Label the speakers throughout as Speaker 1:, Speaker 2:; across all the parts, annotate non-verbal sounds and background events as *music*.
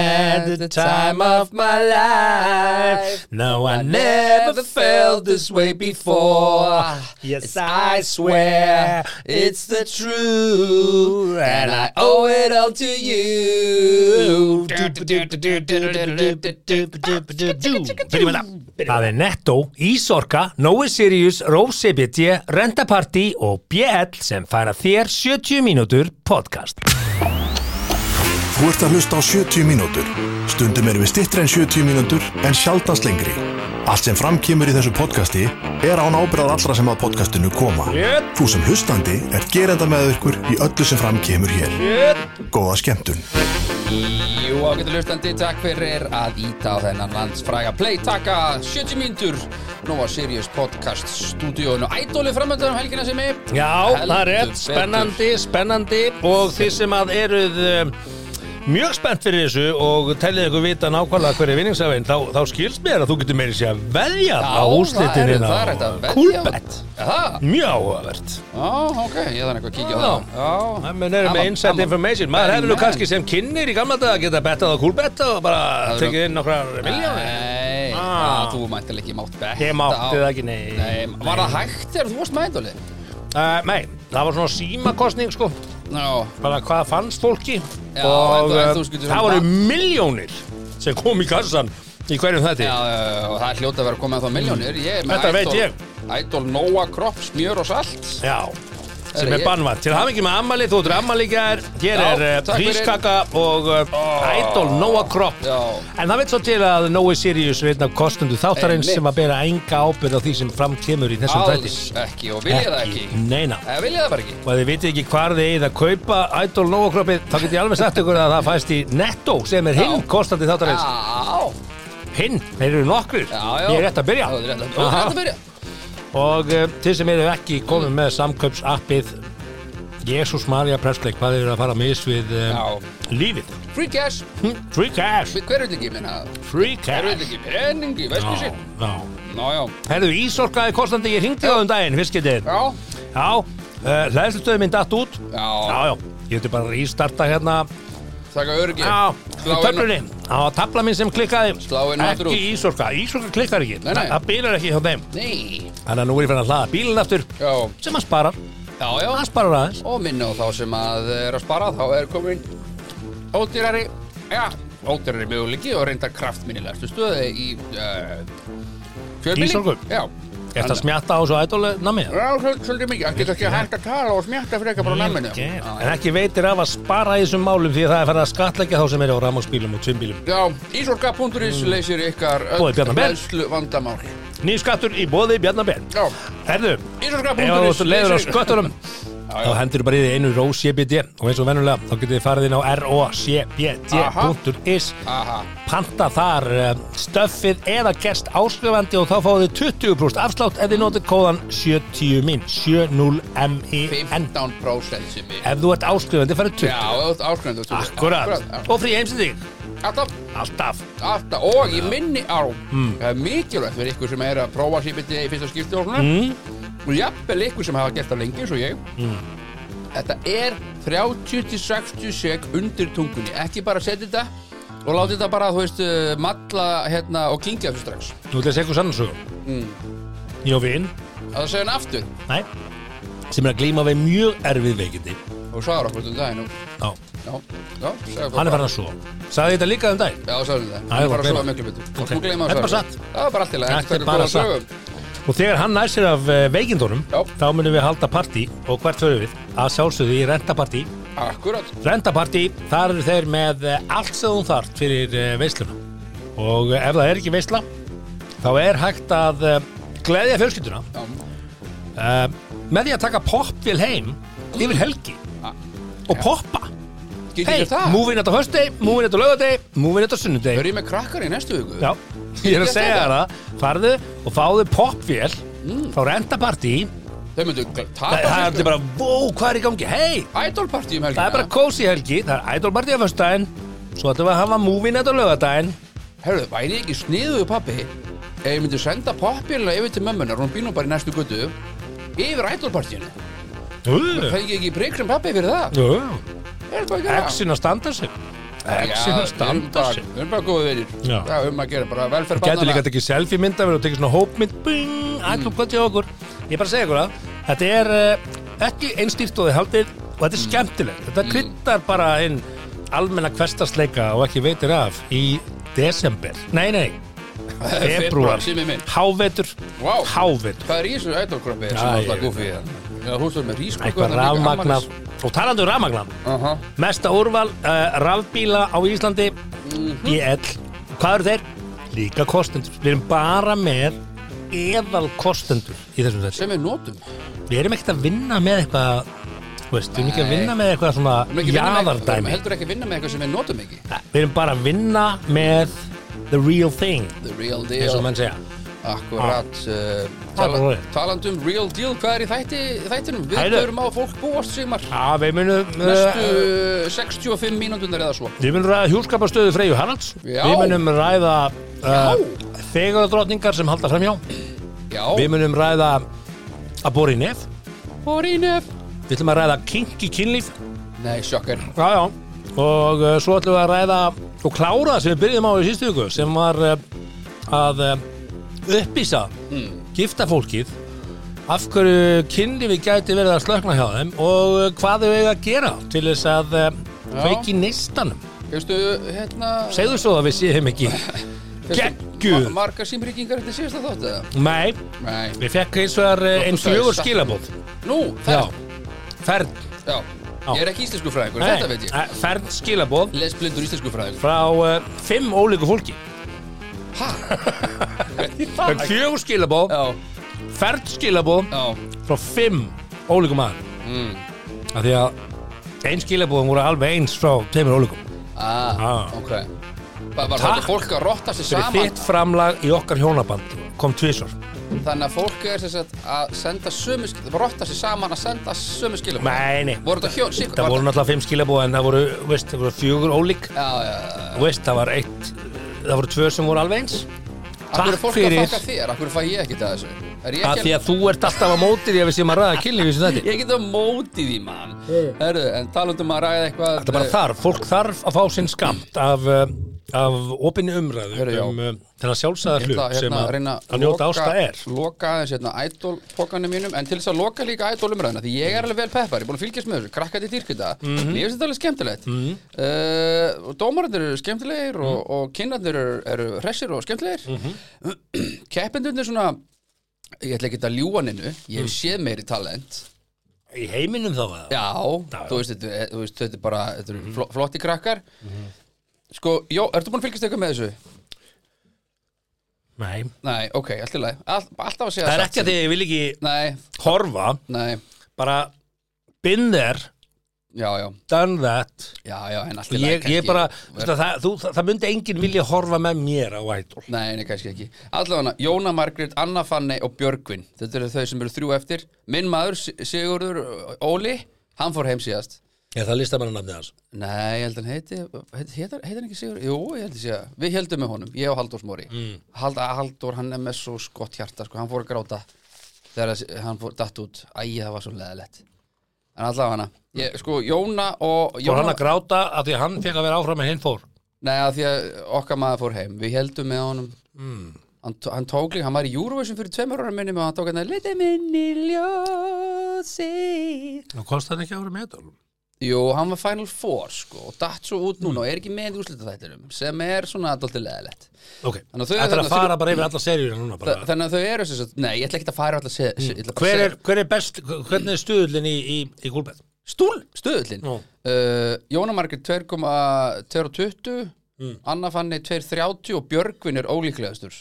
Speaker 1: the time of my life. No, I never felt this way before. Yes, I swear it's the truth, and I owe it all to you.
Speaker 2: Byrjum með það Það er Netto, Ísorka, Nói Sirius, Rose BT, Renta Party og BL sem færa þér 70 mínútur podcast
Speaker 3: Þú ert að hlusta á 70 mínútur. Stundum erum við stittri en 70 mínútur en sjaldast lengri. Allt sem framkýmur í þessu podcasti er án ábyrðað allra sem að podcastinu koma.
Speaker 2: Yep.
Speaker 3: Þú sem hlustandi er gerenda með ykkur í öllu sem framkýmur hér. Yep. Góða skemmtun.
Speaker 1: Jú, ágættu hlustandi, takk fyrir að íta á þennan landsfræga play taka 70 mínútur Nova Sirius podcast stúdíóinu Ædóli framöndan um helgina sem er
Speaker 2: Já, það er
Speaker 1: Heldur
Speaker 2: rétt,
Speaker 1: betur.
Speaker 2: spennandi, spennandi og þið sem að eruð um, mjög spennt fyrir þessu og tellið ykkur vita nákvæmlega hverju vinningsafinn þá, þá skilst mér að þú getur meiri sér að velja á
Speaker 1: það er-
Speaker 2: úrslitinina
Speaker 1: það er hægt að velja.
Speaker 2: Kúlbett,
Speaker 1: Já,
Speaker 2: mjög áhugavert
Speaker 1: já, ok, ég þarf eitthvað að kíkja á
Speaker 2: Já.
Speaker 1: það Já,
Speaker 2: Menn erum með
Speaker 1: Amma,
Speaker 2: inside
Speaker 1: amma.
Speaker 2: information maður hefur nú
Speaker 1: Amen.
Speaker 2: kannski sem kynir í gamla dag að geta bettað á kúlbett og bara
Speaker 1: Það er
Speaker 2: tekið inn nokkrar miljónir
Speaker 1: Nei,
Speaker 2: Ah.
Speaker 1: já, þú mæntilega ekki mátt betta
Speaker 2: Ég mátti
Speaker 1: á-
Speaker 2: það ekki, nei.
Speaker 1: Nei, var það hægt þegar þú varst með Ædóli?
Speaker 2: Uh, Nei, það var svona símakostning sko
Speaker 1: Já,
Speaker 2: bara hvað fannst fólki
Speaker 1: Já,
Speaker 2: og
Speaker 1: en þú- en
Speaker 2: uh,
Speaker 1: þú skilur-
Speaker 2: það voru miljónir sem kom í kassan í hverjum
Speaker 1: já,
Speaker 2: þetta
Speaker 1: já, og það er hljóta að vera að koma með þá miljónir Ég er með
Speaker 2: Þetta veit
Speaker 1: Idol-
Speaker 2: ég.
Speaker 1: Idol, Nóa, Kropp, Smjör og Salt
Speaker 2: Já, sem
Speaker 1: Herra,
Speaker 2: er
Speaker 1: ég-
Speaker 2: bannvætt. Til hafingi með ammali, þú ert ammali í gær, hér
Speaker 1: Já,
Speaker 2: er uh,
Speaker 1: takk fyrir.
Speaker 2: hrískaka og uh, idol Noah Kropp.
Speaker 1: Já.
Speaker 2: En það veit svo til að Noah Sirius er einn af kostundu þáttarins
Speaker 1: Einmitt.
Speaker 2: sem að bera enga ábyrð á því sem fram kemur í þessum þætti.
Speaker 1: Alls ekki og vilja það ekki
Speaker 2: Neina.
Speaker 1: Það vilja það bara ekki
Speaker 2: Og ef þið vitið ekki hvar þið eigið að kaupa Idol Noah kroppið, þá get ég alveg sagt ykkur að það fæst í Netto sem er hinn
Speaker 1: Já.
Speaker 2: kostandi þáttarins.
Speaker 1: Já,
Speaker 2: Hinn, þeir eru nokkrir.
Speaker 1: já, já
Speaker 2: Ég er rétt að byrja.
Speaker 1: Já, þú er rétt að- þú er
Speaker 2: Aha.
Speaker 1: rétt að byrja
Speaker 2: Og uh, til sem eru ekki komið með samkaupsappið Jésús Maria Presley, hvað eru að fara mis við um,
Speaker 1: Já.
Speaker 2: lífið?
Speaker 1: Free cash
Speaker 2: Hm, Free cash,
Speaker 1: Við hverjum ekki minna
Speaker 2: free
Speaker 1: Hverjum
Speaker 2: cash
Speaker 1: ekki peningi, veist þú
Speaker 2: Já,
Speaker 1: sér
Speaker 2: já
Speaker 1: Ná, já,
Speaker 2: Herðu, Ísorkaði kostandi, ég hringdi á um daginn, fiskitinn
Speaker 1: já,
Speaker 2: Já, uh, hlæðslutöðu minn datt út
Speaker 1: Já.
Speaker 2: já, ég geti bara að ístarta hérna
Speaker 1: þakka örgi
Speaker 2: Já, í
Speaker 1: Slá inn-
Speaker 2: töflunni Það var tafla minn sem klikkaði
Speaker 1: Slá inn aftur út.
Speaker 2: Ekki Ísorka, Ísorka klikkar ekki
Speaker 1: Nei, nei.
Speaker 2: Það bílar ekki hjá þeim
Speaker 1: Nei,
Speaker 2: Þannig að nú er ég fyrir að hlaða bílinn aftur
Speaker 1: já,
Speaker 2: sem að spara,
Speaker 1: já, já
Speaker 2: að spara aðeins
Speaker 1: Og minna á þá sem að er að spara Þá er komin ódýrari Já, ódýrari möguleiki Og reyndar kraftminnilegstu stöði í uh, Fjölbíling
Speaker 2: Ísorku.
Speaker 1: Já
Speaker 2: Er þetta smjatta á svo ædólu namið?
Speaker 1: Já, svol- svolítið mikið, hann getur ekki hægt að tala og smjatta fyrir ekki bara á nemminu.
Speaker 2: En ekki veitir af að spara í þessum málum því að það er farið að skatleggja þá sem eru á rammagsbílum og tvimbílum.
Speaker 1: Já, ísorka.is leysir ykkar
Speaker 2: Boði Mm. Bjarna Ben.
Speaker 1: hlæðslu vandamál.
Speaker 2: Nýr skattur í bóði Bjarnabenn.
Speaker 1: Já,
Speaker 2: Herðu, ef þú
Speaker 1: ísorka.is
Speaker 2: ert leiður
Speaker 1: *laughs*
Speaker 2: á sköttunum,
Speaker 1: Já,
Speaker 2: þá
Speaker 1: já.
Speaker 2: hendur bara í því einu ró CBD og eins og vennulega, þá getið þið farið inn á rocbd.is
Speaker 1: Aha,
Speaker 2: panta þar eh, stöffið eða gerst áskrifandi og þá fáið þið 20% afslátt ef þið notið kóðan 70min 70min
Speaker 1: 15% sem ég.
Speaker 2: ef þú ert áskrifandi færið 20
Speaker 1: Já, áskrændu.
Speaker 2: Akkurat, og frí heimsending
Speaker 1: Alltaf,
Speaker 2: Alltaf
Speaker 1: alltaf, og ég minni á,
Speaker 2: Mm.
Speaker 1: það er mikilvægt fyrir ykkur sem er að prófa sípiti í fyrsta skipti og svona.
Speaker 2: Mm.
Speaker 1: Og jafnvel ykkur sem hafa gert það lengi, eins og ég. Þetta er 30-60 sek undir tungunni. Ekki bara setja þetta og láta þetta bara, þú veist, uh, matla hérna og klingja þessu strax.
Speaker 2: Nú ætla ég að segja eitthvað sannarsögum mm. Ég og vinn
Speaker 1: Að það segja hann aftur.
Speaker 2: Nei Sem er að glíma við mjög erfið veikindi
Speaker 1: Og svaðar okkur um daginn. og-
Speaker 2: Já
Speaker 1: Já, já, segja
Speaker 2: Hann er farin að svo Sagði ég þetta líka um dag
Speaker 1: Já, sagði þetta.
Speaker 2: Æ,
Speaker 1: Það er bara
Speaker 2: bara
Speaker 1: að sofa
Speaker 2: gleyma.
Speaker 1: miklu betur.
Speaker 2: Ok.
Speaker 1: Þú gleyma
Speaker 2: Þetta er bara
Speaker 1: að sofa.
Speaker 2: satt.
Speaker 1: Það er bara allt í lagi.
Speaker 2: Þetta er
Speaker 1: eru
Speaker 2: bara
Speaker 1: góðar
Speaker 2: satt.
Speaker 1: sögur.
Speaker 2: Og þegar hann nær sér af eh, veikindunum
Speaker 1: Já.
Speaker 2: Þá munum við halda partí Og hvert förum við Að sjálfsögðu í rentapartí
Speaker 1: Akkurat.
Speaker 2: Rentapartí Þar eru þeir með eh, allt sem þú þarft fyrir eh, veisluna Og eh, ef það er ekki veisla Þá er hægt að eh, Gleðja fjölskylduna
Speaker 1: Já,
Speaker 2: uh, með því að taka poppvél heim yfir helgi
Speaker 1: Ah,
Speaker 2: og poppa
Speaker 1: getur
Speaker 2: hei,
Speaker 1: þér það?
Speaker 2: múvin þetta höstdegi, múvin þetta lögadegi múvin þetta
Speaker 1: Þau
Speaker 2: sunnudegi
Speaker 1: eru í með krakkar í næstu viku.
Speaker 2: já, ég er
Speaker 1: Ég
Speaker 2: að
Speaker 1: get
Speaker 2: segja
Speaker 1: þetta.
Speaker 2: þér það farðu og fáðu poppvél
Speaker 1: Mm.
Speaker 2: frá rentapartí
Speaker 1: Þau myndu gl-
Speaker 2: það
Speaker 1: tapa
Speaker 2: það er bara, vó, hvað er í gangi hei,
Speaker 1: Ædolpartí um helgina.
Speaker 2: það er bara kósi helgi það er idolpartí á höstdegin svo ætlum við að hafa múvin þetta lögadegin
Speaker 1: Herðu, væri ekki sniðuðu pappi ef ég myndi senda poppjörlega yfir til mömmunar hún býr nú bara í næstu götu yfir ædolpartíinu
Speaker 2: uh,
Speaker 1: fengi ég ekki prikrum pappi fyrir það
Speaker 2: uh,
Speaker 1: er bara að gera
Speaker 2: exin að standa sig Exi
Speaker 1: Já, um
Speaker 2: hann standa
Speaker 1: við
Speaker 2: sig.
Speaker 1: erum bara- við erum bara góðið vinir
Speaker 2: Já.
Speaker 1: Já, um að gera bara velferð
Speaker 2: Gæti líka
Speaker 1: barnanna
Speaker 2: tekið selfie mynda og tekið svona hópmynd Bing, allum gott hjá okkur Ég er bara að segja ykkur það Þetta er uh, ekki einstýrt og þið haldið og þetta er
Speaker 1: Mm.
Speaker 2: skemmtilegt Þetta kryddar bara inn almenna kvestasleika og ekki veitir af í desember Nei, nei,
Speaker 1: Eh,
Speaker 2: februar
Speaker 1: Simmi minn.
Speaker 2: Hávetur
Speaker 1: Vá.
Speaker 2: Hávetur
Speaker 1: Hvað er í þessu ætlokroppi sem
Speaker 2: Já,
Speaker 1: alltaf
Speaker 2: ég-
Speaker 1: gúfið hérna? Þú stóð með rísköku
Speaker 2: Eitthvað rafmagnað Og talandi um rafmagnað
Speaker 1: Aha.
Speaker 2: Mesta úrval uh, rafbíla á Íslandi
Speaker 1: Mhm.
Speaker 2: BL Hvað eru þeir? Líka kostendur Við erum bara með eðal kostendur í þessum þessu
Speaker 1: Sem við notum
Speaker 2: Við erum ekkert að vinna með eitthvað þú veist, Við erum ekki að
Speaker 1: Nei.
Speaker 2: vinna með eitthvað svona
Speaker 1: Við erum ekki að vinna með- við erum
Speaker 2: jaðardæmi
Speaker 1: heldur ekki að vinna með eitthvað sem við notum ekki
Speaker 2: Nei, Við erum bara að vinna með the real thing
Speaker 1: The real
Speaker 2: eins og
Speaker 1: deal
Speaker 2: menn segja
Speaker 1: Akkurat uh,
Speaker 2: bara
Speaker 1: tala,
Speaker 2: rétt.
Speaker 1: Talandum real deal, hvað er í þætti, þættinum? Við
Speaker 2: Hæðu.
Speaker 1: höfum á að fólk búast sigmar
Speaker 2: Já, við munum
Speaker 1: Næstu
Speaker 2: uh,
Speaker 1: uh, 65 mínúndunar eða svo
Speaker 2: Við munum ræða hjúlskapastöðu Freyju Haralds
Speaker 1: Já.
Speaker 2: Við munum ræða uh,
Speaker 1: Já.
Speaker 2: þegaradrottningar sem halda framhjá
Speaker 1: Já,
Speaker 2: Við munum ræða að bóra í nef
Speaker 1: fór í nef
Speaker 2: Við ætlum að ræða kink í kynlíf
Speaker 1: Nei, sjokkar
Speaker 2: Já, já Og uh, svo ætlum við að ræða og klára það sem við byrjum á í sístu viku sem var uh, að uh, upplýsa
Speaker 1: Hmm.
Speaker 2: gifta fólkið af hverju kynlífi gæti verið að slökna hjá þeim og uh, hvað þau eiga að gera til þess að uh,
Speaker 1: Já.
Speaker 2: veiki neistanum
Speaker 1: Veistu, hérna
Speaker 2: Segðu svo að við séum
Speaker 1: *laughs*
Speaker 2: ekki geggjuð.
Speaker 1: Marga símryggingar eftir síðasta þátt eða?
Speaker 2: Nei,
Speaker 1: Nei
Speaker 2: við fekk eins og er einn
Speaker 1: sagði
Speaker 2: fjögur
Speaker 1: satt.
Speaker 2: skilabóð
Speaker 1: Nú,
Speaker 2: Já,
Speaker 1: ferð
Speaker 2: ferð
Speaker 1: Já, ég er ekki íslensku fræðingur, þetta veit ég
Speaker 2: Nei, eh, ferð skilabóð
Speaker 1: Lesblindur íslensku fræðingur
Speaker 2: frá uh, fimm ólíku fólki *laughs* Það er fjögur skilabóð,
Speaker 1: Já,
Speaker 2: ferð skilabóð
Speaker 1: já,
Speaker 2: frá fimm ólíkum mann
Speaker 1: Mm.
Speaker 2: af því að ein skilabóðum voru alveg eins frá tveimur ólíkum
Speaker 1: ah,
Speaker 2: Ah.
Speaker 1: ok Bara var
Speaker 2: Takk.
Speaker 1: þetta fólk að rotta sig
Speaker 2: fyrir
Speaker 1: saman
Speaker 2: þitt framlag í okkar hjónaband kom tvisvar
Speaker 1: Þannig að fólk er sem sagt að senda sömu skilum Rotta sig saman að senda sömu skilum
Speaker 2: Nei, nei,
Speaker 1: Voru þetta hjón, sík,
Speaker 2: það voru náttúrulega fimm skilabóð en það voru, veist, það voru fjögur ólík
Speaker 1: Já, já, já
Speaker 2: Þú veist, það var eitt það voru tvö sem voru alveg eins
Speaker 1: Akkur er
Speaker 2: Takk
Speaker 1: fólk að
Speaker 2: fyrir
Speaker 1: þakka þér, akkur fæ ég ekki það þessu Er ég
Speaker 2: að
Speaker 1: ekki
Speaker 2: því að þú ert alltaf að móti því að við séum að ræða kynlífi sem þetta
Speaker 1: Ég get að móti því, mann Herðu, en talandum að ræða eitthvað eh,
Speaker 2: Þetta er bara þarf, fólk þarf að fá sinn skamt af, uh, af opinni umræðu
Speaker 1: Herra, já.
Speaker 2: um uh, þennan sjálfsæðar
Speaker 1: Ég
Speaker 2: hlut
Speaker 1: ætla að,
Speaker 2: sem
Speaker 1: hérna,
Speaker 2: að,
Speaker 1: reyna
Speaker 2: að njóta ásta er
Speaker 1: Loka aðeins hérna ædolpokanum mínum En til þess að loka líka ædolumræðina Því ég er alveg vel peppar, ég er búin að fylgjast með þessu Krakka til dýrkvita, mm
Speaker 2: Mhm.
Speaker 1: -hmm. mér finnst þetta alveg skemmtilegt mm -hmm. Dómarandir eru skemmtilegir Og,
Speaker 2: Mhm.
Speaker 1: og kynnarnir eru, eru hressir og skemmtilegir mm
Speaker 2: Mhm.
Speaker 1: *clears throat* Keppendunir svona Ég ætla ekki að ljúa ninu
Speaker 2: Mhm.
Speaker 1: Ég hef séð meiri talent
Speaker 2: Í heiminum þá að
Speaker 1: Já,
Speaker 2: Já, já. Mhm.
Speaker 1: Þú, veist, þetta, eh, þú veist, þetta er bara þetta mm -hmm. flotti krakkar Sko, jó, ertu búin að fylgjast eitthvað með þessu?
Speaker 2: Nei,
Speaker 1: Nei, ok, allt í lagi All, Alltaf að segja
Speaker 2: það er
Speaker 1: satt
Speaker 2: ekki að því að ég vil ekki
Speaker 1: Nei,
Speaker 2: horfa
Speaker 1: nei,
Speaker 2: bara been there,
Speaker 1: já, já,
Speaker 2: done that
Speaker 1: já, já, en allt í lagi
Speaker 2: ég, ég
Speaker 1: kannski-
Speaker 2: bara, það, það, þú, það, það myndi enginn vilja horfa með mér á ædol
Speaker 1: Nei, nei, kannski ekki Allavega, Jóna Margrét, Anna Fanny og Björgvin Þetta eru þau sem eru þrjú eftir Minn maður, Si- Sigurður ö, Óli Hann fór heim síðast
Speaker 2: Ég það listar mann að nafni hans
Speaker 1: Nei, ég held hann heiti heit- Heitar heitir hann ekki Sigurður? Jú, ég held ég sé að Við heldum með honum, ég og Halldór Smóri mm. Hald, Halldór, hann er með svo skott hjarta sko. Hann fór að gráta Þegar þessi- hann fór datt út Æ, það var svo leðilegt En allavega hana ég, Sko, Jóna og
Speaker 2: Fór
Speaker 1: Jóna,
Speaker 2: hann að gráta af því að hann fekk að vera áfram en hinn fór
Speaker 1: Nei, að því að okkar maður fór heim Við heldum með honum
Speaker 2: Mm.
Speaker 1: hann, tó- hann tók líka, hann var í Eurovision fyrir tveimur ára minni og hann tók hann að liti minni ljósi
Speaker 2: Nú kosti hann ekki að vera með ædol
Speaker 1: Jú, hann var Final Four sko og datt svo út núna og er ekki með í úrslitaþættinum sem er svona aðdólti leðilegt
Speaker 2: Ok,
Speaker 1: Þannig að þau- hérna-
Speaker 2: þetta er að
Speaker 1: þarna
Speaker 2: fara bara yfir alla seríur núna bara
Speaker 1: Þannig að þau eru sem sagt, nei, ég ætla ekki að færa alltaf se, se, ég ætla bara
Speaker 2: Mm. Hver
Speaker 1: að
Speaker 2: er, hver er best, hvernig er stuðullin í, í, í gúlbæð?
Speaker 1: Stúl, stöðullin
Speaker 2: Nú.
Speaker 1: uh, Jóna Margrét 2,220
Speaker 2: Mm.
Speaker 1: Anna Fanny 2,30 og Björgvin er ólíklegastur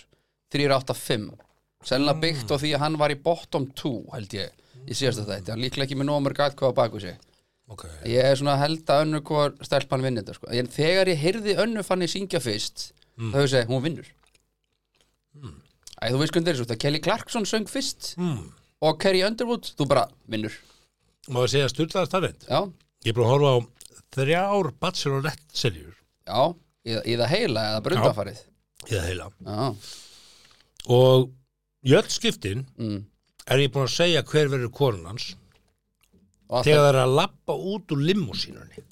Speaker 1: 3,85
Speaker 2: Mm.
Speaker 1: Sennilega byggt á því að hann var í bottom 2 held ég í síðasta þetta hann líklega ekki með nómur gætt hvað á baku sig
Speaker 2: Okay.
Speaker 1: ég er svona að held að önnu hvað stelpan vinni þetta sko. en þegar ég heyrði önnu Fanny syngja fyrst
Speaker 2: Mm.
Speaker 1: þá hefur segið hún vinnur Æ, þú veist hvernig þeir svo þetta Kelly Clarkson söng fyrst mm. og Carrie Underwood, þú bara vinnur
Speaker 2: Má ég segja styrlaðar starfind?
Speaker 1: já,
Speaker 2: Ég er búin að horfa á þrjár Bachelorette-serjur
Speaker 1: Já, í, í það heila eða bara undanfarið
Speaker 2: í það heila
Speaker 1: Já,
Speaker 2: og í öll skiptin
Speaker 1: mm.
Speaker 2: er ég búin að segja hver verður konun hans
Speaker 1: og alltaf,
Speaker 2: þegar það er að lappa út úr limmusínunni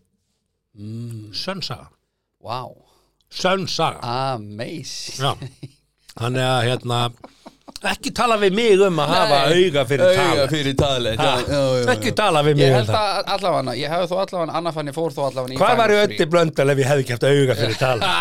Speaker 2: mm. Sönn saga
Speaker 1: Vá,
Speaker 2: sönn
Speaker 1: Ah.
Speaker 2: saga
Speaker 1: amazing
Speaker 2: Já. þannig að hérna ekki tala við mig um að hafa auga fyrir tala
Speaker 1: Auga fyrir tala
Speaker 2: Ha,
Speaker 1: já, já, já, já.
Speaker 2: ekki tala við mig
Speaker 1: Ég
Speaker 2: um
Speaker 1: held
Speaker 2: það.
Speaker 1: að allavega, ég hefði þó allavega Anna Fanny fór þó allavega
Speaker 2: Hvað var í öndi blöndal ef ég hefði kæft auga fyrir
Speaker 1: *laughs*
Speaker 2: tala?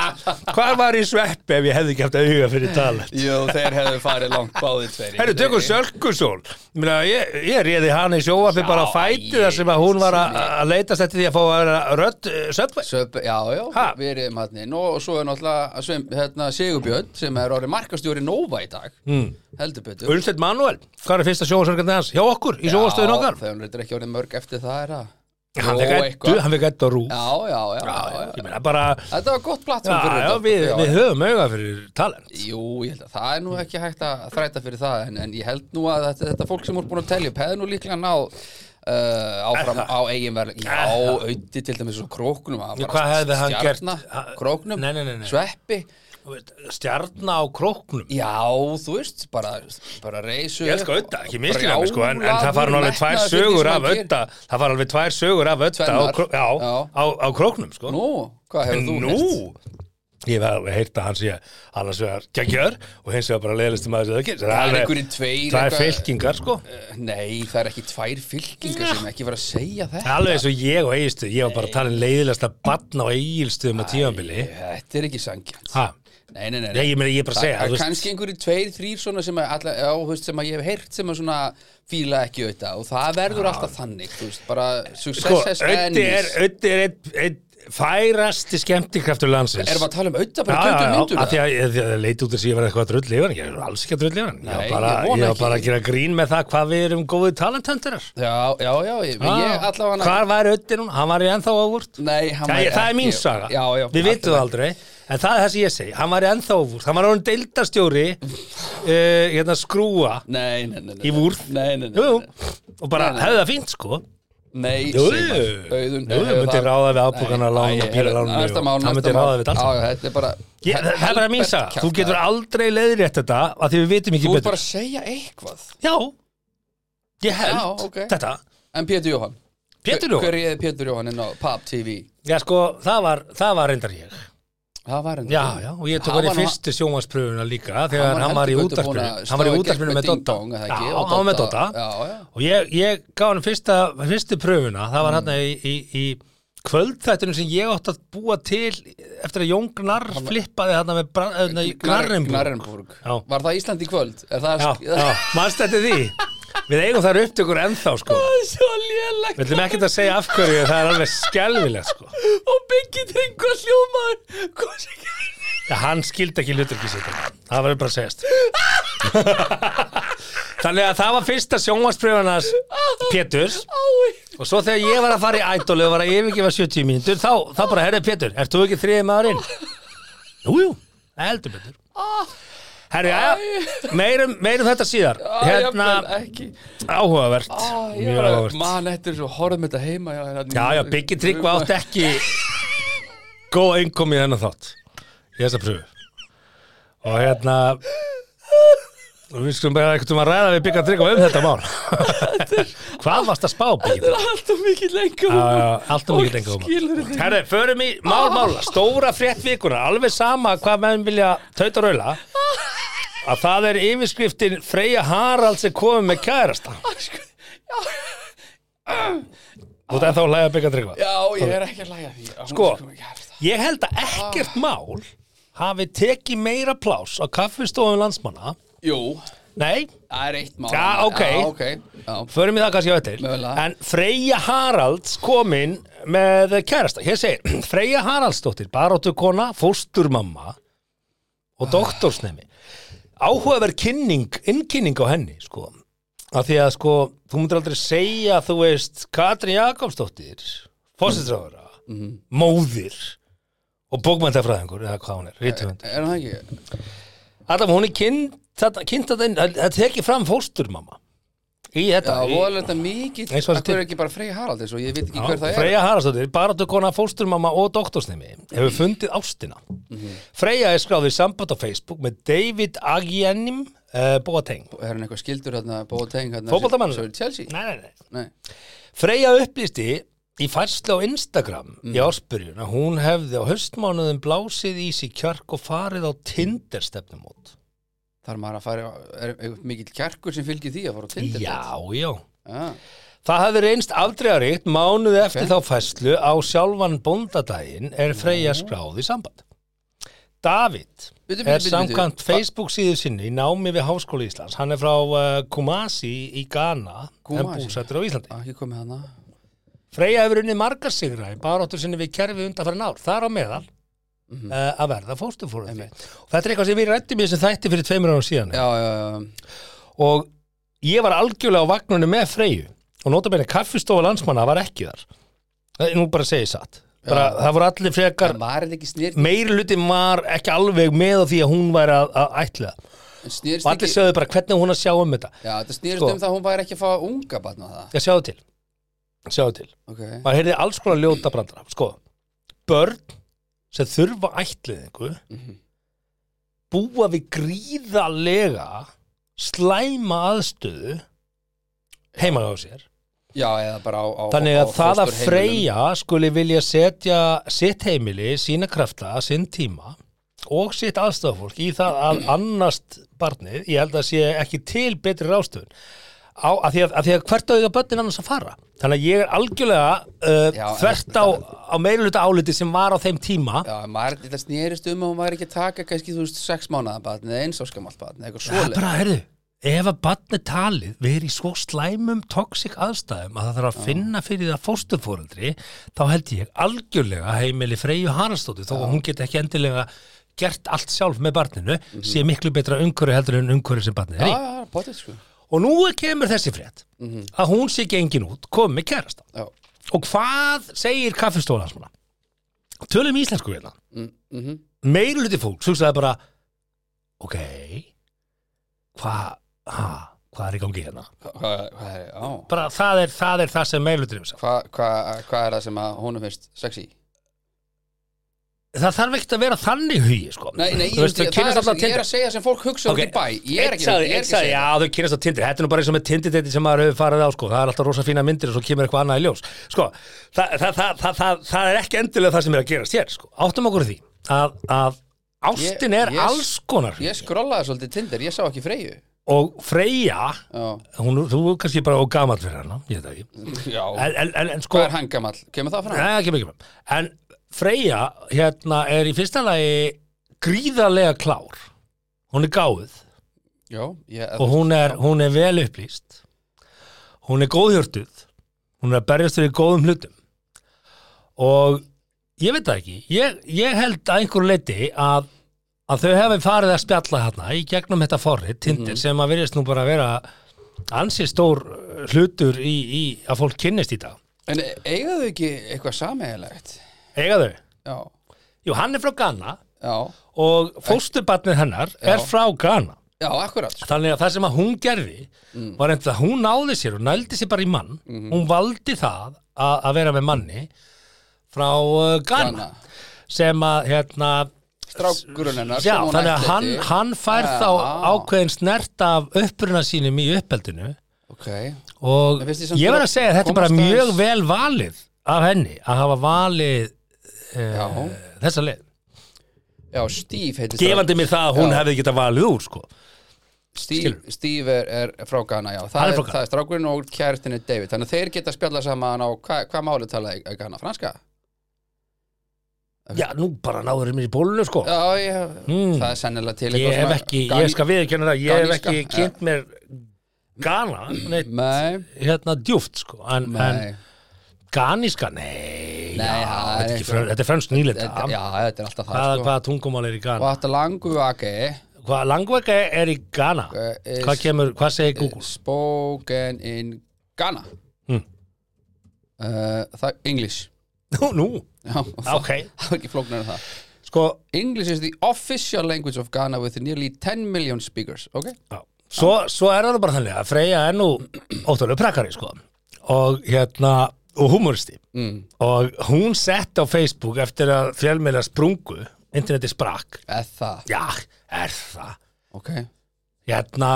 Speaker 2: Hvað var í sveppi ef ég hefði kæft auga fyrir tala?
Speaker 1: Jú, þeir hefðu farið langt báðið tveir
Speaker 2: Herru, tökum sölkusól. Ég meina, Ég, ég réði hana í sjóafi
Speaker 1: Já,
Speaker 2: bara á fæti þar sem að hún var að að leitast eftir því að fá að vera rödd eh, söpvei.
Speaker 1: Söp, já, já,
Speaker 2: Ha?
Speaker 1: við erum hann inn og svo er náttúrulega svim, hérna, Sigurbjörn sem er orðið markastjóri Nova í dag mm.
Speaker 2: Hmm.
Speaker 1: heldur betur
Speaker 2: Ulstedt Manuel, hvað er fyrsta sjóasörgandi hans? Hjá okkur, í sjóastöðin okkar.
Speaker 1: þegar hún reyndar ekki orðið mörg eftir það er það
Speaker 2: Hann
Speaker 1: Jó,
Speaker 2: fekk
Speaker 1: eitthvað.
Speaker 2: ettu, hann fekk ettu á rú.
Speaker 1: já, já, já, já, já.
Speaker 2: Ég meina bara,
Speaker 1: Þetta var gott plattform
Speaker 2: já,
Speaker 1: fyrir
Speaker 2: já,
Speaker 1: þetta
Speaker 2: við,
Speaker 1: Já,
Speaker 2: við höfum auga fyrir talan.
Speaker 1: Jú, ég held að það er nú ekki hægt að þræta fyrir það en, en ég held nú að þetta, þetta fólk sem voru búin að telja upp hefði nú líklega náð uh, áfram á eigin verð Já, auði til dæmis svo króknum hann var bara
Speaker 2: Hvað hefði hann
Speaker 1: stjarna,
Speaker 2: gert? Ha-
Speaker 1: Króknum,
Speaker 2: Nei, nei, nei, nei.
Speaker 1: sveppi
Speaker 2: Stjarna á króknum.
Speaker 1: Já, þú veist, bara, bara reysu
Speaker 2: Ég elska Ötta, ekki miskina mig sko, en, en það fara nú alveg tvær
Speaker 1: Brjálaður
Speaker 2: sögur af
Speaker 1: metnaður fyrir því sem hann
Speaker 2: Ötta, það fara alveg tvær sögur af Ötta á,
Speaker 1: Tvennar.
Speaker 2: kró, já,
Speaker 1: Já.
Speaker 2: á, á króknum sko.
Speaker 1: Nú, hvað hefur þú
Speaker 2: Nú, ég hef alveg heyrt að hann sé annars vegar geggjör og hins vegar bara leiðlisti maður sem það ekki.
Speaker 1: Það er einhverjir tveir,
Speaker 2: Það er
Speaker 1: eitthvað-
Speaker 2: fylkingar sko.
Speaker 1: Nei, það er ekki tvær fylkingar sem ekki verið að segja þetta
Speaker 2: Alveg eins og ég og Egilstuð, ég var bara að tala um leiðilegasta batna á Egilstuðum á tímanbili.
Speaker 1: Þetta er ekki sangjant
Speaker 2: Ha,
Speaker 1: Nei, nei, nei,
Speaker 2: Nei, ég meina, ég er bara að segja,
Speaker 1: Það
Speaker 2: þú
Speaker 1: er
Speaker 2: veist-
Speaker 1: kannski einhverjir tveir, þrýr svona sem, að alla, já, þú veist, sem að ég hef heyrt sem að svona fíla ekki auðvitað og það verður alltaf þannig, þú veist, bara success
Speaker 2: sko,
Speaker 1: has
Speaker 2: Ötti er,
Speaker 1: enemies
Speaker 2: Öddi er einn einn færasti skemmtikraftur landsins.
Speaker 1: Erum við að tala um
Speaker 2: Já,
Speaker 1: auðvitað bara
Speaker 2: já,
Speaker 1: í 20
Speaker 2: já,
Speaker 1: myndur?
Speaker 2: af því að ég- því að það leit út að sé að vera eitthvað að drulli yfir hann, ég er alls ekki að drulli yfir hann ég var
Speaker 1: Nei,
Speaker 2: bara,
Speaker 1: ég vona
Speaker 2: ég var
Speaker 1: ekki.
Speaker 2: bara að gera grín með það hvað við erum góðið talentöndirar
Speaker 1: Já, já, já, ég,
Speaker 2: Ah,
Speaker 1: ég allavega
Speaker 2: Hvar var Ötti núna? Hann var í ennþá ávúrt
Speaker 1: Nei, hann
Speaker 2: Það,
Speaker 1: væri
Speaker 2: er- það er
Speaker 1: ekki-
Speaker 2: mín saga,
Speaker 1: Já, já,
Speaker 2: við vitum það aldrei En það er það sem ég segi, hann var í ennþá ávúrt Hann var orðin
Speaker 1: *laughs*
Speaker 2: deildarstjóri uh, hérna skrúa
Speaker 1: Nei, nei, nei, nei
Speaker 2: Í Wurth?
Speaker 1: Nei, nei, nei
Speaker 2: Jú,
Speaker 1: nei.
Speaker 2: og bara
Speaker 1: Nei, nei.
Speaker 2: hefði það fínt sko
Speaker 1: Nei,
Speaker 2: Jú,
Speaker 1: segir maður. Auðun
Speaker 2: jú,
Speaker 1: hefur
Speaker 2: myndi
Speaker 1: það-
Speaker 2: ráða við afborgana
Speaker 1: Nei,
Speaker 2: lána,
Speaker 1: æ,
Speaker 2: bílalánin
Speaker 1: næsta
Speaker 2: og-
Speaker 1: mál,
Speaker 2: hann
Speaker 1: næsta
Speaker 2: myndi
Speaker 1: mál.
Speaker 2: ráða við þetta allt
Speaker 1: Já,
Speaker 2: saman.
Speaker 1: já, þetta er bara
Speaker 2: ég, Það það er bara mín saga, þú getur
Speaker 1: aldrei
Speaker 2: aldrei leiðrétt þetta af Því við vitum ekki
Speaker 1: Þú er
Speaker 2: betur
Speaker 1: bara að segja eitthvað
Speaker 2: Já, ég held
Speaker 1: Já, ok.
Speaker 2: þetta.
Speaker 1: En Pétur Jóhann
Speaker 2: Pétur
Speaker 1: Hver-
Speaker 2: Jóhann,
Speaker 1: Hver er Pétur Jóhann inn á Pop TV?
Speaker 2: já sko, það var, það var reyndar ég.
Speaker 1: Það var henni
Speaker 2: Já, já, og ég tók hann
Speaker 1: Hann
Speaker 2: í
Speaker 1: var nú-
Speaker 2: fyrstu sjónvarspröfuna líka þegar hann var í útarpinu. Hann var í útarpinu með Dotta. Já, hann var með Dotta.
Speaker 1: Já, já
Speaker 2: Og ég, ég gaf hann fyrsta, fyrstu pröfuna, það var hann í, í, í kvöldþættunum sem ég átti að búa til eftir að Jón Gnarr flippaði hann með bran- eh, nei, Gnarrenburg.
Speaker 1: Gnarrenburg
Speaker 2: Já.
Speaker 1: Var það Ísland í kvöld? Er það
Speaker 2: Já, já, mannst þetta því? Við eigum þar upptökur ennþá sko.
Speaker 1: Svo lélægt
Speaker 2: Við ætlum ekkert að segja af hverju, það er alveg skelvilegt sko.
Speaker 1: Og byggið einhver hljómaður Hvað sem
Speaker 2: Já, hann skildi ekki hlutverki sitt Það verður bara að segjast Þannig að það var fyrsta sjónvarspröfunars Péturs Og svo þegar ég var að fara í ædoli og var að yfirgefa 70 mínútur Þá, þá bara, herri Pétur, ert þú ekki þriði maðurinn? Jú, jú, heldur betur Herri, já, meirum, meirum þetta síðar Hérna,
Speaker 1: Hérna ekki
Speaker 2: áhugavert
Speaker 1: Á, ég
Speaker 2: Mjög
Speaker 1: var að-
Speaker 2: áhugavert
Speaker 1: Man, þetta er svo horfum þetta heima Já, hérna-
Speaker 2: Já, já, Biggi Tryggva átti ekki góð einnkomi í þennan þátt í þessa pröfu og hérna og við skulum bara eitthvað um að ræða við Bigga Tryggva um þetta
Speaker 1: *laughs*
Speaker 2: mál Hvað varst að spá, Biggi?
Speaker 1: Þetta er alltaf mikið lengur
Speaker 2: Já, já, Allt um mikið
Speaker 1: Fólk
Speaker 2: lengur
Speaker 1: skilur
Speaker 2: um
Speaker 1: þetta
Speaker 2: Herre, förum í málmála,
Speaker 1: Ah.
Speaker 2: stóra frétt vikuna alveg sama hvað menn vilja tauta og raula
Speaker 1: Ah.
Speaker 2: að það er yfirskriftin Freyja Haralds er komið með kærasta
Speaker 1: Sko,
Speaker 2: Þú þetta þá hlæða Bigga Tryggva
Speaker 1: Já, ég er ekki að læga því Hún
Speaker 2: Sko.
Speaker 1: er komið kærasta.
Speaker 2: Ég held að ekkert mál hafi tekið meira plás á kaffistofum landsmanna.
Speaker 1: Jú,
Speaker 2: Nei,
Speaker 1: það er eitt mál
Speaker 2: Já, ok.
Speaker 1: Já, ok Já,
Speaker 2: förum við það kannski á eftir.
Speaker 1: Mögulega.
Speaker 2: En Freyja Haralds kominn með kærasta. Hér segir, *clears throat* Freyja Haraldsdóttir, baróttukona, fósturmamma og doktorsnemi. Áhugaverð kynning, innkynning á henni, sko. Af því að, sko, þú myndir aldrei segja, þú veist, Katrin Jakobsdóttir, fósitráðara, móðir og bókmæntafræðingur, eða hvað hún er, rítuvend.
Speaker 1: er það ekki?
Speaker 2: Adam, hún er kynnt þetta- kynnt þetta inn, það tekir fram fósturmamma í þetta
Speaker 1: Já,
Speaker 2: í-
Speaker 1: voðalega þetta mikið
Speaker 2: Nei, svo er
Speaker 1: Það
Speaker 2: þetta-
Speaker 1: er ekki bara Freyja Harald eins og ég veit ekki
Speaker 2: Já,
Speaker 1: hver það er
Speaker 2: Freyja Haraldsdóttir, barátukona fósturmamma og doktorsnemi hefur fundið ástina
Speaker 1: Mhm.
Speaker 2: Freyja er skráðið samband á Facebook með David Agienim uh, Boateng
Speaker 1: Er hann eitthvað skildur hérna Bóteng hérna
Speaker 2: Fótboltamannur?
Speaker 1: Svo er Chelsea
Speaker 2: nei, nei, nei.
Speaker 1: Nei
Speaker 2: Freyja upplýsti í færslu á Instagram
Speaker 1: Mhm.
Speaker 2: í áspyrjun að hún hefði á höstmánuðum blásið í sig kjark og farið á Tinder stefnumót
Speaker 1: Þar maður að fara, á- er, er mikill kjarkur sem fylgir því að fara á Tinder
Speaker 2: Já, já
Speaker 1: ah,
Speaker 2: Það hafði reynst afdregaríkt mánuði eftir
Speaker 1: Ok.
Speaker 2: þá fæslu á sjálfan bóndadaginn er Freyja skráð í samband. David
Speaker 1: Bíddu, bíddu, Ah,
Speaker 2: er
Speaker 1: bíddu,
Speaker 2: samkvæmt
Speaker 1: bíddu.
Speaker 2: Facebook síðu sinni í námi við Háskóla Íslands. Hann er frá uh, Kumasi í Ghana en
Speaker 1: Kumasi?
Speaker 2: búsættur á Íslandi.
Speaker 1: Ekki komið hana
Speaker 2: Freyja hefur unnið margar sigra í baráttur sinni við kerfi undanfærin ár. Þar á meðal uh, að verða fóstufórandi.
Speaker 1: Mhm. Einmitt.
Speaker 2: Þetta er eitthvað sem við rættum í þessum þætti fyrir tveimur árum síðan.
Speaker 1: Já, já, já
Speaker 2: og ég var algjörlega á vagnunni með Freyju og nota notabene kaffistofa landsmanna var ekki þar Það er nú bara að segja satt bara, það voru allir frekar
Speaker 1: En var þetta ekki snýrt
Speaker 2: meirlutin var ekki alveg með á því að hún væri að, að ætla það. og
Speaker 1: Snýrst
Speaker 2: allir
Speaker 1: ekki
Speaker 2: sögðu bara hvernig á hún að sjá um þetta
Speaker 1: Já, þetta snýrst
Speaker 2: Sko.
Speaker 1: um það að hún væri ekki að fá unga barna það
Speaker 2: ég sjáðu til sjáðu til,
Speaker 1: okay.
Speaker 2: maður heyrði alls konar ljóta brandara sko, börn sem þurfa ætliðingu búa við gríðalega slæma aðstöðu heima á sér
Speaker 1: Já, eða bara á, á
Speaker 2: Þannig
Speaker 1: á
Speaker 2: að það að
Speaker 1: fósturheimilum.
Speaker 2: Freyja skuli vilja setja sitt heimili, sína krafta, sinn tíma og sitt aðstofafólk í það að annast barnið, ég held að sé ekki til betri ráðstöfun á, að, því að, að því að hvert auðvitað börnin annars að fara þannig að ég er algjörlega uh,
Speaker 1: Já, en-
Speaker 2: þvert á, á meiruluta áliti sem var á þeim tíma
Speaker 1: Já, maður, þetta snýrist um að hún væri ekki að taka kannski, þú veist, sex mánaða barn eða eins áskamalt barn, eða
Speaker 2: það
Speaker 1: eitthvað
Speaker 2: er
Speaker 1: svoleið
Speaker 2: bara, heyrðu, ef að barnið talið verið í svo slæmum toxic aðstæðum að það þarf að finna fyrir það fóstufóraldri þá held ég algjörlega heimili Freyju Haraldsdóttir þó að hún geti ekki endilega gert allt sjálf með barninu sé miklu betra umhverju heldur en umhverju sem barnið er
Speaker 1: Já,
Speaker 2: í
Speaker 1: já, já, potið, sko
Speaker 2: og nú kemur þessi frétt að hún sé gengin út, komi með kærasta
Speaker 1: Já,
Speaker 2: og hvað segir kaffistólansmanna tölum íslensku hérna
Speaker 1: mm, mm
Speaker 2: meiruluti fólk hugsaði bara ok hvað ha, hvað er í gangi hérna
Speaker 1: Hvað hva er, á
Speaker 2: bara það er það, er það sem meiruluti hugsa
Speaker 1: Hvað hva, hva er það sem að honum finnst sexy?
Speaker 2: það þarf ekkert að vera þannig hugi sko.
Speaker 1: Nei, nei, ég,
Speaker 2: þú veist,
Speaker 1: veist,
Speaker 2: þau
Speaker 1: það
Speaker 2: kynast
Speaker 1: er,
Speaker 2: alltaf
Speaker 1: ég er
Speaker 2: tindir
Speaker 1: að segja sem fólk hugsa okay. út í bæ Ég er ekki, ég er ekki að
Speaker 2: sagði,
Speaker 1: segja
Speaker 2: já þau kynast á tindir, þetta er nú bara eins og með tindir sem maður hefur farið á, sko. það er alltaf rosa fína myndir og svo kemur eitthvað annað í ljós sko, það, það, það, það, það, það er ekki endilega það sem er að gerast hér, sko. áttum okkur á því að, að ástin er
Speaker 1: Ég- ég-
Speaker 2: alls konar
Speaker 1: Ég skrollaði svolítið Tinder, ég sá ekki Freyju
Speaker 2: og Freyja
Speaker 1: Já,
Speaker 2: hún, þú er kannski bara og gamall fyrir hana ég veit það ekki
Speaker 1: já
Speaker 2: en, en, en, en sko
Speaker 1: Hvað er hann gamall? Kemur það fram?
Speaker 2: Nei, ekki mikið með. en Freyja hérna er í fyrsta lagi gríðarlega klár hún er gáð
Speaker 1: Já, ég,
Speaker 2: og hún er, hún er vel upplýst hún er góðhjörtuð hún er að berjast fyrir góðum hlutum og ég veit það ekki ég, ég held að einhver leiti að, að þau hefði farið að spjalla hérna í gegnum þetta forrið, tindir sem að virðist nú bara að vera ansi stór uh, hlutur í, í að fólk kynnist í dag
Speaker 1: En eiga þau ekki eitthvað sameigilegt?
Speaker 2: eiga þau?
Speaker 1: Já,
Speaker 2: Jú, hann er frá Ghana
Speaker 1: já,
Speaker 2: og fósturbarnið hennar er
Speaker 1: Já.
Speaker 2: frá Ghana
Speaker 1: já, akkurat sko.
Speaker 2: þannig að það sem að hún gerði
Speaker 1: Mm.
Speaker 2: var einnig að hún náði sér og nældi sér bara í mann
Speaker 1: Mhm.
Speaker 2: hún valdi það að, að vera með manni frá uh, Ghana
Speaker 1: Ghana.
Speaker 2: sem að hérna
Speaker 1: Strákurinn hennar
Speaker 2: já,
Speaker 1: sem hún
Speaker 2: þannig að hann,
Speaker 1: ættleiddi.
Speaker 2: hann fær
Speaker 1: Já.
Speaker 2: þá ákveðin snert af uppruna sínum í uppeldinu
Speaker 1: Ok,
Speaker 2: og
Speaker 1: Mér finnst ég samt
Speaker 2: ég verð
Speaker 1: vera
Speaker 2: að segja að þetta er bara
Speaker 1: komast
Speaker 2: mjög
Speaker 1: aðeins-
Speaker 2: vel valið af henni að hafa valið eh,
Speaker 1: já,
Speaker 2: þessa leið
Speaker 1: já, Steve heitir
Speaker 2: gefandi mér það að hún
Speaker 1: Já.
Speaker 2: hefði geta valið úr sko.
Speaker 1: Steve, Steve er, er frá Ghana, já
Speaker 2: Hann
Speaker 1: það
Speaker 2: er
Speaker 1: er,
Speaker 2: frá Ghana.
Speaker 1: það er strákurinn og kærtin er David þannig að þeir geta spjalla saman á hva, hvað máli tala í í Ghana, franska?
Speaker 2: já, nú bara náður mér í bólunu sko.
Speaker 1: Já, ég, það er sennilega til
Speaker 2: ég hef ekki, ég skal viðurkenna það ég hef
Speaker 1: ganíska,
Speaker 2: ekki kynnt mér Ghana, neitt,
Speaker 1: Nei,
Speaker 2: hérna djúft sko, en, en
Speaker 1: nei,
Speaker 2: Ghaníska, nei,
Speaker 1: Nei,
Speaker 2: já,
Speaker 1: það er
Speaker 2: þetta, er ekki
Speaker 1: ekki-
Speaker 2: frön, þetta er frönst nýlita
Speaker 1: þetta, já,
Speaker 2: hvaða
Speaker 1: þetta er alltaf það
Speaker 2: sko.
Speaker 1: sko.
Speaker 2: hvað tungumál er í
Speaker 1: og
Speaker 2: Ghana
Speaker 1: þetta langu aki
Speaker 2: hvað langvega er í Ghana
Speaker 1: Eh, eh,
Speaker 2: hvað kemur, hvað segir Google
Speaker 1: spoken in Ghana
Speaker 2: Mm.
Speaker 1: Uh, það, English
Speaker 2: nú, nú,
Speaker 1: Já, *laughs* það
Speaker 2: ok
Speaker 1: það er ekki flóknar en það
Speaker 2: sko,
Speaker 1: English is the official language of Ghana with nearly 10 million speakers ok,
Speaker 2: Já. Svo, svo er það nú bara þannig að Freyja er nú óttúrulega prakari sko og hérna og humoristi
Speaker 1: mm.
Speaker 2: og hún sett á Facebook eftir að fjölmiðla sprungu interneti sprakk
Speaker 1: eða það
Speaker 2: já, er það
Speaker 1: ok,
Speaker 2: hérna,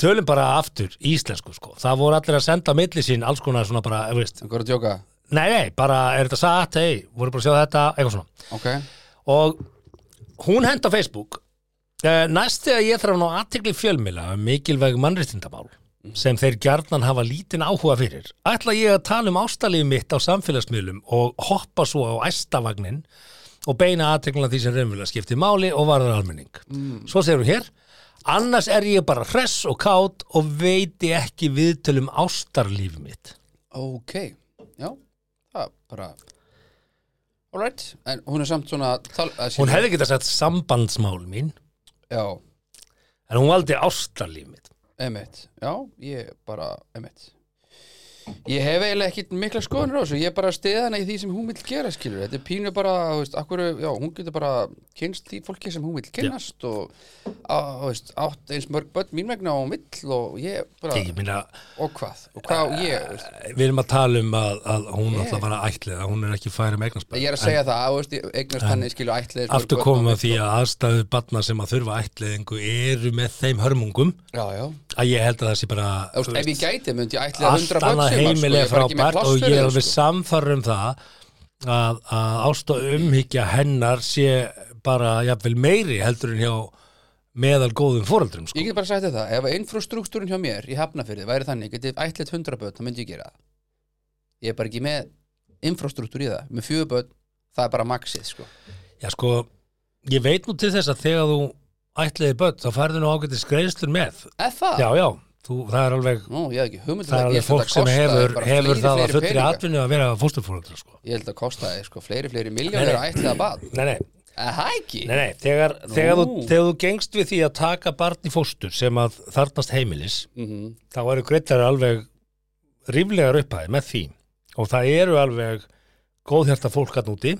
Speaker 2: tölum bara aftur íslensku sko það voru allir að senda á milli sín alls konar svona bara, þú veist,
Speaker 1: einhverju að djóka
Speaker 2: nei, nei, bara er þetta satt, hei, voru bara að sjá þetta, eitthvað svona
Speaker 1: ok
Speaker 2: og hún hent á Facebook Eh, næst þegar ég þarf að ná aðtegli fjölmila um mikilvæg mannréttindamál sem þeir gjarnan hafa lítinn áhuga fyrir ætla ég að tala um ástalíf mitt á samfélagsmiðlum og hoppa svo á æstavagnin og beina aðteglina því sem raunvila skipti máli og varðar almenning svo segir hún hér annars er ég bara hress og kátt og veiti ekki viðtölum ástarlíf mitt
Speaker 1: Ok, já, það er bara Alright, en hún er samt svona tal, að sé-
Speaker 2: hún hefði getað sagt sambandsmál mín
Speaker 1: Já,
Speaker 2: en hún valdi ástarlíf mitt
Speaker 1: emitt, já, ég bara, emitt Ég hef eiginlega ekkit mikla skoðunir á þessu Ég er bara að stiða hana í því sem hún vill gera skilur Þetta er pínu bara, þú veist, akkur Já, hún getur bara kynst því fólki sem hún vill kynnast og, á, þú veist, átt eins mörg börn mín vegna og hún vill og ég bara,
Speaker 2: ég minna
Speaker 1: og hvað og hvað á ég, þú veist
Speaker 2: við erum að tala um að, að hún yeah. ætla að fara ætlið að hún er ekki færi með eignarsbæð
Speaker 1: Ég er að segja það, þú veist, ég eignast hann skilur ætlaðis
Speaker 2: aftur komum að því að aðstæðu batna sem að þurfa ætliðingu eru með þeim hörmungum
Speaker 1: Já, já
Speaker 2: að ég held að það sé bara
Speaker 1: Þú veist, ef ég gæti, myndi ég ætli að
Speaker 2: allt
Speaker 1: 100 börn
Speaker 2: annað
Speaker 1: sumar, sko,
Speaker 2: heimilega
Speaker 1: ég fær ekki með
Speaker 2: frábært
Speaker 1: pláss
Speaker 2: og
Speaker 1: fyrir
Speaker 2: ég er
Speaker 1: þeim,
Speaker 2: alveg
Speaker 1: sko.
Speaker 2: samfærum um það að, að ást og umhyggja hennar sé bara jafnvel meiri heldur en hjá meðal góðum foreldrum sko.
Speaker 1: Ég get bara sagt þér það, ef infrastruktúrin hjá mér í hafnafyrði væri þannig, getið ætlið 100 börn, þá myndi ég gera það. Ég er bara ekki með infrastruktúr í það. Með fjögur börn, það er bara maxið, sko.
Speaker 2: Já sko, ég veit nú til þess að þegar þú ætliði börn þá færðu nú ágættis greiðslur með
Speaker 1: Eða það?
Speaker 2: já, já, þú, það er alveg
Speaker 1: Nú, ég hef ekki hugmynd um
Speaker 2: það er alveg
Speaker 1: Ég held að
Speaker 2: fólk sem
Speaker 1: kostaði
Speaker 2: hefur,
Speaker 1: bara
Speaker 2: hefur
Speaker 1: fleiri,
Speaker 2: það að
Speaker 1: fleiri
Speaker 2: fullri
Speaker 1: peninga.
Speaker 2: atvinnu að vera fósturfólöldra sko.
Speaker 1: Ég held að kostaði, sko, fleiri, fleiri
Speaker 2: Nei, nei.
Speaker 1: miljónir að ætlið að bad.
Speaker 2: nei, nei,
Speaker 1: Eða það ekki?
Speaker 2: nei, nei þegar, þegar, þú,
Speaker 1: Nú.
Speaker 2: þegar þú gengst við því að taka barn í fóstur sem að þarnast heimilis
Speaker 1: Mhm.
Speaker 2: þá eru greittari alveg ríflegar upphæði með því og það eru alveg góðhjarta fólk hann úti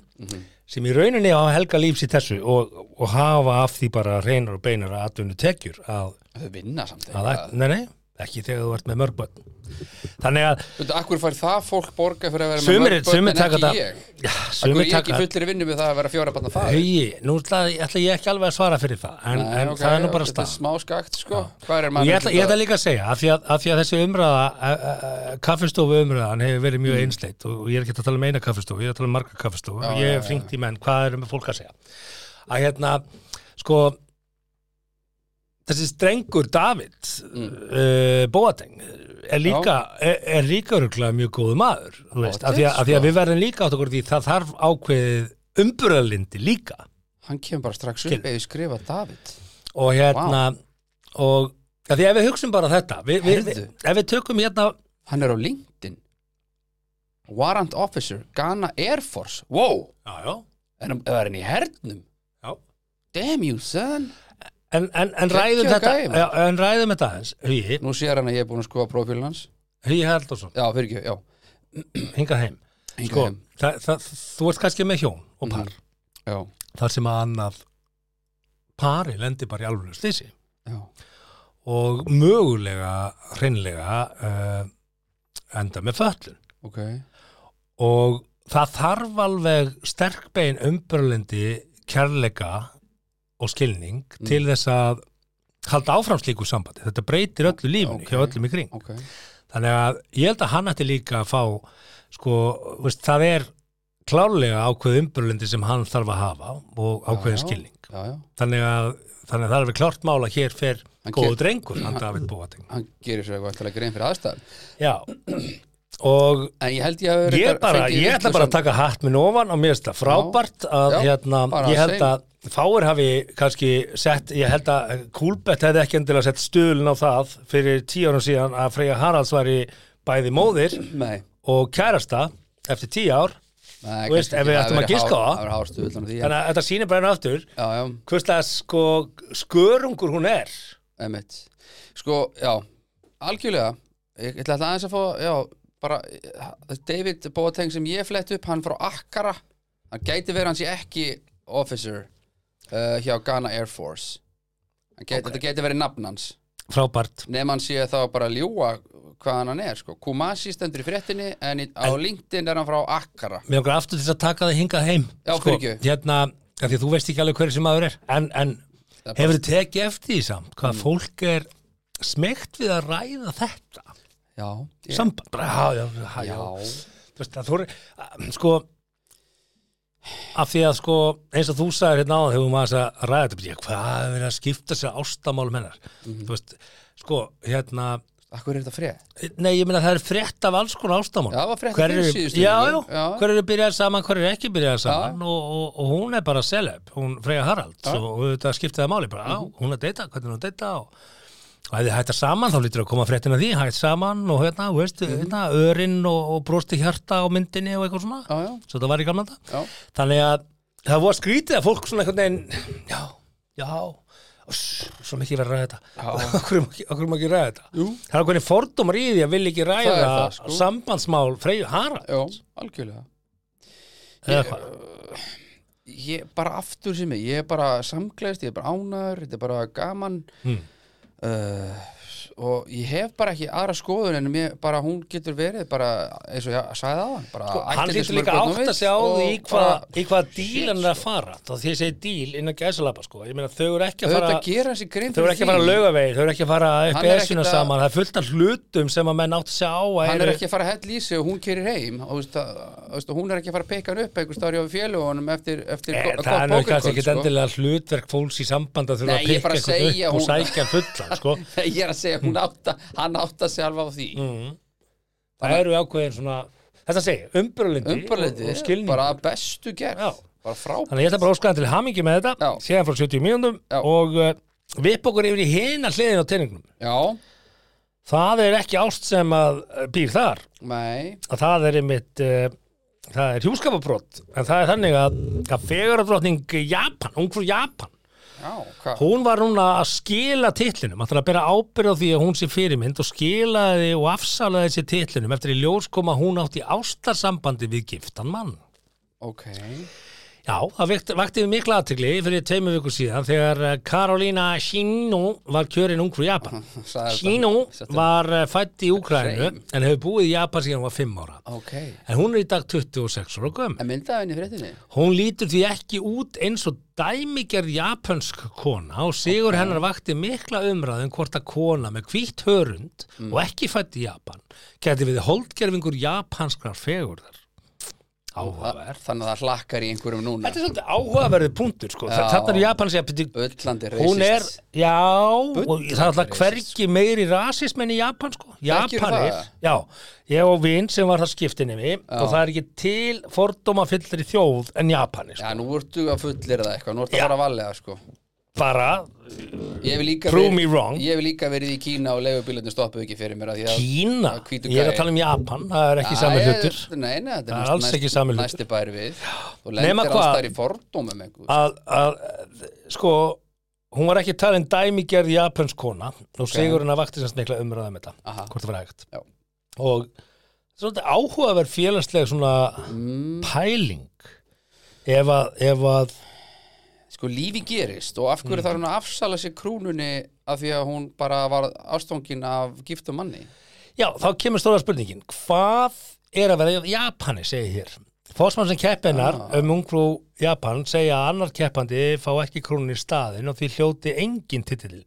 Speaker 2: sem í rauninni hafa helga lífs í þessu og, og hafa af því bara reynar og beinar að atvinnu tekjur að,
Speaker 1: Þau vinna samt
Speaker 2: að,
Speaker 1: eitthvað.
Speaker 2: nei, nei, ekki þegar þú ert með mörg börn þannig að
Speaker 1: Þú veit, akkur fær það fólk borga fyrir að vera með
Speaker 2: Sumir-
Speaker 1: mörg börn
Speaker 2: sumir
Speaker 1: en
Speaker 2: taka
Speaker 1: ekki
Speaker 2: þetta-
Speaker 1: ég?
Speaker 2: já,
Speaker 1: Akkur
Speaker 2: sumir
Speaker 1: ég
Speaker 2: taka
Speaker 1: ekki fullir vinnu við það að vera fjóra barna faðir?
Speaker 2: Hei, nú ætla, ég- ætla ég ekki alveg að svara fyrir það en,
Speaker 1: Nei,
Speaker 2: en
Speaker 1: ok,
Speaker 2: það er nú
Speaker 1: ok,
Speaker 2: bara
Speaker 1: þetta er
Speaker 2: stað
Speaker 1: smá skakt sko hvað er
Speaker 2: og
Speaker 1: maður
Speaker 2: ég ætla, ég ætla líka að segja af því að, að, því að þessi umræða eh, kaffistofu umræðan hefur verið mjög einsleitt og og ég er ekki að tala um eina kaffistofu, ég er að tala um marga kaffistofu
Speaker 1: Mm. Já,
Speaker 2: og
Speaker 1: já,
Speaker 2: ég
Speaker 1: já,
Speaker 2: hef hringt í menn, hvað eru með fólk að segja að hérna, sko þessi strengur David mm. Bóateng er líka, er, er líka örgulega mjög góðu maður þú veist, af því, að,
Speaker 1: sko.
Speaker 2: af því að við verðum líka átt okkur á því það þarf ákveðið umbröðalindi líka
Speaker 1: hann kemur bara strax
Speaker 2: Skil.
Speaker 1: upp eða ég skrifa David
Speaker 2: og hérna og að því ef við hugsum bara þetta við, við,
Speaker 1: Heyrðu.
Speaker 2: ef við tökum hérna
Speaker 1: hann er á LinkedIn Warrant Officer, Ghana Air Force wow,
Speaker 2: já, já,
Speaker 1: er hann, er hann í hernum
Speaker 2: já.
Speaker 1: damn you son
Speaker 2: En, en, en,
Speaker 1: Geggjaður
Speaker 2: ræðum þetta,
Speaker 1: gæi, maður.
Speaker 2: já, en ræðum þetta hans Hugi,
Speaker 1: nú sér hann að ég er búin að skoða profílun hans
Speaker 2: Hugi Halldórsson,
Speaker 1: já, fyrir ekki, já
Speaker 2: hinga heim
Speaker 1: Hingað
Speaker 2: sko,
Speaker 1: heim. Mhm.
Speaker 2: þa, þa, þú ert kannski með hjón og par
Speaker 1: Mm. já,
Speaker 2: þar sem að annað pari lendir bara í alveg slýsi
Speaker 1: já,
Speaker 2: og mögulega hreinlega uh, enda með föllun
Speaker 1: ok
Speaker 2: og það þarf alveg sterkbein umbröðlendi kærleika og skilning
Speaker 1: Mm.
Speaker 2: til þess að halda áfram slíku sambandi, þetta breytir öllu lífinu hjá
Speaker 1: Ok.
Speaker 2: öllum í kring
Speaker 1: ok,
Speaker 2: þannig að ég held að hann ætti líka að fá sko, veist, það er klárlega ákveð umbröðlendi sem hann þarf að hafa og ákveðin
Speaker 1: Já,
Speaker 2: skilning
Speaker 1: já, já
Speaker 2: þannig að, þannig að það er alveg klárt mál að hér fer
Speaker 1: Hann
Speaker 2: góðu
Speaker 1: ger-
Speaker 2: drengur, hann David Bóating
Speaker 1: hann gerir sér eitthvað eftir að grein fyrir aðstæðum
Speaker 2: já, og
Speaker 1: en ég held ég hafi
Speaker 2: ég,
Speaker 1: reyndar
Speaker 2: bara,
Speaker 1: fengið
Speaker 2: ég ætla bara að
Speaker 1: vitlausan-
Speaker 2: taka hatt minn ofan og mér finnst það frábært að
Speaker 1: Já,
Speaker 2: hérna,
Speaker 1: bara
Speaker 2: ég held
Speaker 1: same.
Speaker 2: að fáir hafi kannski sett, ég held að Kúlbett hefði ekki endilega sett stöðlun á það fyrir tíu árum síðan að Freyja Haralds var í bæði móðir
Speaker 1: nei,
Speaker 2: og kærasta eftir tíu ár
Speaker 1: nei
Speaker 2: Þú veist, ef við ættum að giska á það.
Speaker 1: það er hárstuð þannig
Speaker 2: þannig
Speaker 1: að
Speaker 2: að þetta sýnir bara enn aftur
Speaker 1: já, já
Speaker 2: hvers það sko skörungur hún er
Speaker 1: Emmett. Sko, já, algjörlega ég ég ætla alltaf aðeins að fá, já, bara eh, David Boateng sem ég flett upp hann frá Akkara, hann gæti verið hans ég ekki officer uh, hjá Ghana Air Force Hann gæti, þetta gæti verið nafn hans
Speaker 2: frábært
Speaker 1: nema hann sé þá bara að ljúga hvaðan hann er, sko, Kumasi stendur í fréttinni en í, á LinkedIn er hann frá Akkara
Speaker 2: mér okkur aftur til þess að taka það hingað heim
Speaker 1: Já, fyrirgefðu.
Speaker 2: hérna, af því að þú veist ekki alveg hverju sem maður er en, en
Speaker 1: Það er bara-
Speaker 2: Hefur þið tekið eftir því samt hvað
Speaker 1: Mm.
Speaker 2: fólk er smegt við að ræða þetta
Speaker 1: Já, ég,
Speaker 2: samband, bara, já, já, já,
Speaker 1: já,
Speaker 2: já. þú veist, það þóri, sko af því að sko eins og þú sagðir hérna á þegar við maður að ræða þetta bara, ég, hvað er verið að skipta sér ástamálum hennar
Speaker 1: Mhm.
Speaker 2: þú veist, sko, hérna
Speaker 1: Akkur er þetta frið?
Speaker 2: nei, ég meina það er frétt af alls konar ástamál
Speaker 1: Já, það var frétt
Speaker 2: Hverjir
Speaker 1: fyrir
Speaker 2: eru-
Speaker 1: síðustu
Speaker 2: já,
Speaker 1: viku.
Speaker 2: já,
Speaker 1: Já.
Speaker 2: hver eru byrjað saman, hver eru ekki byrjað saman og, og, og hún er bara celeb, hún Freyja Harald
Speaker 1: Já. Mhm.
Speaker 2: og þetta skipti það máli, bara, á, hún er að deyta hvernig er hún að deyta og, og ef þið hættar saman þá lítur að koma fréttin að því hætt saman og hérna, þú veist,
Speaker 1: Mhm.
Speaker 2: hérna örinn og, og brosti hjarta á myndinni og eitthvað svona,
Speaker 1: Já, já.
Speaker 2: svo það var í gamla þetta
Speaker 1: Já,
Speaker 2: þannig að það var skrítið að fólk svona einhvern veginn já, já uss, svo mikið verið að ræða *laughs* þetta okkur er maður ekki að ræða þetta
Speaker 1: Jú.
Speaker 2: það er okkur fordómar í því að vilja ekki ræða
Speaker 1: Það er það, sko.
Speaker 2: sambandsmál Freyju Hara
Speaker 1: já, algjörlega
Speaker 2: eða hvað
Speaker 1: Ég bara aftur sem ég, ég er bara samgleðst, ég er bara ánæður, þetta er bara gaman
Speaker 2: Mm.
Speaker 1: uh, og ég hef bara ekki aðra skoðun en mér, bara hún getur verið bara eins og ég sagði á hann bara
Speaker 2: Sko, hann
Speaker 1: ættir
Speaker 2: lítur
Speaker 1: sem
Speaker 2: líka
Speaker 1: er
Speaker 2: átt
Speaker 1: börnum
Speaker 2: að segja á
Speaker 1: vill
Speaker 2: því í
Speaker 1: og
Speaker 2: hvað
Speaker 1: bara-
Speaker 2: í hvað díl hann er að fara þá því ég segi díl innan gæsalapa sko ég meina þau eru ekki að fara
Speaker 1: Auðvitað gera þessi grein
Speaker 2: þau eru ekki að fara að
Speaker 1: því.
Speaker 2: lauga þau eru ekki að fara
Speaker 1: Hann
Speaker 2: upp
Speaker 1: er
Speaker 2: esuna
Speaker 1: ekkert að-
Speaker 2: saman það er fullt af hlutum sem að menn átt að segja á að
Speaker 1: hann er
Speaker 2: eru-
Speaker 1: ekki að fara að hella í sig og hún kerir heim og þú veist að, þú veist, og hún er ekki að fara að peka hann upp einhver starf á félagunum eftir, eftir
Speaker 2: Eh,
Speaker 1: gott-
Speaker 2: það er
Speaker 1: gott
Speaker 2: nú kannski
Speaker 1: pókerkvöld,
Speaker 2: ekkit
Speaker 1: sko.
Speaker 2: endilega hlutverk fólks í samband að þurfa
Speaker 1: Nei,
Speaker 2: að
Speaker 1: ég er
Speaker 2: pikka
Speaker 1: bara að
Speaker 2: eitthvað
Speaker 1: segja,
Speaker 2: upp og
Speaker 1: hún-
Speaker 2: sækja fullan
Speaker 1: *laughs*
Speaker 2: sko.
Speaker 1: *laughs* ég er að segja, hún átta, hann átta sig alveg á
Speaker 2: Hmm.
Speaker 1: því
Speaker 2: það eru ákveðin svona þetta segja, umbyrlindi,
Speaker 1: umbarleiti,
Speaker 2: og, og skilning
Speaker 1: bara að bestu gerð
Speaker 2: Já.
Speaker 1: bara frábært
Speaker 2: þannig að ég ætla bara að óskaðan til hamingi með þetta
Speaker 1: Já.
Speaker 2: séðan frá 70 mínúndum
Speaker 1: Já.
Speaker 2: og uh, vipp okkur yfir í hina hliðin á teiningnum
Speaker 1: já,
Speaker 2: það er ekki ást sem að eh, býr þar
Speaker 1: nei,
Speaker 2: að það er einmitt uh, það er hjúskapabrott en það er þannig að, að feguradrottning Japan, hún frú Japan
Speaker 1: já, hvað
Speaker 2: Hún var núna að skila titlinum, ætlar að bera ábyrð á því að hún sé fyrirmynd og skilaði og afsalaði sér titlinum eftir í ljós kom að hún átti ástarsambandi við giftan mann.
Speaker 1: ok, *laughs*
Speaker 2: Já, það vekt- vakti við mikla aðtegli fyrir tveimur viku síðan þegar eh, Karolína Shinu var kjörin ungfrú Japan.
Speaker 1: Sagði þetta.
Speaker 2: Shinu
Speaker 1: Setti-
Speaker 2: var fætt í Úkrænu
Speaker 1: Hreim.
Speaker 2: en hefur búið í Japan síðan hún var 5 ára.
Speaker 1: ok
Speaker 2: En hún er í dag 26 ára gömur.
Speaker 1: en myndaði henni í fréttinni
Speaker 2: Hún lítur því ekki út eins og dæmigerð japansk kona og sigur hennar vakti mikla umræðum hvort að kona með hvítt hörund og ekki fætt í Japan geti við holdgerfingur japanskrar fegurðar. Áhugaverð.
Speaker 1: Ah, þannig að það hlakkar í einhverjum núna
Speaker 2: Þetta er svolítið áhugaverði punktur sko.
Speaker 1: Já.
Speaker 2: Þetta er Japan sem byrju,
Speaker 1: öllandi
Speaker 2: hún er,
Speaker 1: reisist
Speaker 2: já, og
Speaker 1: Bullandi
Speaker 2: það er alltaf
Speaker 1: racist.
Speaker 2: hvergi meiri rasism en í Japan sko.
Speaker 1: Þekkirðu
Speaker 2: Japanir,
Speaker 1: það?
Speaker 2: já, ég og vinn sem var það skiptinni við og það er ekki til fordómafyllri þjóð en Japanir sko.
Speaker 1: já, nú ertu að fullir það eitthvað, nú ertu að fara að valega sko.
Speaker 2: bara
Speaker 1: ég hef líka
Speaker 2: Prove
Speaker 1: verið-
Speaker 2: me wrong.
Speaker 1: ég hef líka verið í Kína og leigubílarnir stoppuð ekki fyrir mér af því að-
Speaker 2: Kína,
Speaker 1: að hvítu
Speaker 2: ég er
Speaker 1: gæi-
Speaker 2: að tala um Japan það er ekki
Speaker 1: Já,
Speaker 2: sami
Speaker 1: ég-
Speaker 2: hlutur
Speaker 1: Nei, nei,
Speaker 2: Það
Speaker 1: þetta
Speaker 2: er
Speaker 1: næst-
Speaker 2: alls
Speaker 1: næst-
Speaker 2: ekki sami hlutur.
Speaker 1: Næsti bæri við Þú
Speaker 2: Nema
Speaker 1: lendir
Speaker 2: hvað-
Speaker 1: alls þar í fordómum einhver.
Speaker 2: að, að, sko hún var ekki talin dæmigerð japansk kona og sigurinn að vakti semst mikla umræða um þetta
Speaker 1: Aha.
Speaker 2: hvort það var hægt
Speaker 1: Já.
Speaker 2: og svolítið áhugaverð félagsleg svona
Speaker 1: Mm.
Speaker 2: pæling ef að, ef að
Speaker 1: Sko, lífi gerist og af
Speaker 2: Mm.
Speaker 1: hverju þarf hún að afsala sér krúnunni af því að hún bara var ástofngin af giftum manni
Speaker 2: Já, þá kemur stóra spurningin Hvað er að vera í Japani, segir hér Fósmann sem keppennar um ungfrú Japan segja að annar keppandi fá ekki krónin í staðin og því hljóti engin titilin.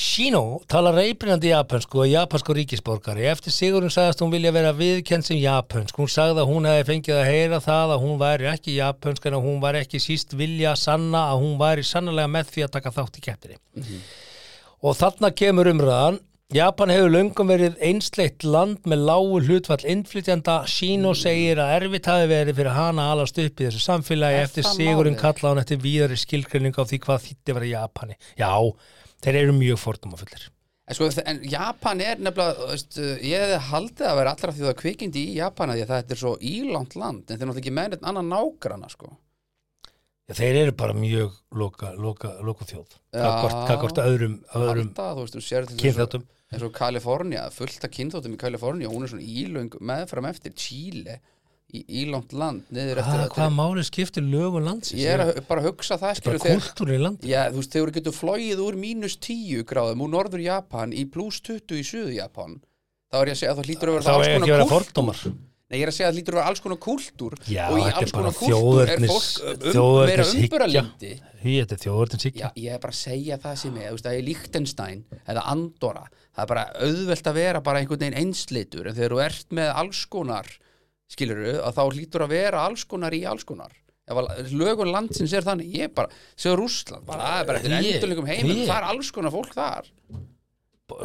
Speaker 2: Shino talar reypinandi japansku og japansku ríkisborgari. Eftir Sigurinn sagðist hún vilja vera viðkenn sem japansk. Hún sagði að hún hefði fengið að heyra það að hún væri ekki japansk en að hún væri ekki síst vilja að sanna að hún væri sannlega með því að taka þátt í keppinni. Og þarna kemur umræðan. Japan hefur löngum verið einsleitt land með lágu hlutfall innflytjanda. Shino segir að erfitt hafi verið fyrir hana að alast upp í þessu samfélagi
Speaker 1: Er
Speaker 2: eftir
Speaker 1: það
Speaker 2: sigurinn
Speaker 1: málið?
Speaker 2: kalla hann eftir víðari skilgreining á því hvað þýtti að vera í Japani. Já, þeir eru mjög fordumafullir.
Speaker 1: En, sko, en Japan er nefnilega, þú veist, ég hefði haldið að vera allra því það kvikindi í Japan af því að þetta er svo ílangt land en þeir náttúrulega ekki með neitt annan nágrana sko.
Speaker 2: Já, þeir eru bara mjög loka, loka, loka þjóð.
Speaker 1: Já.
Speaker 2: Kakvart öðrum, öðrum
Speaker 1: Alltaf, þú veist, þú sér þetta eins og-
Speaker 2: kynþáttum.
Speaker 1: eins og Kalifornia, fullt af kynþóttum í Kalifornia hún er svona ílöng meðfram eftir Chile í, ílangt land niður eftir
Speaker 2: Hvað,
Speaker 1: eftir-
Speaker 2: hvað máli skiptir lögum landsins?
Speaker 1: ég er að, bara að hugsa það
Speaker 2: bara
Speaker 1: skilur þegar
Speaker 2: kultúrin í landi.
Speaker 1: Já, þú veist, þegar þú getur flogið úr mínus 10 gráðum úr norður Japan í pluss 20 í suðu Japan þá er ég að segja að það hlýtur að vera
Speaker 2: Þá
Speaker 1: alls
Speaker 2: er ekki að
Speaker 1: konar
Speaker 2: vera
Speaker 1: kúltúr
Speaker 2: fordómar.
Speaker 1: Nei, ég er að segja að það hlýtur að vera alls konar kúltúr
Speaker 2: Já,
Speaker 1: og í
Speaker 2: þetta
Speaker 1: alls
Speaker 2: er bara
Speaker 1: konar kúltúr er
Speaker 2: þjóðernis-
Speaker 1: fólk um, meira
Speaker 2: þjóðernishyggja.
Speaker 1: umburalindi
Speaker 2: Því, þetta er þjóðurinn
Speaker 1: Já,
Speaker 2: síkja.
Speaker 1: ég er bara að segja það sem ég, þú veist, að í Lichtenstein eða Andorra, það er bara auðvelt að vera bara einhvern veginn einslitur en þegar þú ert með alls konar skilurðu, að þá hlýtur að vera alls konar í alls konar ef að lögun landsins er þannig, ég bara segur Rússland, bara, það er bara eftir
Speaker 2: Ég-
Speaker 1: endurlingum heimum
Speaker 2: ég-
Speaker 1: það er alls konar fólk þar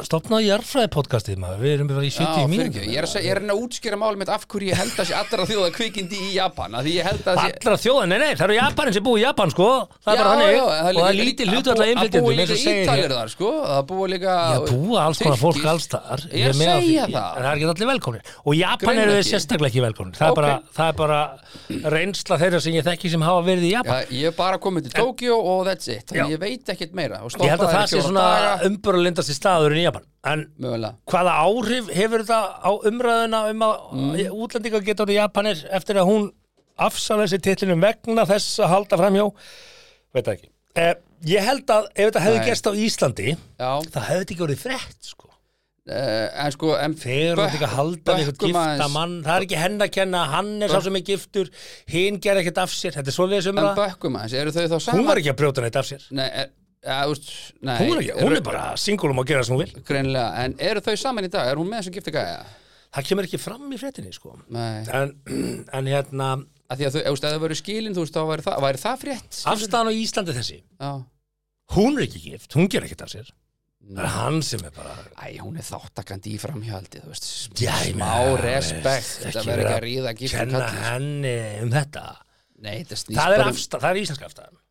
Speaker 2: Stopnaði jarðfræði podcastið maður, við erum bara í
Speaker 1: Já,
Speaker 2: 70
Speaker 1: fyrirgefðu,
Speaker 2: mínútur
Speaker 1: ég er að seg- ég er að reyna að útskýra málum mitt af hverju ég held að sé allra þjóða kvikindi í Japan að því ég held að sé
Speaker 2: Allra þjóðan, nei nei, það eru Japanin sem búið í Japan sko Það er
Speaker 1: Já,
Speaker 2: bara þannig
Speaker 1: já,
Speaker 2: og það er lítið hlutu alltaf
Speaker 1: að
Speaker 2: innflytjendum
Speaker 1: búa
Speaker 2: eins og
Speaker 1: líka
Speaker 2: segir hér.
Speaker 1: ítalir þar sko að búa líka
Speaker 2: Já, búa alls konar fólk
Speaker 1: Tyrkir.
Speaker 2: alls þar
Speaker 1: ég er að
Speaker 2: meina því,
Speaker 1: segja
Speaker 2: En
Speaker 1: það
Speaker 2: það er ekki allir velkomnir Og Japan
Speaker 1: Greinilega
Speaker 2: eru þeir
Speaker 1: ekki.
Speaker 2: sérstaklega ekki velkomnir það, er
Speaker 1: Ok.
Speaker 2: bara, það er bara reynsla þeirra sem ég þekki sem hafa verið í
Speaker 1: Já,
Speaker 2: Japan
Speaker 1: ég er bara komið til Tokyo og that's it
Speaker 2: Já.
Speaker 1: Þannig ég veit ekkert meira og
Speaker 2: Ég held
Speaker 1: stoppa
Speaker 2: að
Speaker 1: þar
Speaker 2: það
Speaker 1: í
Speaker 2: sé
Speaker 1: fjóra
Speaker 2: svona
Speaker 1: daga.
Speaker 2: umburulindast í staðurinn í Japan En
Speaker 1: Mögulega
Speaker 2: hvaða áhrif hefur þetta á umræðuna um að mm. útlendingar geta orðið Japanir eftir að hún afsalaði sér titlinum vegna þess að halda framhjó veit það ekki eh, ég held að ef þetta hefði
Speaker 1: Nei.
Speaker 2: gerst á Íslandi
Speaker 1: Já,
Speaker 2: það hefði þetta ekki orðið frett sko.
Speaker 1: uh, en sko en
Speaker 2: þegar
Speaker 1: bökk-
Speaker 2: hún ekki að halda við eitthvað
Speaker 1: bökkum
Speaker 2: gifta
Speaker 1: aðeins.
Speaker 2: mann það er ekki henn að kenna, hann er sá sem er giftur hinn ger ekkert af sér, þetta er svoleiðis
Speaker 1: En
Speaker 2: umræða
Speaker 1: bökkum aðeins, eru þau þá saman?
Speaker 2: hún var ekki að brjóta neitt af sér
Speaker 1: Nei, er, ja, úst, nei
Speaker 2: hún er, ekki, hún er bara singulum að gera sem hún vil
Speaker 1: Greinlega, en eru þau saman í dag? Er hún með þessum gifta gæja?
Speaker 2: það kemur ekki fram í fréttinni sko.
Speaker 1: Nei,
Speaker 2: en, en hérna
Speaker 1: að því að þau, ef þú veist, ef þau verið skilin, þú veist, þá væri það, væri það frétt
Speaker 2: afstæðan á Íslandi er þessi
Speaker 1: Já,
Speaker 2: hún er ekki gift, hún ger ekkert af sér það er hann sem er bara
Speaker 1: æ, hún er þáttakandi í framhjaldi, þú veist
Speaker 2: Já, ég meina,
Speaker 1: Smá respekt,
Speaker 2: veist,
Speaker 1: þetta
Speaker 2: ekki
Speaker 1: verður ekki
Speaker 2: vera
Speaker 1: að ríða gifta
Speaker 2: kenna
Speaker 1: kallis
Speaker 2: henni um þetta
Speaker 1: Nei, þetta snýst
Speaker 2: það er,
Speaker 1: bara um-
Speaker 2: afstæð, það er íslenska afstæðan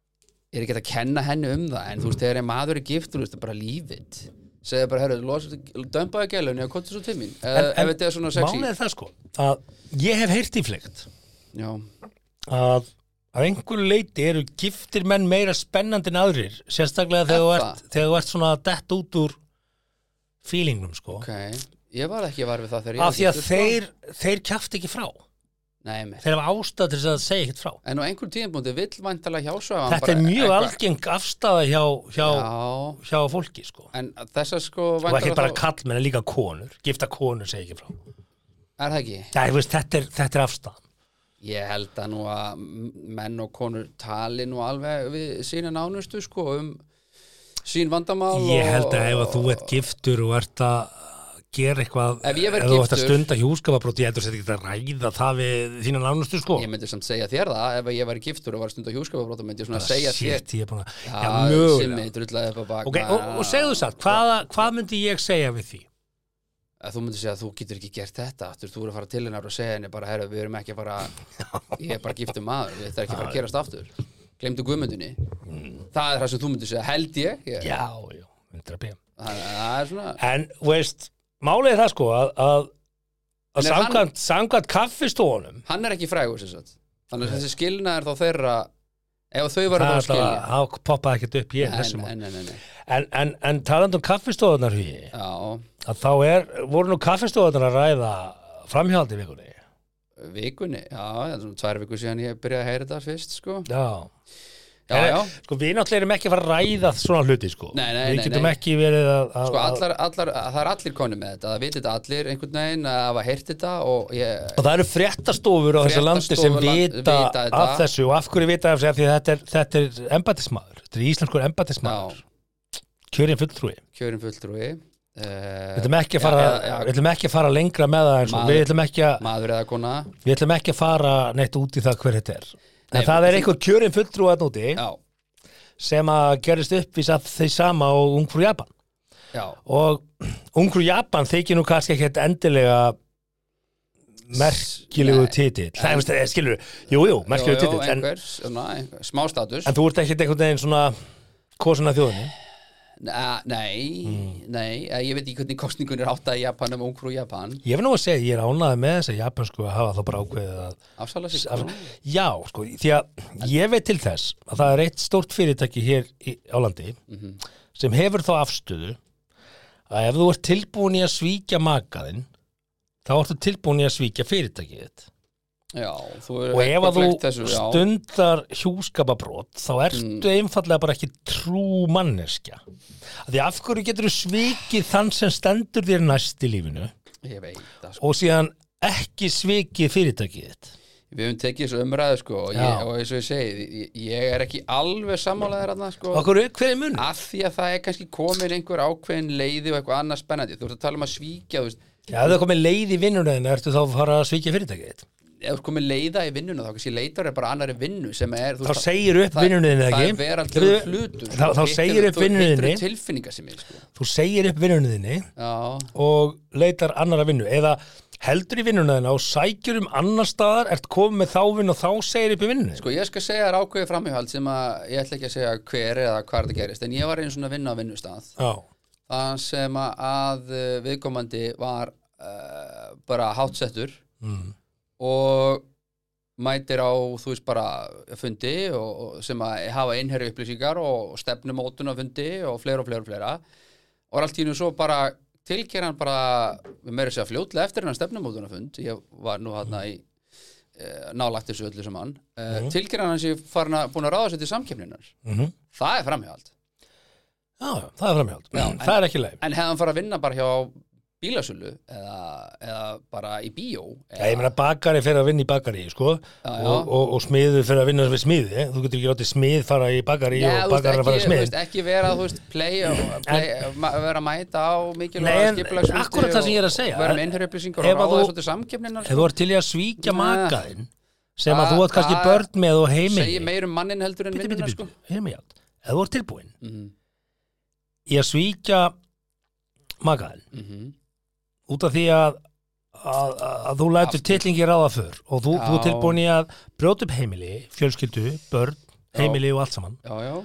Speaker 1: er ekki hægt að kenna henni um það en þú veist, þegar er maður er gift, þú veist, það er bara lífið segðu bara, herru, dömbaðu gælunni og kottu svo til mín, ef Eh, ef þetta er svona sexy
Speaker 2: málið er það sko að ég hef heyrt í fleikt
Speaker 1: Já,
Speaker 2: að að einhverju leiti eru giftir menn meira spennandi en aðrir sérstaklega þegar þú
Speaker 1: Er
Speaker 2: ert, þegar þú ert svona dett út úr feelingnum sko
Speaker 1: ok Ég var ekki var við það þegar ég
Speaker 2: af því að
Speaker 1: giftur, sko.
Speaker 2: þeir, þeir kjaft ekki frá
Speaker 1: Nei, mér
Speaker 2: þeir hafa ástæð til þess að segja ekkert frá
Speaker 1: En á einhver tíðanbúndi vill væntalega hjásaga
Speaker 2: þetta er mjög algeng afstæða hjá, hjá,
Speaker 1: Já,
Speaker 2: hjá fólki sko
Speaker 1: en þessar sko
Speaker 2: og ekki
Speaker 1: væntanlega
Speaker 2: bara
Speaker 1: þá-
Speaker 2: kallmenn en líka konur gifta konur segja ekki frá
Speaker 1: Er það ekki?
Speaker 2: Já, ég veist, þetta, er, þetta er afstæðan
Speaker 1: Ég held að nú að menn og konur tali nú alveg við sína nánustu sko um sín vandamál
Speaker 2: ég held
Speaker 1: og-
Speaker 2: að ef að þú ert giftur og ert að gera eitthvað
Speaker 1: Ef ég verð
Speaker 2: þú ert að
Speaker 1: giftur-
Speaker 2: stunda hjúskapabrót ég heldur þetta ekki að ræða það við þína nánustu sko
Speaker 1: Ég myndi samt segja þér það ef ég væri giftur og var stund á hjúskapafrót þá myndi ég svona segja þér
Speaker 2: Ah, Shit, ég er búin að Já,
Speaker 1: Já, sem
Speaker 2: mögulega
Speaker 1: ég drullæði upp á bak
Speaker 2: Ok, og, og segðu satt, hvaða, hvað myndi ég segja við því?
Speaker 1: að Þú myndir segja að þú getur ekki gert þetta aftur, þú eru að fara til hennar og segja henni bara herru, við erum ekki að fara
Speaker 2: *laughs*
Speaker 1: ég er bara giftur maður, þetta er ekki að fara að gerast aftur Glemdu guðmyndinni Það er það sem þú myndir segja, held ég, ég
Speaker 2: Mm. Já, já, myndi að bíða
Speaker 1: það, það er svona
Speaker 2: En, þú veist, málið er það sko að, að, að
Speaker 1: En er hann-
Speaker 2: samkvæmt, samkvæmt kaffistofunum
Speaker 1: Hann er ekki frægur sem sagt Þannig að þessi skilnaður þá þeirra ef þau
Speaker 2: það
Speaker 1: varu
Speaker 2: er
Speaker 1: þá að
Speaker 2: alltaf
Speaker 1: skilja
Speaker 2: að poppaði ekkert upp ég
Speaker 1: En,
Speaker 2: þessum mál.
Speaker 1: en, en, en, en,
Speaker 2: En, en, en talandum kaffistofunar hugi,
Speaker 1: já,
Speaker 2: að þá er, voru nú kaffistofunar að ræða framhjaldi vikunni.
Speaker 1: vikunni, já, það er svona tvær viku síðan ég byrjaði að heyra þetta fyrst, sko
Speaker 2: Já.
Speaker 1: Já, já,
Speaker 2: Sko, við náttúrulega erum ekki að fara að ræða svona hluti, sko.
Speaker 1: Nei, nei,
Speaker 2: við
Speaker 1: nei,
Speaker 2: getum
Speaker 1: nei.
Speaker 2: ekki verið að... að
Speaker 1: sko allar, allar, það er allir konum með þetta, það viti þetta allir einhvern veginn að hafa heyrt þetta og ég,
Speaker 2: Og það eru fréttastofur á þessu landi sem
Speaker 1: Fréttastofur land-
Speaker 2: vita,
Speaker 1: vita þetta.
Speaker 2: af þessu og af hverju vita af þessu af því að þetta er, þetta er embatismadur, þetta er íslenskur embatismadur,
Speaker 1: já,
Speaker 2: kjörinn fulltrúi.
Speaker 1: kjörin fulltrúi uh,
Speaker 2: Við ætlum ekki, að fara,
Speaker 1: já, já.
Speaker 2: við ætlum ekki að fara lengra með það eins og
Speaker 1: Maður-
Speaker 2: við ætlum ekki að
Speaker 1: maður eða kona
Speaker 2: Við ætlum ekki að fara neitt út í það hver þetta er. En
Speaker 1: Nei,
Speaker 2: það er
Speaker 1: þú-
Speaker 2: einhver kjörin fulltrú að núti
Speaker 1: já,
Speaker 2: sem að gerist uppvís að þeir sama og Ungrú Japan.
Speaker 1: já,
Speaker 2: Og *clears throat* Ungrú Japan þykir nú kannski ekkert endilega merkilegu
Speaker 1: Nei.
Speaker 2: titill. Það er, veist, eh, skilur, jú, jú, merkilegu
Speaker 1: Jú, jú,
Speaker 2: titill. En,
Speaker 1: einhver, svona, einhver, smá status
Speaker 2: en þú ert ekkert einhvern veginn svona kosin af þjóðinni.
Speaker 1: Na, nei,
Speaker 2: Hmm.
Speaker 1: nei, eh, ég veit ekki hvernig kostningun er átt að Japan um ungrú Japan
Speaker 2: Ég finn nú að segja, ég er ánæði með þess að japansku að hafa þá bara ákveðið að
Speaker 1: afsala sig
Speaker 2: Af-
Speaker 1: krónu.
Speaker 2: Já, sko, því að ég veit til þess að það er eitt stórt fyrirtæki hér í, á landi sem hefur þá afstöðu að ef þú ert tilbúin í að svíkja makaðinn þá ertu tilbúin í að svíkja fyrirtækið þitt
Speaker 1: já, þú er
Speaker 2: og ef að þú
Speaker 1: þessu, já,
Speaker 2: stundar hjúskapabrót þá ertu einfallega bara ekki trú manneskja Af því af hverju getur þú svikið þann sem stendur þér næst í lífinu
Speaker 1: ég veit það, sko.
Speaker 2: og síðan ekki svikið fyrirtækið þitt
Speaker 1: við höfum tekið þessu umræðu sko, og,
Speaker 2: Já.
Speaker 1: ég, og eins og ég segi, ég, ég er ekki alveg sammálaðir þarna sko.
Speaker 2: Okkur, hver er munur?
Speaker 1: af því að það er kannski komin einhver ákveðin leiði og eitthvað annað spennandi þú ert að tala um að svíkja þú veist,
Speaker 2: Já, ef það er komið leið í vinnunni þinni, ertu þá að fara að svíkja fyrirtækið þitt?
Speaker 1: ef þú komið leiða í vinnuna þá kannski leitar er bara annari vinnu sem er þú
Speaker 2: Þá
Speaker 1: veist,
Speaker 2: segir upp
Speaker 1: það-
Speaker 2: vinnunni þinni,
Speaker 1: það
Speaker 2: ekki?
Speaker 1: er veraldlegur
Speaker 2: Þú-
Speaker 1: hlutur
Speaker 2: þá- þá segir upp vinnunni þinni.
Speaker 1: tilfinninga sem ég sko.
Speaker 2: þú segir upp vinnunni þinni
Speaker 1: já,
Speaker 2: og leitar annara vinnu eða heldur í vinnuna þina og sækjur um annar staðar, ert komið með þá vinn og þá segir upp í vinnunni
Speaker 1: sko ég skal segja þér ákveði framhjóhald sem að ég ætla ekki að segja hver eða hvað það gerist en ég var einu svona að vinna á vinnustað
Speaker 2: Já,
Speaker 1: þann sem að, að eh, viðkomandi var uh, bara hátsettur
Speaker 2: mm.
Speaker 1: og mætir á þú veist bara fundi og, og sem að hafa einherju upplýsingar og stefnumótun á fundi og fleira og fleira og fleira og er allt í nú svo bara tilkera hann bara við meira sér að fljótlega eftir hann stefnumótun á fund ég var nú hann í eh, nálægt þessu öllu sem hann uh, mm. tilkera hann sér farin að búin að ráða sér til samkefninar
Speaker 2: Mhm.
Speaker 1: það er framhjáld
Speaker 2: já, já, það er framhjáld
Speaker 1: Já, en-
Speaker 2: Það er ekki leið
Speaker 1: en hefði hann fara að vinna bara hjá bílasölu eða, eða bara í bíó
Speaker 2: Já, ég meina bakari fyrir að vinna í bakari, sko
Speaker 1: já.
Speaker 2: Og, og, og smiður fyrir að vinna við smiði Þú getur ekki látið smið fara í bakari og
Speaker 1: Já, þú veist,
Speaker 2: bakari að fara í
Speaker 1: ekki, þú
Speaker 2: smið
Speaker 1: veist, ekki vera, þú veist, play, play ma- vera að mæta á
Speaker 2: Nei,
Speaker 1: mikilvæg
Speaker 2: en akkurat það sem ég er að segja.
Speaker 1: vera með innherjupplýsingar
Speaker 2: Ef
Speaker 1: og
Speaker 2: að
Speaker 1: ráða
Speaker 2: þú-
Speaker 1: þessu til samkefninar
Speaker 2: Ef þú ert til í að svíkja
Speaker 1: Nei.
Speaker 2: makaðinn sem að
Speaker 1: Það-
Speaker 2: þú átt kannski
Speaker 1: það-
Speaker 2: börn með og heimili
Speaker 1: segir meir um mannin heldur en
Speaker 2: Bíddu, bíddu,
Speaker 1: vinnuna
Speaker 2: bíddu,
Speaker 1: sko.
Speaker 2: heyrðu mig allt. Ef þú ert tilbúin
Speaker 1: Mhm,
Speaker 2: í að svíkja makaðinn
Speaker 1: mhm.
Speaker 2: út af því að, að, að, að þú lætur
Speaker 1: Aftur.
Speaker 2: tillingi ráða för og þú, þú
Speaker 1: Já.
Speaker 2: er tilbúin í að brjóta upp heimili, fjölskyldu, börn, heimili og allt saman
Speaker 1: já, já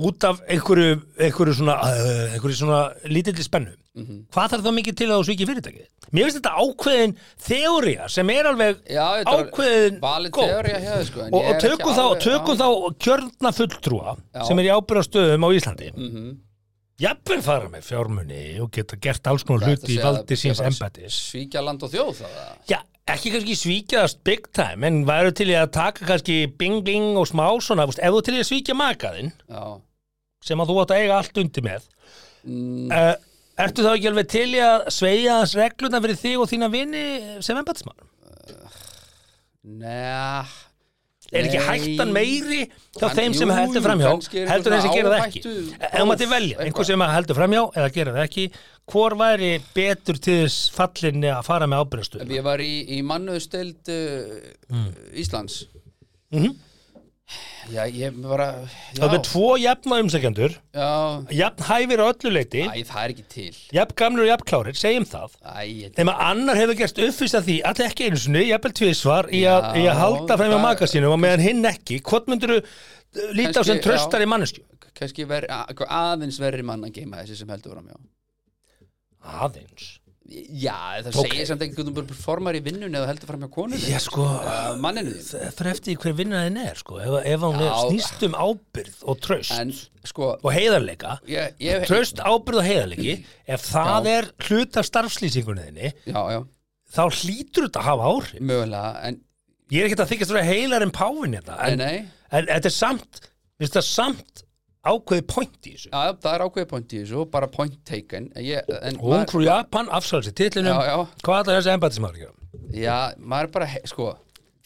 Speaker 2: út af einhverju, einhverju svona, uh, einhverju svona lítilli spennu.
Speaker 1: mhm.
Speaker 2: Hvað þarf þá mikið til að þú svíkja fyrirtækið? Mér finnst þetta ákveðin þeória sem er alveg
Speaker 1: já, þetta er
Speaker 2: ákveðin
Speaker 1: valid
Speaker 2: góð.
Speaker 1: teóri að hefða sko, en
Speaker 2: og,
Speaker 1: ég er
Speaker 2: og
Speaker 1: ekki
Speaker 2: tökum, þá,
Speaker 1: alveg-
Speaker 2: tökum þá kjörna fulltrúa
Speaker 1: Já.
Speaker 2: sem er í ábyrðastöðum á Íslandi
Speaker 1: Mhm.
Speaker 2: jafnvel fara með fjármunni og geta gert alls konar
Speaker 1: Þetta
Speaker 2: hluti í
Speaker 1: sé að-
Speaker 2: valdi
Speaker 1: sé
Speaker 2: síns
Speaker 1: bara
Speaker 2: embattis
Speaker 1: svíkja land og þjóð það það.
Speaker 2: Já, ekki kannski svíkjaðast big time en væru til í að taka kannski bing bing og smá svona, þú veist, ef þú til í að svíkja makaðinn
Speaker 1: já,
Speaker 2: sem að þú átt að eiga allt undir með
Speaker 1: Mm,
Speaker 2: uh, ertu þá ekki alveg til í að sveigja þess regluna fyrir þig og þína vini sem embattismann?
Speaker 1: neða
Speaker 2: Er ekki hættan meiri hjá
Speaker 1: Hann-
Speaker 2: þeim sem
Speaker 1: jú,
Speaker 2: heldur
Speaker 1: jú,
Speaker 2: framhjá
Speaker 1: kannski er
Speaker 2: heldur þeim sem
Speaker 1: einhver
Speaker 2: gera það
Speaker 1: svona
Speaker 2: ekki
Speaker 1: áhættu-
Speaker 2: ef maður til velja,
Speaker 1: eitthvað.
Speaker 2: einhver sem heldur framhjá eða gera það ekki, hvor væri betur til þess fallinni að fara með ábyrðastu
Speaker 1: Ef ég var í, í mannöðstild uh,
Speaker 2: Mm.
Speaker 1: Íslands Já, ég bara já,
Speaker 2: Mhm. það er tvo jafna umsækjandur
Speaker 1: já,
Speaker 2: jafn hæfir á öllu leiti
Speaker 1: Æ, það er ekki til
Speaker 2: jafn gamlir og jafn klárir, segjum það
Speaker 1: Æ, ég,
Speaker 2: þeim að annar hefur gerst uppfyrst að því allir ekki einu sinni, jafnvel tvisvar í að,
Speaker 1: Já,
Speaker 2: í að halda fram með
Speaker 1: það-
Speaker 2: maka sínum og meðan hinn ekki, hvort myndur líta á sem
Speaker 1: Kannski, já.
Speaker 2: tröstar í mannesku
Speaker 1: kannski ver, að, aðeins verri mann að geima þessi sem heldur fram, já
Speaker 2: aðeins
Speaker 1: Já, það
Speaker 2: Ok.
Speaker 1: segir samt ekki hvernig þú bara formar í vinnun eða heldur fram hjá konunni
Speaker 2: Já sko,
Speaker 1: uh, manninu þín
Speaker 2: Það er eftir því hver vinnaðin er sko. ef, ef hann
Speaker 1: Já.
Speaker 2: snýst um ábyrð og tröst
Speaker 1: En sko
Speaker 2: og heiðarleika
Speaker 1: ég, ég,
Speaker 2: tröst, ábyrð og heiðarleiki ef það er hlut af starfslýsingunni þinni
Speaker 1: Já, já,
Speaker 2: þá hlýtur þetta að hafa áhrif
Speaker 1: mögulega En,
Speaker 2: ég er ekkert að þykjast vera heilar en páfin þetta en,
Speaker 1: en nei,
Speaker 2: en þetta er samt viðst það samt ákveði point í þessu
Speaker 1: já, það er ákveðið point í þessu bara point taken en ég, en
Speaker 2: og hún krú Japan afsvælsi titlinum
Speaker 1: Já, já.
Speaker 2: hvað allar þessi embattismæður gera
Speaker 1: Já, maður er bara, he- sko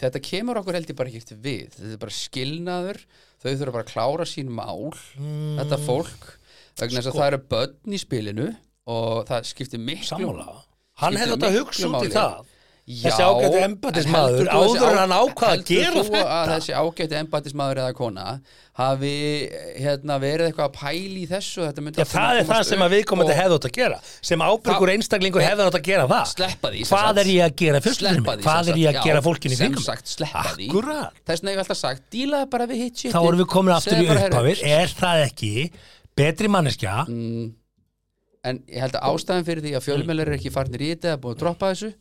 Speaker 1: þetta kemur okkur held ég bara ekkert við þetta er bara skilnaður, þau þurfa bara að klára sín mál,
Speaker 2: Mm.
Speaker 1: þetta fólk vegna
Speaker 2: Sko-
Speaker 1: þess að það eru börn í spilinu og það skiptir miklu
Speaker 2: sammála hann
Speaker 1: Skiptir
Speaker 2: hefði þetta að hugsa
Speaker 1: miklu
Speaker 2: út í
Speaker 1: máli.
Speaker 2: það
Speaker 1: Já,
Speaker 2: þessi ágæti
Speaker 1: en
Speaker 2: embattismæður
Speaker 1: heldur þú þessi
Speaker 2: áður en
Speaker 1: á-
Speaker 2: hann ákvað að
Speaker 1: heldur
Speaker 2: gera
Speaker 1: þú
Speaker 2: þetta
Speaker 1: að þessi ágæti embattismæður eða kona hafi hérna, verið eitthvað að pæli í þessu þetta myndi
Speaker 2: Já, það
Speaker 1: allt saman
Speaker 2: er það
Speaker 1: komast
Speaker 2: sem að
Speaker 1: upp
Speaker 2: viðkomandi
Speaker 1: og
Speaker 2: hefði átt að gera sem ábyrgur einstaklingur hefði átt að gera það
Speaker 1: Sleppa því, sem
Speaker 2: Hvað
Speaker 1: sagt.
Speaker 2: er ég að gera fyrstundum
Speaker 1: sleppa
Speaker 2: minn?
Speaker 1: því
Speaker 2: Hvað
Speaker 1: sem
Speaker 2: er ég að
Speaker 1: sagt.
Speaker 2: gera
Speaker 1: Já,
Speaker 2: fólkinni
Speaker 1: sem
Speaker 2: fengum?
Speaker 1: sagt, sleppa því
Speaker 2: Akkurat.
Speaker 1: þess vegna hef ég alltaf sagt, dílaði bara við hitt
Speaker 2: Þá erum við komin aftur í
Speaker 1: Segðu bara,
Speaker 2: upphafið
Speaker 1: heyrðu,
Speaker 2: Er það ekki betri manneskja
Speaker 1: Mm. en ég held að ástæðan fyrir því að fjölmjölar er ekki farnir í þetta eða búið að droppa þessu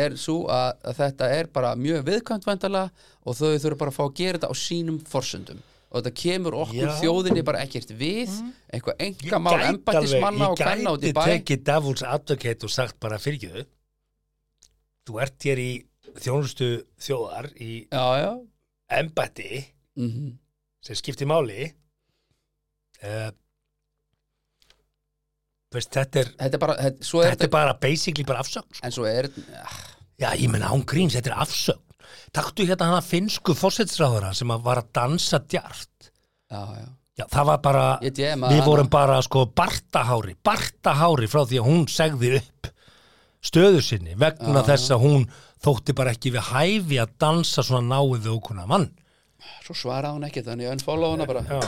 Speaker 1: er svo að, að þetta er bara mjög viðkvæmt vandala og þau þurfa bara að fá að gera þetta á sínum forsöndum og þetta kemur okkur
Speaker 2: Já. Mm.
Speaker 1: þjóðinni bara ekkert við eitthvað
Speaker 2: Ég
Speaker 1: enga mál
Speaker 2: gæti
Speaker 1: embattismanna og
Speaker 2: alveg-
Speaker 1: kanna út í
Speaker 2: Ég
Speaker 1: bæ
Speaker 2: gæti tekið Davul's Advocate og sagt bara fyrirgjöðu Þú ert hér í þjónustu þjóðar í
Speaker 1: já, já
Speaker 2: embætti
Speaker 1: mm
Speaker 2: sem skiptir máli uh, veist, þetta er
Speaker 1: þetta er bara, þetta, svo er
Speaker 2: þetta
Speaker 1: þetta,
Speaker 2: er bara basically bara afsögn sko.
Speaker 1: en svo er
Speaker 2: já, ég menna án gríns, þetta er afsögn taktu hérna hana finnsku fósetsráðara sem að var að dansa djart
Speaker 1: já, já,
Speaker 2: já, það var bara,
Speaker 1: Ég DM að
Speaker 2: við
Speaker 1: hana.
Speaker 2: vorum bara sko bartahári, bartahári frá því að hún segði upp stöðu sinni vegna þess að hún þótti bara ekki við hæfi að dansa svona náið við okkurna mann
Speaker 1: Svo svaraði hún ekkert, þannig að unfollow hana bara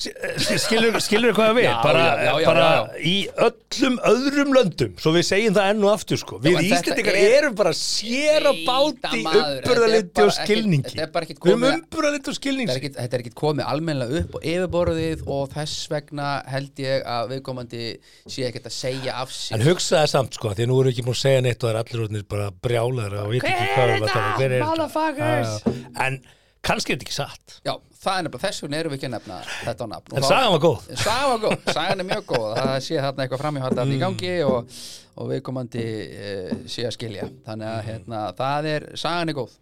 Speaker 2: skilur, skilur hvað við
Speaker 1: Já,
Speaker 2: bara,
Speaker 1: já, já, já,
Speaker 2: bara
Speaker 1: já.
Speaker 2: í öllum öðrum löndum svo við segjum það enn og aftur sko. við
Speaker 1: en þetta
Speaker 2: Íslendingar
Speaker 1: er-
Speaker 2: erum bara sér að báti
Speaker 1: Nei, maður, þetta
Speaker 2: umburðaliti
Speaker 1: er
Speaker 2: og
Speaker 1: bara ekkit-
Speaker 2: skilningi
Speaker 1: þetta er bara ekkit
Speaker 2: við erum
Speaker 1: komið-
Speaker 2: umburðaliti og
Speaker 1: Þetta er
Speaker 2: skilningi
Speaker 1: ekkit- Þetta er ekkit komið almennilega upp á yfirborðið og þess vegna held ég að viðkomandi sé ekkert að segja af sér
Speaker 2: en hugsaði samt sko, því að nú erum við ekki múin að segja neitt og það er allir orðinir bara brjálar og veit ekki hvað við varum að tala um. hver er þetta Já, já. en kannski er þetta ekki satt
Speaker 1: Já, það er nefnilega, þess vegna erum við ekki að nefna þetta á nafn
Speaker 2: en sagan var góð
Speaker 1: Sagan var góð, sagan er mjög góð það sé þarna eitthvað framhjóðan
Speaker 2: Mm.
Speaker 1: í gangi og, og viðkomandi e, sé að skilja þannig að hérna, það er, sagan er góð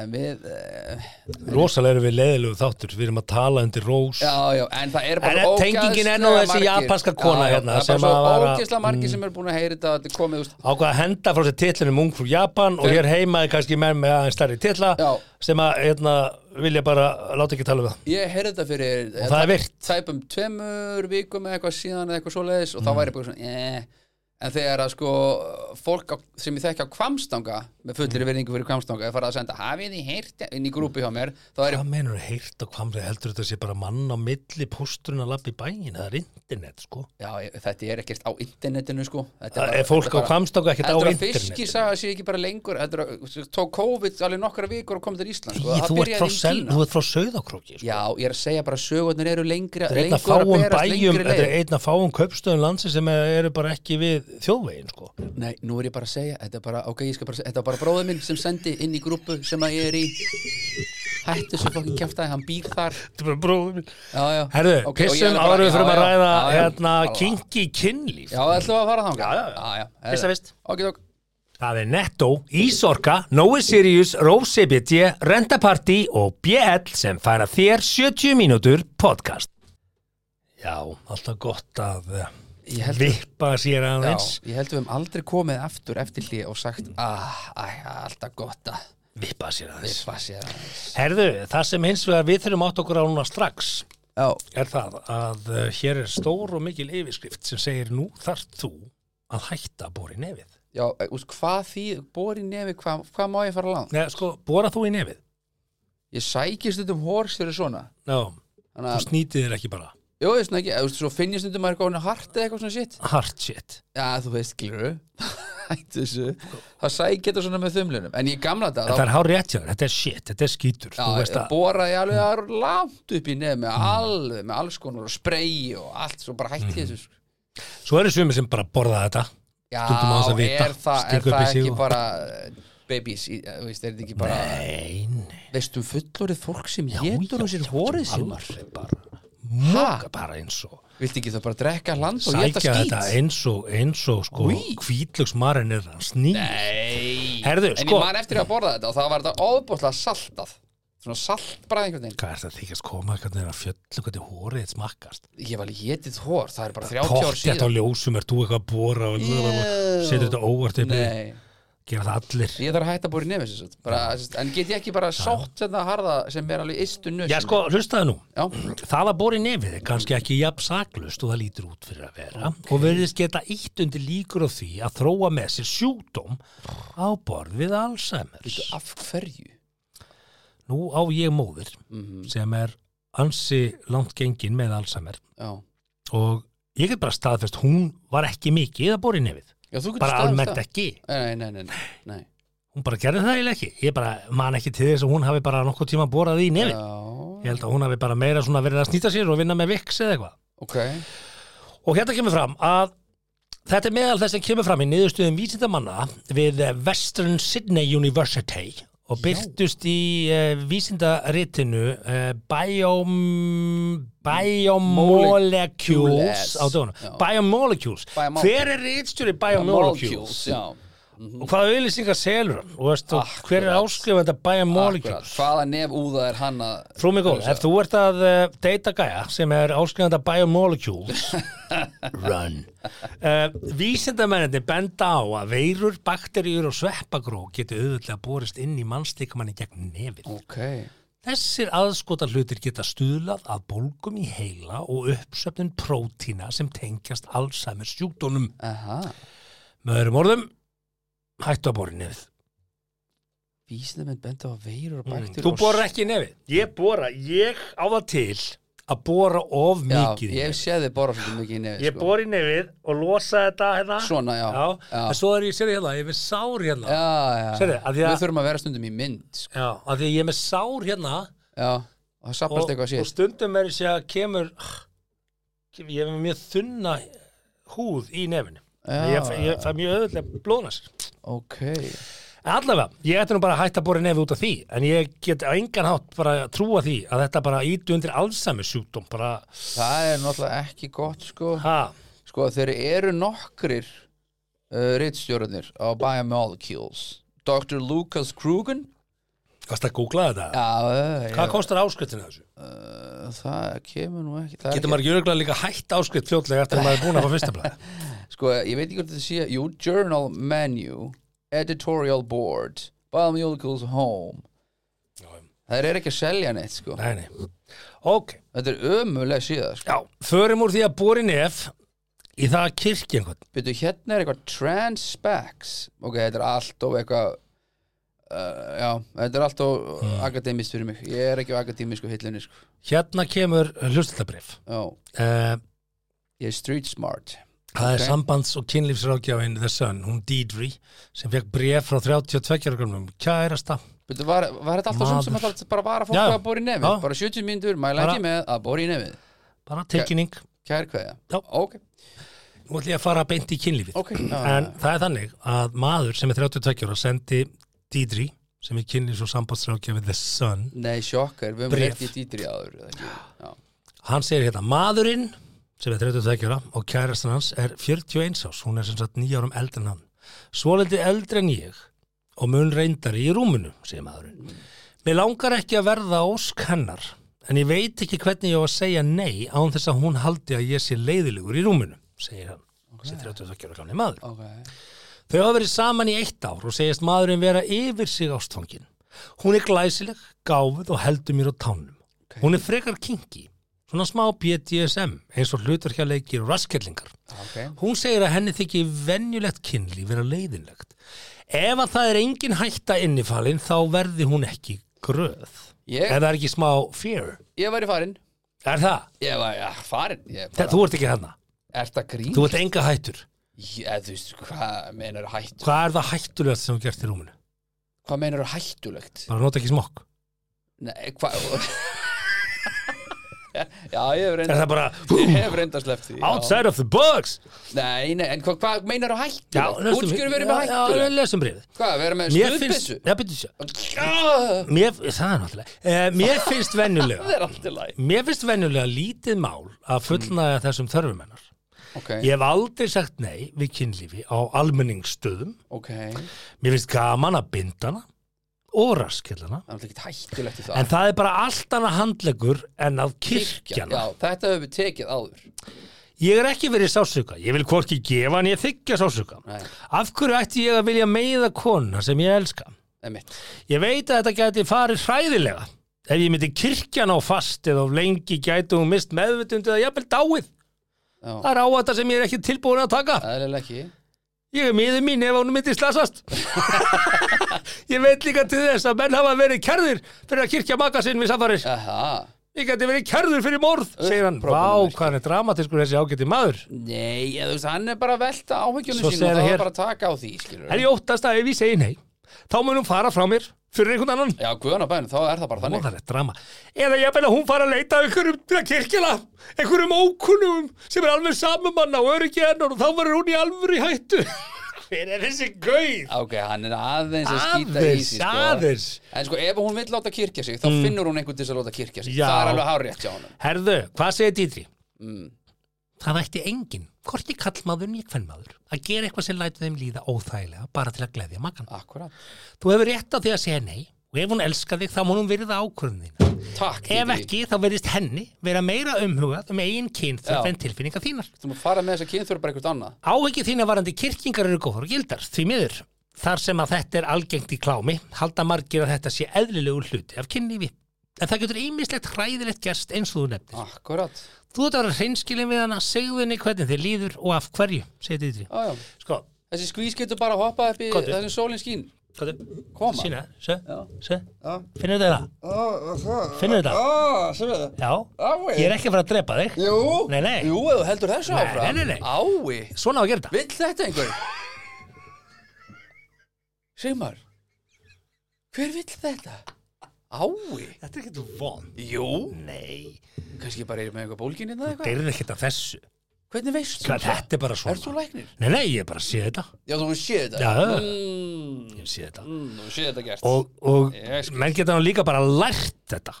Speaker 1: en við e,
Speaker 2: rosalega erum við leiðilegu þáttur við erum að tala undir rós
Speaker 1: já, já, en það er
Speaker 2: En
Speaker 1: bara
Speaker 2: er tengingin enn á
Speaker 1: ógeðslega
Speaker 2: þessi
Speaker 1: margir-
Speaker 2: japanska kona
Speaker 1: já, já,
Speaker 2: hérna
Speaker 1: það
Speaker 2: sem
Speaker 1: er bara
Speaker 2: að Mm. var
Speaker 1: svo
Speaker 2: að-
Speaker 1: ógeðslega margir sem eru búin að heyra þetta þetta er komið, úst,
Speaker 2: ákvað að henda frá sér titlinum ung frú Japan og hér heima er kannski menn með aðeins starri titla
Speaker 1: Já.
Speaker 2: sem að hérna, vilja bara láta ekki tala um það
Speaker 1: ég heyrði þetta fyrir
Speaker 2: og það er virt
Speaker 1: tæpum tveimur vikum eða eitthvað síðan eða eitthvað svoleiðis
Speaker 2: Mm.
Speaker 1: og þá væri ég bara svona eh. en þegar að sko fólk á, sem ég þekki á kvamstanga
Speaker 2: Mm.
Speaker 1: með fullir virðingu fyrir kvamstanga er farið að senda hafið í heyrti inn í grúpi hjá mér þá er ég
Speaker 2: Hvað menur heyrt og hvað heldur þetta sé bara mann á milli pústurinn að lappa í bæin það er internet sko
Speaker 1: já, ég- þetta er ekkert á internetinu sko
Speaker 2: Það
Speaker 1: þetta bara-
Speaker 2: Ah, er fólk
Speaker 1: þetta
Speaker 2: á
Speaker 1: bara-
Speaker 2: kvamstanga ekkert á
Speaker 1: Heldur að sko.
Speaker 2: internet
Speaker 1: fiskisaga sé ekki bara lengur heldur að þú tók COVID alveg nokkra vikur og kom til Ísland sko.
Speaker 2: Því,
Speaker 1: Það
Speaker 2: þú, ert
Speaker 1: byrjaði
Speaker 2: frá
Speaker 1: í
Speaker 2: sel,
Speaker 1: Kína.
Speaker 2: þú ert frá söðakróki sko.
Speaker 1: Já, ég er að segja bara að sögurnar eru lengri
Speaker 2: þetta er einn að
Speaker 1: lengur
Speaker 2: fáum
Speaker 1: berast
Speaker 2: bæjum
Speaker 1: lengri
Speaker 2: þetta
Speaker 1: leið.
Speaker 2: er einn að fáum kaupstöðum landsi sem eru bara ekki við þjóðvegin sko.
Speaker 1: Nei, nú er ég bara að segja, þetta er bara, ok, ég skal bara segja, þetta er bara bróður minn sem sendi inn í grúpu sem að ég er í Hættu svo fokkin kjaftaði, hann býr þar
Speaker 2: Þetta er bara bróðum minn
Speaker 1: Já, já
Speaker 2: Herðu,
Speaker 1: Ok, og ég
Speaker 2: pissum
Speaker 1: er bara-
Speaker 2: áður við
Speaker 1: já,
Speaker 2: fyrir að
Speaker 1: já,
Speaker 2: ræða
Speaker 1: já, já.
Speaker 2: hérna
Speaker 1: Alla.
Speaker 2: kinky kynlíf
Speaker 1: Já, það ætlum við að fara þangað
Speaker 2: Já, já, já.
Speaker 1: já,
Speaker 2: Fyrsta
Speaker 1: herðu.
Speaker 2: fyrst.
Speaker 1: Ok, ok,
Speaker 2: Það er Netto, Ísorka, Nói Sirius, Rove CBT, Rentaparty og BL sem færa þér 70 mínútur podcast. Já, alltaf gott að eh,
Speaker 1: ég held við
Speaker 2: vippa sér
Speaker 1: Já,
Speaker 2: aðeins.
Speaker 1: ég held við hefum aldrei komið aftur eftir hlið og sagt Ah, æ, alltaf gott að
Speaker 2: Vippa sér aðeins.
Speaker 1: Vippa sér aðeins
Speaker 2: Herðu, það sem hins vegar við þurfum átt okkur á núna strax
Speaker 1: Já,
Speaker 2: er það að eh, hér er stór og mikil yfirskrift sem segir nú þarft þú að hætta að bóra í nefið.
Speaker 1: já, eh, úst, hvað því, bori nefi, hvað, hvað má ég fara langt?
Speaker 2: Nei, sko, bóra þú í nefið?
Speaker 1: Ég sækist þetta um hórs fyrir svona
Speaker 2: Já,
Speaker 1: Þannig
Speaker 2: þú
Speaker 1: að,
Speaker 2: snýtið þér ekki bara.
Speaker 1: jú, ég snakki, þú veist, eh, svo finnist þetta maður eitthvað hart eða eitthvað svona shit
Speaker 2: Hard shit.
Speaker 1: Já, þú veist, glöru *laughs* Hættu þessu Það sækja þetta svona með þumlunum En í gamla dag
Speaker 2: En það
Speaker 1: þá,
Speaker 2: er hár rétt hjá þér, þetta er shit, þetta er skítur
Speaker 1: já,
Speaker 2: Þú veist
Speaker 1: ég
Speaker 2: að, Mm.
Speaker 1: boraði alveg að langt upp í nefn með alveg, með alls konar og spreyi og allt, svo bara hætti þessu sko.
Speaker 2: svo eru sumir sem bara borða þetta
Speaker 1: Já,
Speaker 2: Stundum á þess að vita,
Speaker 1: er það, er
Speaker 2: stinga upp í
Speaker 1: það
Speaker 2: sig
Speaker 1: ekki
Speaker 2: og-
Speaker 1: bara eh, babies, í- eh, þú veist, er þetta ekki bara
Speaker 2: Nein,
Speaker 1: veistum fullorið fólk sem getur á sér hórið sinnar
Speaker 2: Alveg bara, moka bara eins og
Speaker 1: Viltu ekki það bara drekka land og geta
Speaker 2: Sækja þetta
Speaker 1: skýt?
Speaker 2: eins og, eins og sko
Speaker 1: Úí.
Speaker 2: Hvítlöksmarinn er hann sný
Speaker 1: Nei,
Speaker 2: Herðu,
Speaker 1: en
Speaker 2: sko-
Speaker 1: ég man e- eftir að borða þetta og það var þetta óbúslega saltað Svona saltbrað einhvern veginn
Speaker 2: Hvað er þetta þykjast koma, hvernig er að fjöllu hvernig hórið þitt smakkast
Speaker 1: Ég var létið hór, það er bara 30 ár
Speaker 2: Pottjætt á
Speaker 1: síðan
Speaker 2: ljósum er þú eitthvað að bóra og
Speaker 1: Jú.
Speaker 2: setur þetta óvart upp í-
Speaker 1: Nei,
Speaker 2: Gera það allir
Speaker 1: ég þarf að hætta að búið nefis bara, sérst, En get ég ekki bara sótt þetta harða sem er alveg ystu nöss
Speaker 2: Já sko, hlustaðu nú
Speaker 1: Já,
Speaker 2: Það að bóri nefið er kannski ekki jafn saklust og það lítur út fyrir að vera og verðist geta eitt undir líkur á því að þróa með sér sjúkdóm á borð við Alzheimer's.
Speaker 1: Bíddu, af hverju? Mhm,
Speaker 2: Nú á ég móðir sem er ansi langt gengin með Alzheimer
Speaker 1: Já,
Speaker 2: og ég get bara staðfest hún var ekki mikið að bóri nefið.
Speaker 1: Já þú getur
Speaker 2: Bara
Speaker 1: staðist
Speaker 2: almennt
Speaker 1: það.
Speaker 2: ekki.
Speaker 1: Nei, nei, nei, nei, nei.
Speaker 2: Hún bara gerði það eiginlega ekki. Ég bara man ekki til þess að hún hafi bara nokkuð tíma borað í nefið. Ég
Speaker 1: Já,
Speaker 2: held að hún hafi bara meira svona verið að snýta sér og vinna með viks eða eitthvað.
Speaker 1: ok Já,
Speaker 2: Og hérna kemur fram að þetta er meðal þess sem kemur fram í niðurstöðum vísindamanna við Western Sydney University og byrtust í uh, vísindaritinu uh, biom, Biomolecules
Speaker 1: Molecules,
Speaker 2: á dögunum.
Speaker 1: já.
Speaker 2: Biomolecules.
Speaker 1: Biomol-
Speaker 2: Hver er rítstjóri Biomolecules?
Speaker 1: já
Speaker 2: Og hvaða auðlýsingar selur hann? Og veist, og hver er
Speaker 1: Akkurat.
Speaker 2: áskrifandi að
Speaker 1: Akkurat,
Speaker 2: Biomolecules?
Speaker 1: hvaða nef úða er hann að
Speaker 2: Frú mig góð, ef þú ert að uh, deyta gæja sem er áskrifanda biomolecules run uh, vísindamenninni benda á að veirur, bakteríur og sveppagró geti auðvitað borist inn í mannslíkamanni gegn nefið.
Speaker 1: Ok,
Speaker 2: Þessir aðskota hlutir geta stuðlað að bólgum í heila og uppsöfnun prótína sem tengjast Alzheimer sjúkdónum.
Speaker 1: aha
Speaker 2: Með öðrum orðum, hættu að bóri nefið.
Speaker 1: Vísindamenn benda á veirur og baktur
Speaker 2: Hmm, Þú borar ekki í nefið? Ég bora, ég á það til að bora of mikið
Speaker 1: Já,
Speaker 2: í
Speaker 1: ég hef
Speaker 2: nefið.
Speaker 1: séð þið bora svolítið mikið í nefið
Speaker 2: Ég bora í nefið og losa þetta hérna
Speaker 1: Svona, já,
Speaker 2: Já,
Speaker 1: já.
Speaker 2: en svo er ég, sérðu hérna, ég er með sár hérna
Speaker 1: Já, já
Speaker 2: Sérðu, að því að-
Speaker 1: Við þurfum að vera stundum í mynd sko.
Speaker 2: Já, af því að ég er með sár hérna
Speaker 1: Já, og það
Speaker 2: og,
Speaker 1: sapnast eitthvað
Speaker 2: og
Speaker 1: síðan
Speaker 2: stundum er þessi að kemur ég er með mjög þunna húð í nefinu
Speaker 1: Já.
Speaker 2: ég, fæ- ég fæ mjög öðvöldlega blóðnast
Speaker 1: Ok
Speaker 2: En allavega, ég ætti nú bara að hætta að bóra nefið út af því en ég get á engan hátt bara að trúa því að þetta bara ítu undir allsami sjúkdóm bara,
Speaker 1: Það er náttúrulega ekki gott sko
Speaker 2: ha,
Speaker 1: Sko þeir eru nokkrir uh, rittstjórnir á Biomolecules Dr. Lucas Krugan
Speaker 2: varst að googla þetta?
Speaker 1: Já, uh,
Speaker 2: Hvað kostar áskriftinu þessu?
Speaker 1: uh, það kemur nú ekki það er
Speaker 2: Getur maður ekki örgulega líka hætt áskrift fljótlega eftir að maður er búin að fá fyrsta blæð
Speaker 1: Sko, ég veit ekki hvort þetta sé Jú, Journal Menu Editorial Board Biomolecules Home Það er ekki að selja neitt, sko
Speaker 2: Nei, nei Ok,
Speaker 1: Þetta er ömuleg síða, sko
Speaker 2: já, förum úr því að bóri nef í það að kirkja einhvern
Speaker 1: Byrju, hérna er eitthvað trans specs Ok, þetta er allt og eitthvað uh, Já, þetta er allt og
Speaker 2: Mm.
Speaker 1: akademist fyrir mig Ég er ekki á akademisku hillunni, sko
Speaker 2: Hérna kemur hlustabrif
Speaker 1: Já,
Speaker 2: uh,
Speaker 1: ég er street smart
Speaker 2: Það
Speaker 1: Ok.
Speaker 2: er sambands- og kynlífsrákjáin The Sun, hún Deidre sem fekk bref frá 32 grunum kærasta
Speaker 1: Byrju, var, var þetta alltaf svona sem
Speaker 2: Maður.
Speaker 1: þetta bara var að fólk
Speaker 2: Já.
Speaker 1: að bóra í nefið
Speaker 2: Já.
Speaker 1: Bara 70 mínútur, mæla
Speaker 2: Bara-
Speaker 1: ekki með að bóra í nefið
Speaker 2: bara tilkynning
Speaker 1: Kær kveðja
Speaker 2: Já.
Speaker 1: Ok,
Speaker 2: Nú ætlum ég að fara beint í kynlífið
Speaker 1: ok já,
Speaker 2: En það er þannig að maður sem er 32 ára sendi Deidre sem er kynlífs- og sambandsrákjáin The Sun
Speaker 1: Nei, sjokkar, við höfum
Speaker 2: Bréf.
Speaker 1: ekki dýtri áður eða ekki? Já.
Speaker 2: Hann segir hérna, maðurinn sem er 32 ára og kærastan hans er 41 ás, hún er sem sagt 9 árum eldri en hann. Svolítið eldri en ég og mun reyndari í rúminu, segir maðurinn. Mér langar ekki að verða ósk hennar, en ég veit ekki hvernig ég á að segja nei án þess að hún haldi að ég sé leiðilegur í rúminu, segir hann. Okay. 32 ára gamli maður.
Speaker 1: Ok,
Speaker 2: Þau hafa verið saman í eitt ár og segist maðurinn vera yfir sig ástfangin. Hún er glæsileg, gáfuð og heldur mér á tánum. Hún er frekar kinki, svona smá BDSM eins og hlutarkjaleikir og rasketlingar.
Speaker 1: ok
Speaker 2: Hún segir að henni þykir venjulegt kynlíf vera leiðinlegt. Ef að það er engin hætta innifalinn þá verði hún ekki gröð.
Speaker 1: Ég-
Speaker 2: Er það ekki smá fear?
Speaker 1: Ég væri farinn
Speaker 2: Er það?
Speaker 1: Ég var, já, farinn Ég
Speaker 2: Bara...
Speaker 1: bara,
Speaker 2: Þú ert ekki hérna.
Speaker 1: ert að grín?
Speaker 2: Þú ert enga hættur.
Speaker 1: Ég, þú veist, hvað meinar hættu?
Speaker 2: Hvað er það hættulegast sem hún gert í rúminu?
Speaker 1: Hvað meinar hættulegt?
Speaker 2: Bara nota ekki smokk.
Speaker 1: Nei, hvað *laughs* Já, ég hef
Speaker 2: Er
Speaker 1: reynda
Speaker 2: það bara
Speaker 1: Ég hef reynda sleppt því já.
Speaker 2: outside of the box?
Speaker 1: Nei, nei, en hvað, hvað meinar
Speaker 2: Já,
Speaker 1: hættulegt? Útskjöru verið með
Speaker 2: Já, Já,
Speaker 1: hættulegt
Speaker 2: lesum brífið.
Speaker 1: Hvað, verið með
Speaker 2: Mér finnst,
Speaker 1: stuðbissu?
Speaker 2: já, byrju sér.
Speaker 1: Ah,
Speaker 2: Mér, það er náttúrulega. Eh,
Speaker 1: *laughs*
Speaker 2: mér finnst
Speaker 1: Það
Speaker 2: venjulega,
Speaker 1: er allt í læg
Speaker 2: mér finnst venjulega lítið mál
Speaker 1: Mm.
Speaker 2: að fullnaða þessum þörfum hennar.
Speaker 1: Ok,
Speaker 2: Ég hef aldrei sagt nei við kynlífi á almenningsstöðum.
Speaker 1: ok Það
Speaker 2: Mér finnst gaman að binda hana og raskillana.
Speaker 1: er ekki hættulegt í
Speaker 2: En
Speaker 1: það
Speaker 2: það er bara allt annað handlegur en að kirkjana.
Speaker 1: Já, þetta höfum við tekið áður
Speaker 2: Ég er ekki verið sásuka. Ég vil hvorki gefa en ég þykja sásuka.
Speaker 1: Nei.
Speaker 2: Af hverju ætti ég að vilja meiða kona sem ég elska?
Speaker 1: Einmitt.
Speaker 2: Ég veit að þetta gæti farið hræðilega. Ef ég myndi kirkjan á fast eða of lengi gæti hún mist meðvitund eða jafnvel dáið.
Speaker 1: Já.
Speaker 2: Það er á þetta sem ég er ekki tilbúin að taka.
Speaker 1: Æðilega ekki
Speaker 2: Ég er miður mín ef hún myndi slasast. *laughs* ég veit líka til þess að menn hafa verið kærðir fyrir að kirkja maka sinn við safarir.
Speaker 1: Aha.
Speaker 2: Ég gæti verið kærður fyrir morð, segir hann. Vá,
Speaker 1: Upphrópunarmerki.
Speaker 2: hvað hann er dramatiskur þessi ágæti maður.
Speaker 1: Nei, ég, þú veist, hann er bara að velta áhyggjunum
Speaker 2: Svo
Speaker 1: sín og
Speaker 2: segir
Speaker 1: það
Speaker 2: hér-
Speaker 1: er bara að taka á því, skilur
Speaker 2: En ég óttast að ef ég segi nei, þá mun hún fara frá mér fyrir einhvern annan.
Speaker 1: Já, guðan á bænum, þá er það bara þannig
Speaker 2: Móðalegt drama. Eða ég að hún fara að leita að einhverjum til að kirkjala, einhverjum ókunnum sem er alveg samumanna og öryggi hennar og þá verður hún í alvöru í hættu. *laughs* Hver er þessi gauð?
Speaker 1: Ok, hann er aðeins að skýta í
Speaker 2: Aðeins,
Speaker 1: sig, sko
Speaker 2: aðeins. Mm.
Speaker 1: En sko, ef hún vill láta kirkja sig, þá finnur hún einhvern til þess að láta kirkja sig
Speaker 2: Já.
Speaker 1: Það er alveg hárétt hjá hann
Speaker 2: Herðu, hvað segir Dítri?
Speaker 1: Mm.
Speaker 2: Það ætti enginn, hvorki kallmaður nýja kvennmaður, að gera eitthvað sem lætur þeim líða óþægilega bara til að gleðja makan.
Speaker 1: Akkurat
Speaker 2: Þú hefur rétt á því að segja nei og ef hún elskar þig þá má hún virða ákvörðun þín.
Speaker 1: Takk,
Speaker 2: Ef
Speaker 1: Didri.
Speaker 2: ekki þá verðist henni vera meira umhugað um eigin kynþörf
Speaker 1: Já.
Speaker 2: en tilfinningar þínar.
Speaker 1: Þú maður fara með þess að kynþur bara eitthvað annað
Speaker 2: Áhyggjur þína varandi kirkingar eru góðar og gildar, því miður. Þar sem að þetta er algengt í klámi, halda margir að þetta sé eðlilegur hluti af kynlífi. En það getur ýmislegt hræðilegt gerst eins og þú nefnir.
Speaker 1: Akkurat
Speaker 2: Þú ert að vera hreinskilin við hana, segðu henni hvernig þið líður og af hverju, segir Dítri.
Speaker 1: Já, já
Speaker 2: Sko,
Speaker 1: Þessi skvís getur bara að hoppa upp í
Speaker 2: Gott.
Speaker 1: þessum sólinn skín
Speaker 2: Kóttu,
Speaker 1: Koma.
Speaker 2: sína, sjö,
Speaker 1: Já.
Speaker 2: sjö
Speaker 1: Já.
Speaker 2: Finnur þetta? Finnur þetta?
Speaker 1: Ah, sem við það
Speaker 2: Já,
Speaker 1: Ávei.
Speaker 2: ég er ekki að fara að drepa þig
Speaker 1: Jú,
Speaker 2: Nei, nei.
Speaker 1: jú, ef þú heldur þessu
Speaker 2: Nei,
Speaker 1: áfram
Speaker 2: nei, nei, nei.
Speaker 1: Ái,
Speaker 2: Svona á að gera þetta
Speaker 1: vill þetta einhver? Sigmar Hver vill þetta? Ái,
Speaker 2: Þetta er ekkert von
Speaker 1: jú
Speaker 2: Nei,
Speaker 1: Kannski bara erum við eitthvað bólginni eða
Speaker 2: það
Speaker 1: eitthvað
Speaker 2: er ekkert af þessu
Speaker 1: Hvernig veist
Speaker 2: Hvað, Þetta er bara
Speaker 1: Er þú
Speaker 2: svona
Speaker 1: læknir?
Speaker 2: Nei, nei, ég er bara að sé þetta
Speaker 1: Já, þú sé þetta
Speaker 2: Já.
Speaker 1: mm,
Speaker 2: Ég sé þetta
Speaker 1: mm, Þú sé þetta gert
Speaker 2: Og, og
Speaker 1: Ég skil.
Speaker 2: menn geta hann líka bara lært þetta
Speaker 1: Hvað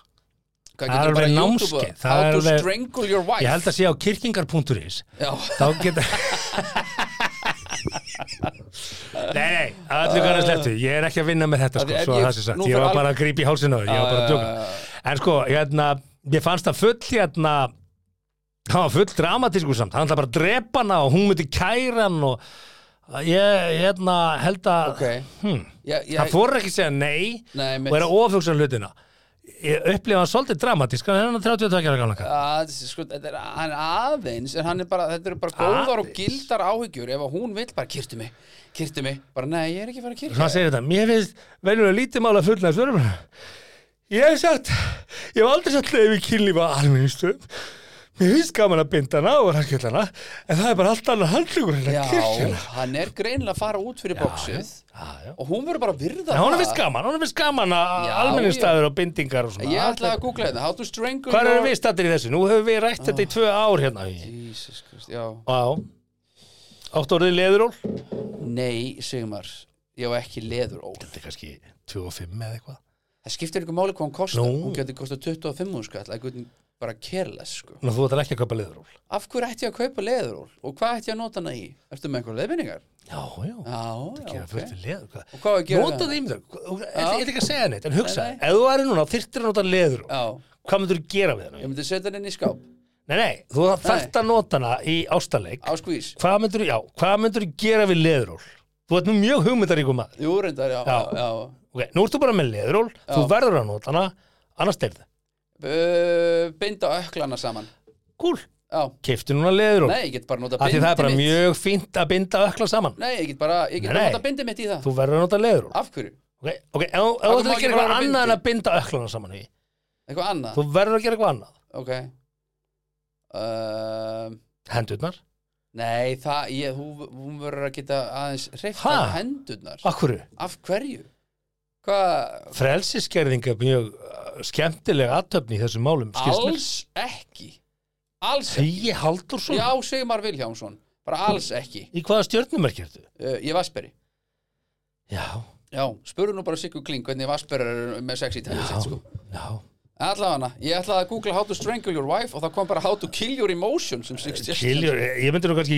Speaker 2: það er
Speaker 1: getur bara
Speaker 2: alveg
Speaker 1: YouTube-
Speaker 2: námskeið, það
Speaker 1: How
Speaker 2: er
Speaker 1: to
Speaker 2: alveg-
Speaker 1: strangle your wife
Speaker 2: Ég held að sé á kirkingar.is
Speaker 1: Já,
Speaker 2: Þá
Speaker 1: *laughs*
Speaker 2: geta Nei, nei, allir hvað er slettu Ég er ekki að vinna með þetta
Speaker 1: Af
Speaker 2: sko,
Speaker 1: því ef
Speaker 2: svo
Speaker 1: ég-
Speaker 2: að það sé sagt
Speaker 1: nú
Speaker 2: Ég
Speaker 1: fer
Speaker 2: var
Speaker 1: al-
Speaker 2: bara að grípa í hálsinn á þau, ég var bara að
Speaker 1: Já, já,
Speaker 2: djóka En sko, hérna, ég fannst það full hérna Það var full dramatísku samt, hann ætla bara að drepa hana og hún myndi kæra hann og ég, hérna, held að
Speaker 1: ok
Speaker 2: hmm,
Speaker 1: Ég- ég-
Speaker 2: Hann fór ekki að segja nei
Speaker 1: Nei, mitt
Speaker 2: og er að ofugsa hlutina Ég upplifa hann svolítið dramatísk hann er hann 32 ára gamla kall.
Speaker 1: að, sko, þetta er, hann er aðeins en hann er bara, þetta eru bara góðar og
Speaker 2: Aðeins.
Speaker 1: gildar áhyggjur ef að hún vill bara kyrtu mig kyrtu mig, bara nei, ég er ekki að fara að
Speaker 2: Svo
Speaker 1: kyrta
Speaker 2: hann segir þetta, mér finnst venjulega lítið mála fullnæst ég hef sagt ég hef aldrei sagt leið við kynlífa almenningstöðum mér finnst gaman að binda hana og raskjöld hana en það er bara allt annar handlugur en að
Speaker 1: já,
Speaker 2: kirkjana
Speaker 1: hann er greinilega að fara út fyrir bóksið
Speaker 2: já, já.
Speaker 1: og hún verður bara að virða
Speaker 2: En hún er
Speaker 1: það.
Speaker 2: finnst gaman, hún er finnst gaman að
Speaker 1: Já,
Speaker 2: almenningstæður og bindingar og
Speaker 1: ég
Speaker 2: svona
Speaker 1: ætlaði að googla þetta, how to strangle
Speaker 2: Hvað eru
Speaker 1: your-
Speaker 2: við stættir í þessu? Nú hefur við rætt þetta í tvö ár hérna
Speaker 1: Jesus Christ, já,
Speaker 2: Já Átt orðið leðuról Þetta
Speaker 1: nei, Sigmar ég á ekki leður ó
Speaker 2: er kannski 25 eða eitthvað
Speaker 1: það skiptir ykkur máli hvað hún kostar
Speaker 2: Nú.
Speaker 1: hún getur kostað 25 hún skall like, bara kerles sko
Speaker 2: Ná, þú ætlar ekki að kaupa leðuról
Speaker 1: af hverju ætti ég að kaupa leðuról og hvað ætti ég að nota hana í ertu með einhverja leðvinningar?
Speaker 2: Já, já,
Speaker 1: já, já,
Speaker 2: gera
Speaker 1: ok
Speaker 2: fullt við leður
Speaker 1: og hvað á að gera
Speaker 2: Nota
Speaker 1: það?
Speaker 2: það ímyndar, ég ætla ekki að segja neitt En hugsa,
Speaker 1: Nei,
Speaker 2: ef þú væri núna, þyrftir að nota leður
Speaker 1: já,
Speaker 2: Hvað myndur þú gera við hana?
Speaker 1: ég myndi setja hann inn í skáp
Speaker 2: Nei, nei, þú þarft að nota hana í ástaleik
Speaker 1: á skvís,
Speaker 2: Hvað myndur þú, já, hvað myndur þú gera við leðuról? Þú ert nú mjög hugmyndaríkum maður
Speaker 1: jú reyndar, já, já.
Speaker 2: Já.
Speaker 1: já.
Speaker 2: Ok, nú ert þú bara með leðuról, þú verður að nota hana Annars deyrðu,
Speaker 1: Uh, binda öklana saman
Speaker 2: kúl,
Speaker 1: já,
Speaker 2: keiftu núna leðuról
Speaker 1: nei, ég get bara nota
Speaker 2: Af því
Speaker 1: bindi
Speaker 2: það er bara
Speaker 1: mitt
Speaker 2: mjög fínt að binda ökla saman
Speaker 1: nei, ég get bara, ég
Speaker 2: Nei,
Speaker 1: get bara
Speaker 2: nei.
Speaker 1: nota bindi mitt í það
Speaker 2: Þú verður að nota leðuról
Speaker 1: af hverju,
Speaker 2: Ok, ok, ef ef þú
Speaker 1: Af hverju
Speaker 2: ætlar
Speaker 1: má
Speaker 2: að
Speaker 1: ekki
Speaker 2: gera
Speaker 1: bara
Speaker 2: eitthvað
Speaker 1: vera
Speaker 2: annað en
Speaker 1: bindi?
Speaker 2: að binda öklana saman í
Speaker 1: eitthvað annað
Speaker 2: Þú verður að gera eitthvað annað
Speaker 1: ok uh,
Speaker 2: Hendurnar,
Speaker 1: nei, það, ég, hún, hún verður að geta aðeins hreifta
Speaker 2: Ha?
Speaker 1: hendurnar
Speaker 2: akkurru
Speaker 1: af hverju hvað,
Speaker 2: Frelsiskerðing er mjög uh, skemmtileg aðtöfni í þessum málum skilst mér.
Speaker 1: alls ekki alls ekki
Speaker 2: Hugi Haldursson,
Speaker 1: Já, Sigmar Vilhjámsson, bara alls ekki
Speaker 2: í hvaða stjörnumerki ertu?
Speaker 1: uh, Ég vasperi
Speaker 2: Já,
Speaker 1: Já, spurðu nú bara Siggu Kling hvernig vasperar eru með sex í tæmi
Speaker 2: já,
Speaker 1: sitt sko
Speaker 2: já
Speaker 1: Allafana, ég ætlaði að googla how to strangle your wife og það kom bara how to kill your emotion sem 60
Speaker 2: Kiljur, eh, ég myndi nú kannski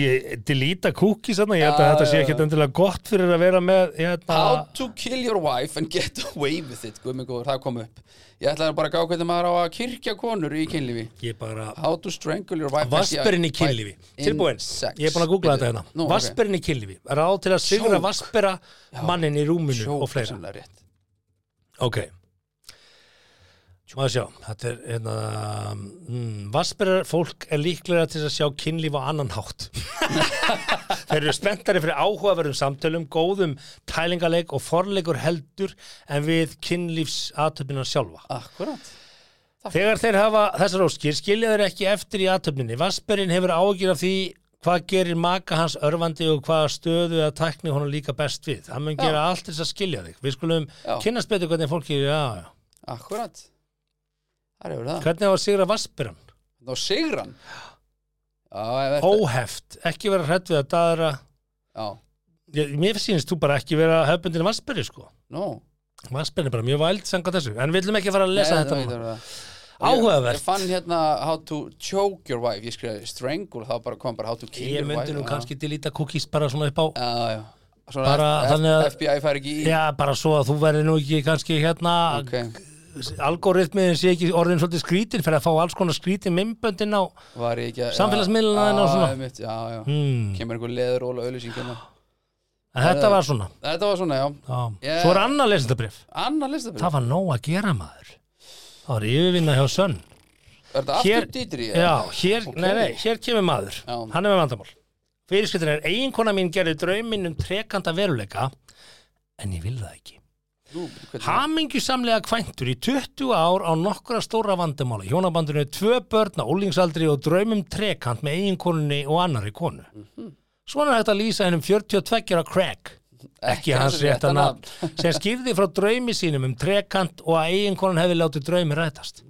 Speaker 2: delita kúki sann ég held að
Speaker 1: Já,
Speaker 2: þetta sé
Speaker 1: já,
Speaker 2: ekkert endilega gott fyrir að vera með hérna,
Speaker 1: How to kill your wife and get away with it Guð mig góður, það kom upp Ég ætlaði bara að gá hvernig maður á að kirkja konur í kynlífi
Speaker 2: ég bara
Speaker 1: How to strangle your wife
Speaker 2: Vasperinn í kynlífi, tilbúin Ég er búin að googla þetta hérna
Speaker 1: Nú, ok.
Speaker 2: Vasperinn í kynlífi, ráð til að sigra
Speaker 1: Sjók.
Speaker 2: vaspera mannin í rúminu og
Speaker 1: Sjók,
Speaker 2: fleira
Speaker 1: sannlega rétt
Speaker 2: Ok Maður sjá, þetta er hérna, mm, Vassberar fólk er líklega til að sjá kynlíf á annan hátt *laughs* Þeir eru spenntari fyrir áhugaverðum samtölum, góðum tælingaleik og forleikur heldur en við kynlífsatöfnina sjálfa
Speaker 1: Akkurat
Speaker 2: Þegar þeir hafa þessar óskir skilja þeir ekki eftir í atöfninni Vassberinn hefur ágjur af því hvað gerir maka hans örvandi og hvaða stöðu eða tækni honum líka best við Hann mun
Speaker 1: Já.
Speaker 2: gera allt til þess að skilja þig Við skulum
Speaker 1: Já.
Speaker 2: kynnast betur hvernig fólki Já, já
Speaker 1: Akkurat Það er yfir það
Speaker 2: Hvernig á að sigra Vaspirann?
Speaker 1: Ná sigran Já, ef þetta
Speaker 2: Óheft, ekki vera hrætt við að daðra
Speaker 1: Já,
Speaker 2: Ég- Mér sýnist þú bara ekki vera hefbundin Vaspiri sko
Speaker 1: nú
Speaker 2: Vaspirann er bara mjög væld sanga þessu En við viljum ekki fara að lesa
Speaker 1: Nei,
Speaker 2: þetta
Speaker 1: það-
Speaker 2: núna
Speaker 1: það- það- Ég
Speaker 2: Áhugavert
Speaker 1: fann hérna how to choke your wife Ég skrifaði strangle, þá bara kom bara how to kill
Speaker 2: Ég
Speaker 1: your wife
Speaker 2: myndi nú
Speaker 1: Já.
Speaker 2: kannski delita cookies bara svona upp á
Speaker 1: Já, já Svona
Speaker 2: Bara
Speaker 1: F- F-
Speaker 2: þannig að-
Speaker 1: FBI fær ekki í
Speaker 2: Já, bara svo að þú verði nú ekki kannski hérna
Speaker 1: Ok,
Speaker 2: Algoritmiðin sé ekki orðin svolítið skrítin fyrir að fá alls konar skrítin minnböndin á
Speaker 1: var ég ekki að
Speaker 2: Samfélagsmiðlana
Speaker 1: Já,
Speaker 2: þína og svona.
Speaker 1: Já, einmitt, já, já
Speaker 2: hmm.
Speaker 1: Kemur einhver leðuról og auðlýsing hérna
Speaker 2: En þetta var svona
Speaker 1: Þetta var svona, já
Speaker 2: Já.
Speaker 1: Ég-
Speaker 2: Svo er annað lesendabrif
Speaker 1: Anna listabrið
Speaker 2: Það var nóg að gera maður Það var yfirvinna hjá Sönn
Speaker 1: Er þetta
Speaker 2: Hér-
Speaker 1: aftur dýtri?
Speaker 2: Já, hér,
Speaker 1: Ok.
Speaker 2: nei, nei, hér kemur maður
Speaker 1: Já.
Speaker 2: Hann er með vandamál Fyrirskiptin er eiginkona mín gerði drauminn um trekanda veruleika en ég vil það ekki
Speaker 1: Jú, hvernig-
Speaker 2: Hamingjusamlega kvæntur í 20 ár á nokkra stóra vandamála. Hjónabandinu er tvö börn á ólingsaldri og draumum trekant með eiginkonunni og annari konu. Svona er hægt að lýsa hennum 42 ára Craig, Mhm. *laughs* ekki hans rétta nafn, sem skýrði frá draumi sínum um trekant og að eiginkonan hefði látið draumi rætast.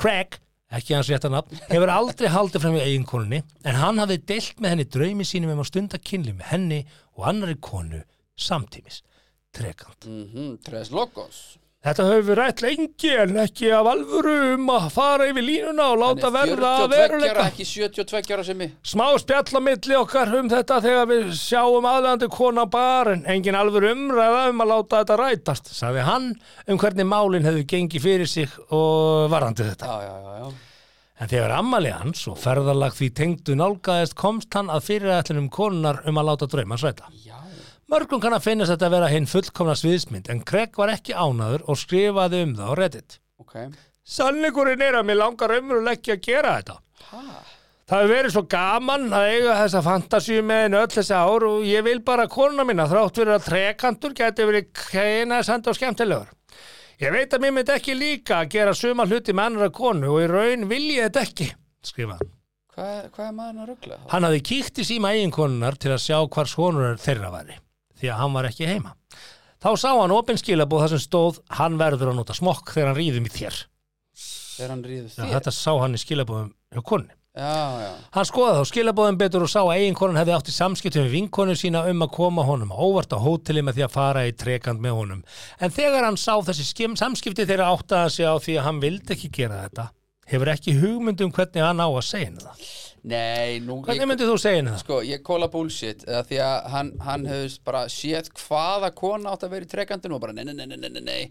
Speaker 2: Craig, ekki hans rétta nafn, hefur aldrei haldið fram í eiginkonunni, en hann hafði deilt með henni draumi sínum um að stunda kynli með henni og annari konu samtímis. Trekant.
Speaker 1: Mhm, Tres Locos
Speaker 2: Þetta höfum við rætt lengi en ekki af alvöru um að fara yfir línuna og
Speaker 1: Hann
Speaker 2: láta
Speaker 1: er
Speaker 2: verða að
Speaker 1: 42 ára,
Speaker 2: veruleika.
Speaker 1: ekki 72 ára sem ég
Speaker 2: Smá spjall á milli okkar um þetta þegar við sjáum aðlegandi kona bar en engin alvöru umræða um að láta þetta rætast, sagði hann um hvernig málin hefðu gengið fyrir sig og varandi þetta.
Speaker 1: Já, já, já, já
Speaker 2: En þegar ammali hans og ferðarlag því tengdu nálgæðist komst hann að fyrirætlunum konunar um að láta drauma sræta.
Speaker 1: Já,
Speaker 2: Mörgum kann að finnast þetta að vera hinn fullkomna sviðsmynd en Craig var ekki ánaður og skrifaði um það á Reddit.
Speaker 1: ok
Speaker 2: Sannleikurinn er að mér langar ömrulega ekki að gera þetta.
Speaker 1: Ha,
Speaker 2: Það hefur verið svo gaman að eiga þessa fantasíu með henni öll þessi ár og ég vil bara að konuna mína þrátt fyrir að trekantur geti verið kæna senda og skemmtilegur. Ég veit að mér myndi ekki líka að gera suma hluti með annara konu og í raun vil ég þetta ekki, skrifa hann.
Speaker 1: hvað hva er maðurinn að ruggla?
Speaker 2: Hann hafði kíkt í síma eiginkonunnar til að sjá hvar sonur þeirra væri, því að hann var ekki heima. Þá sá hann opinskilabóð þar sem stóð, hann verður að nota smokk þegar hann rýðum í þér.
Speaker 1: Þegar hann ríður
Speaker 2: Já,
Speaker 1: þér
Speaker 2: þetta sá hann í skilabóðum hjá konunni.
Speaker 1: Já, já,
Speaker 2: Hann skoðaði þá skilabóðum betur og sá að eiginkonan hefði átt í samskiptum við vinkonu sína um að koma honum á óvart á hóteli með því að fara í trekant með honum. En þegar hann sá þessi skim samskipti þeirra áttaði sig á því að hann vildi ekki gera þetta, hefur ekki hugmynd um hvernig hann á að segja henni það.
Speaker 1: nei, nú ég-
Speaker 2: Hvernig myndi þú segja henni það?
Speaker 1: Sko, ég kóla bullshit eða því að hann, hann hefur bara séð hvaða kona átt að vera í trekandinu og bara nei, nei, nei, nei, nei, nei, nei, nei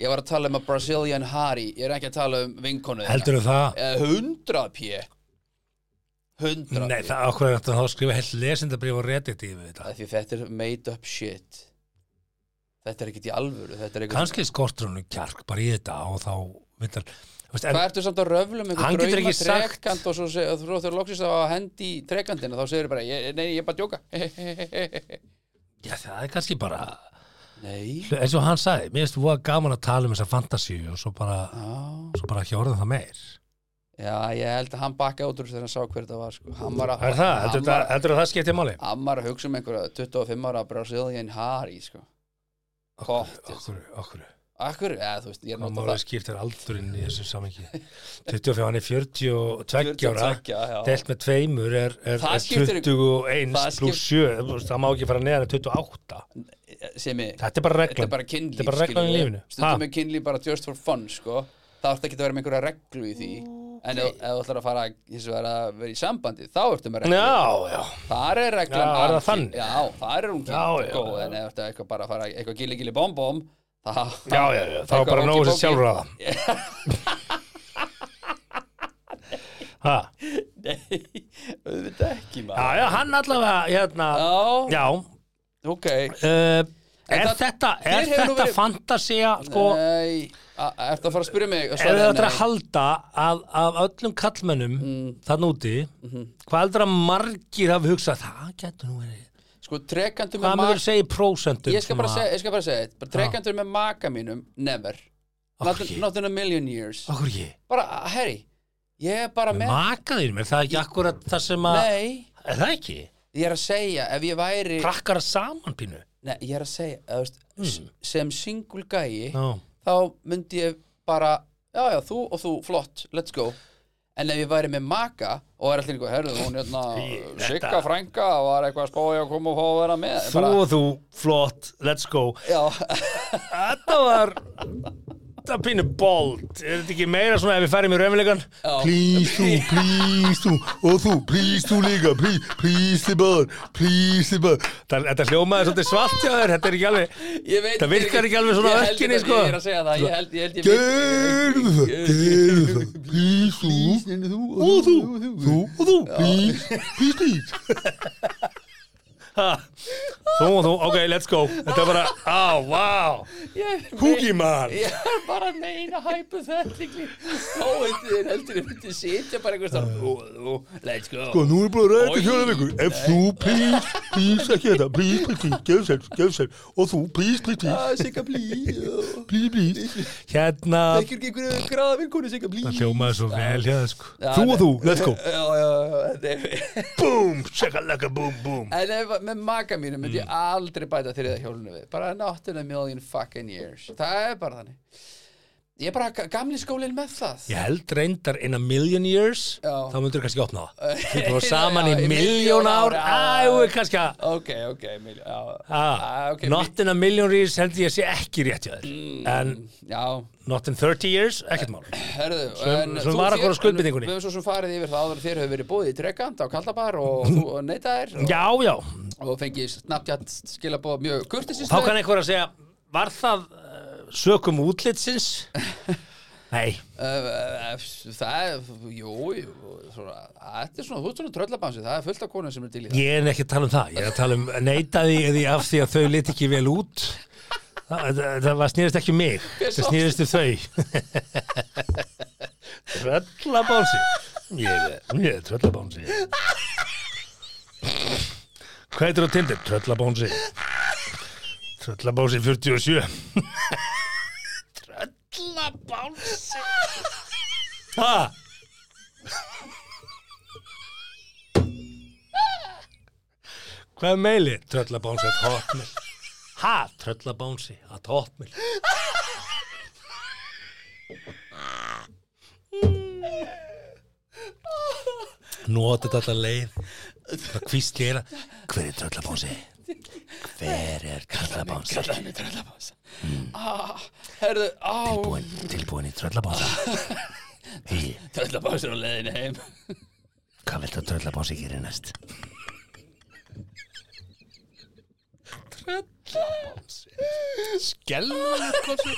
Speaker 1: ég var að tala um að Brazilian Harry ég er ekki að tala um vinkonu þína.
Speaker 2: Heldur það?
Speaker 1: Eh, 100 pjö 100
Speaker 2: Nei,
Speaker 1: pjö
Speaker 2: það okkur er þetta að skrifa heilt lesendabrif og reddit yfir þetta.
Speaker 1: Af því þetta er made up shit þetta er ekkert í alvöru þetta er ekkert
Speaker 2: Kanski skortur hann kjark bara í þetta og þá vindar... Veist, en,
Speaker 1: Hvað ertu samt að röflum einhver
Speaker 2: Hann getur
Speaker 1: drauma
Speaker 2: ekki sagt-
Speaker 1: trekant og svo seg- og þú- þegar loksist á að hendi í trekandina þá segir bara, ég, nei, ég er bara að djóka
Speaker 2: já, það er kannski bara...
Speaker 1: *laughs* Nei
Speaker 2: eins og hann sagði, mér finnst voða gaman að tala um þessa fantasíu og svo bara,
Speaker 1: Já
Speaker 2: svo bara ekki orðið það meir
Speaker 1: Já, ég held að hann bakkaði út úr þessu þegar hann sá hver þetta var sko. hann var að,
Speaker 2: Er það?
Speaker 1: hann
Speaker 2: Heldur
Speaker 1: var,
Speaker 2: það, heldur það skiptið máli?
Speaker 1: hann var að hugsa um einhverja 25 ára Brazilian Harry sko. Kott
Speaker 2: Okkur, okkur
Speaker 1: Akkur, eða þú veist, ég er
Speaker 2: Hann
Speaker 1: nota
Speaker 2: máli skiptir aldurinn í þessu samingi 25, hann er 42 ára
Speaker 1: 42, já.
Speaker 2: Delt með tveimur er, er,
Speaker 1: Það
Speaker 2: er
Speaker 1: skiptir-
Speaker 2: 21
Speaker 1: það skip-
Speaker 2: pluss 7 þú veist, Það má ekki fara neðan en 28
Speaker 1: það sem ég,
Speaker 2: Þetta er bara
Speaker 1: þetta
Speaker 2: reglan
Speaker 1: er bara kynlíf
Speaker 2: Þetta er bara reglan í
Speaker 1: skilurðu.
Speaker 2: lífinu
Speaker 1: Stundum
Speaker 2: Ha?
Speaker 1: er kynlíf bara just for fun sko. Það ætti ekki að vera með einhverja reglu í því En ef ef þú ætlar að fara hins vegar að vera í sambandi, þá ertu með reglu
Speaker 2: Já, já
Speaker 1: Þar er reglan
Speaker 2: Já, er það
Speaker 1: algild.
Speaker 2: þannig?
Speaker 1: Já, þar er hún kynnt
Speaker 2: Já,
Speaker 1: og
Speaker 2: já,
Speaker 1: góð
Speaker 2: já.
Speaker 1: En ef þetta er eitthvað bara að fara eitthvað gili gili bom bom það,
Speaker 2: Já, já, já, það var
Speaker 1: Eitthvað
Speaker 2: bara nógu
Speaker 1: ókei,
Speaker 2: sér
Speaker 1: bókei.
Speaker 2: sjálfur
Speaker 1: *laughs*
Speaker 2: að það Ha?
Speaker 1: Nei, auðvitað ekki maður
Speaker 2: Já, já, hann allavega, hérna,
Speaker 1: Já,
Speaker 2: já,
Speaker 1: ok
Speaker 2: uh, er
Speaker 1: það-
Speaker 2: þetta,
Speaker 1: þér
Speaker 2: er
Speaker 1: hefur nú
Speaker 2: þetta
Speaker 1: verið- Eh,
Speaker 2: fantasía, sko,
Speaker 1: Nei, a- ertu að fara að spyrja mig
Speaker 2: er
Speaker 1: Svaraði
Speaker 2: þetta
Speaker 1: nei.
Speaker 2: að halda að, af öllum kallmönnum mm. þann úti,
Speaker 1: Mhm.
Speaker 2: hvað heldur að margir hafi hugsað, það getur nú verið,
Speaker 1: Sko, trekandur
Speaker 2: hvað
Speaker 1: með
Speaker 2: maður
Speaker 1: maka
Speaker 2: segja í prósentum?
Speaker 1: Ég skal bara segja, ég skal bara segja þetta Trekandur með maka mínum, never not,
Speaker 2: Ok.
Speaker 1: not in a million years
Speaker 2: Okkur ekki,
Speaker 1: Bara, herri, ég er bara með
Speaker 2: makaðinum, er það ekki akkurat það sem að,
Speaker 1: Nei,
Speaker 2: er það ekki,
Speaker 1: ég er að segja Ef ég væri,
Speaker 2: krakkar saman pínu?
Speaker 1: nei, ég er að segja eða, veist,
Speaker 2: Hmm.
Speaker 1: mm. Sem single gæi
Speaker 2: Já,
Speaker 1: Þá myndi ég bara Já, já, þú og þú, flott, let's go En ef ég væri með maka og er allir einhver, herðu, hún
Speaker 2: Þetta-
Speaker 1: hérna Sigga frænga var eitthvað að spája að koma og fá að vera með
Speaker 2: þú og þú, flott, let's go.
Speaker 1: Já, *laughs*
Speaker 2: Þetta var Þetta var pínu bold Er þetta ekki meira svona ef við færum í raunveruleikan Please þú, please þú Og þú, please þú líka Please, please þið bör, please þið bör Þetta þetta hljómaði svolítið svalt hjá þér Þetta er ekki alveg
Speaker 1: ég veit
Speaker 2: Það virkar ekki alveg svona
Speaker 1: Ég held
Speaker 2: ökkinni,
Speaker 1: þetta-
Speaker 2: sko.
Speaker 1: Ég er að segja það, ég held, ég held ég
Speaker 2: Gerðu það, gerðu það Please þú Og þú, þú og þú Please, please, please Ha. Þú og þú, ok, let's go Þetta er bara, á, vá Húgi maður
Speaker 1: *laughs* Ég er bara að meina hæpu þetta Þá heldur þér heldur þér myndi sitja bara einhvers þar Ú,
Speaker 2: Sko-
Speaker 1: ú, Let's go
Speaker 2: Og nú er bara að
Speaker 1: Oj.
Speaker 2: reyta fjóra vikur Ef þú, please, please, ekki þetta Please, please, please, gefðu sér, gefðu sér Og þú, please, please, please,
Speaker 1: Ah, Sigga blí Þekkir
Speaker 2: please, please Hérna
Speaker 1: ekki einhverju gráða vinkonu Sigga blí
Speaker 2: Það hljómaði svo vel hjá það sko
Speaker 1: Já,
Speaker 2: Þú og
Speaker 1: nei.
Speaker 2: þú, let's go
Speaker 1: Já, já, já, þetta er-
Speaker 2: Boom, shakalaka, boom, boom
Speaker 1: En ef, með maka mínu myndi ég
Speaker 2: Mm.
Speaker 1: aldrei bæta þriða hjólinu við Bara not in a million fucking years Það er bara þannig Ég er bara ga- gamli skólinn með það
Speaker 2: Ég held reyndar in a million years
Speaker 1: Já.
Speaker 2: Þá myndur kannski opna
Speaker 1: *laughs*
Speaker 2: það
Speaker 1: Eh,
Speaker 2: Þú var saman
Speaker 1: já,
Speaker 2: í
Speaker 1: í milljón
Speaker 2: miljón ár
Speaker 1: ár,
Speaker 2: Æ,
Speaker 1: já.
Speaker 2: kannski að
Speaker 1: Ok, ok, miljón Já,
Speaker 2: Ah,
Speaker 1: Ah, ok, Mm.
Speaker 2: not in a million years held ég að sé ekki rétt hjá þér en
Speaker 1: mi- Já,
Speaker 2: not in 30 years, ekkert mál
Speaker 1: Herðu,
Speaker 2: Sem-
Speaker 1: en
Speaker 2: sem
Speaker 1: þú-
Speaker 2: var að
Speaker 1: þér-
Speaker 2: hvora skuldbindingunni.
Speaker 1: en Við höfum svo sem farið yfir það áður þér hefur verið búið í trekant á Kaldabar
Speaker 2: *laughs*
Speaker 1: og þú neytaðir og,
Speaker 2: já, já,
Speaker 1: og fengið snabbt skilabóð mjög kurtisist
Speaker 2: þá kann einhver að segja var það uh, sökum útlitsins
Speaker 1: *laughs*
Speaker 2: nei,
Speaker 1: Eh, Það er, jú, jú svona, Þetta er svona, þú ert svona tröllabansi það er fullt af konum sem er til í það
Speaker 2: ég er ekki að tala um það ég er að tala um neitaði því af því að þau lit ekki vel út það, það, það var snýrist ekki um mig það
Speaker 1: sá-
Speaker 2: snýrist um þau tröllabánsi ég er, ég er tröllabánsi hvað heitir á Tinder? tröllabánsi tröllabánsi 47 tröllabánsi ha? Hvað er meili? Tröllabánsi at hotmail Ha? Tröllabánsi at hotmail Nota þetta alla leið Það kvíst gera Hver er tröllabánsi? Hver er tröllabánsi?
Speaker 1: Það er með tröllabansi
Speaker 2: Mm.
Speaker 1: ah, Herðu, á,
Speaker 2: Tilbúin, tilbúin í tröllabánsi Hei,
Speaker 1: tröllabansi á leiðinu heim
Speaker 2: hvað vilt að tröllabánsi gera næst? Tröllabánsi Skelvulegt kossi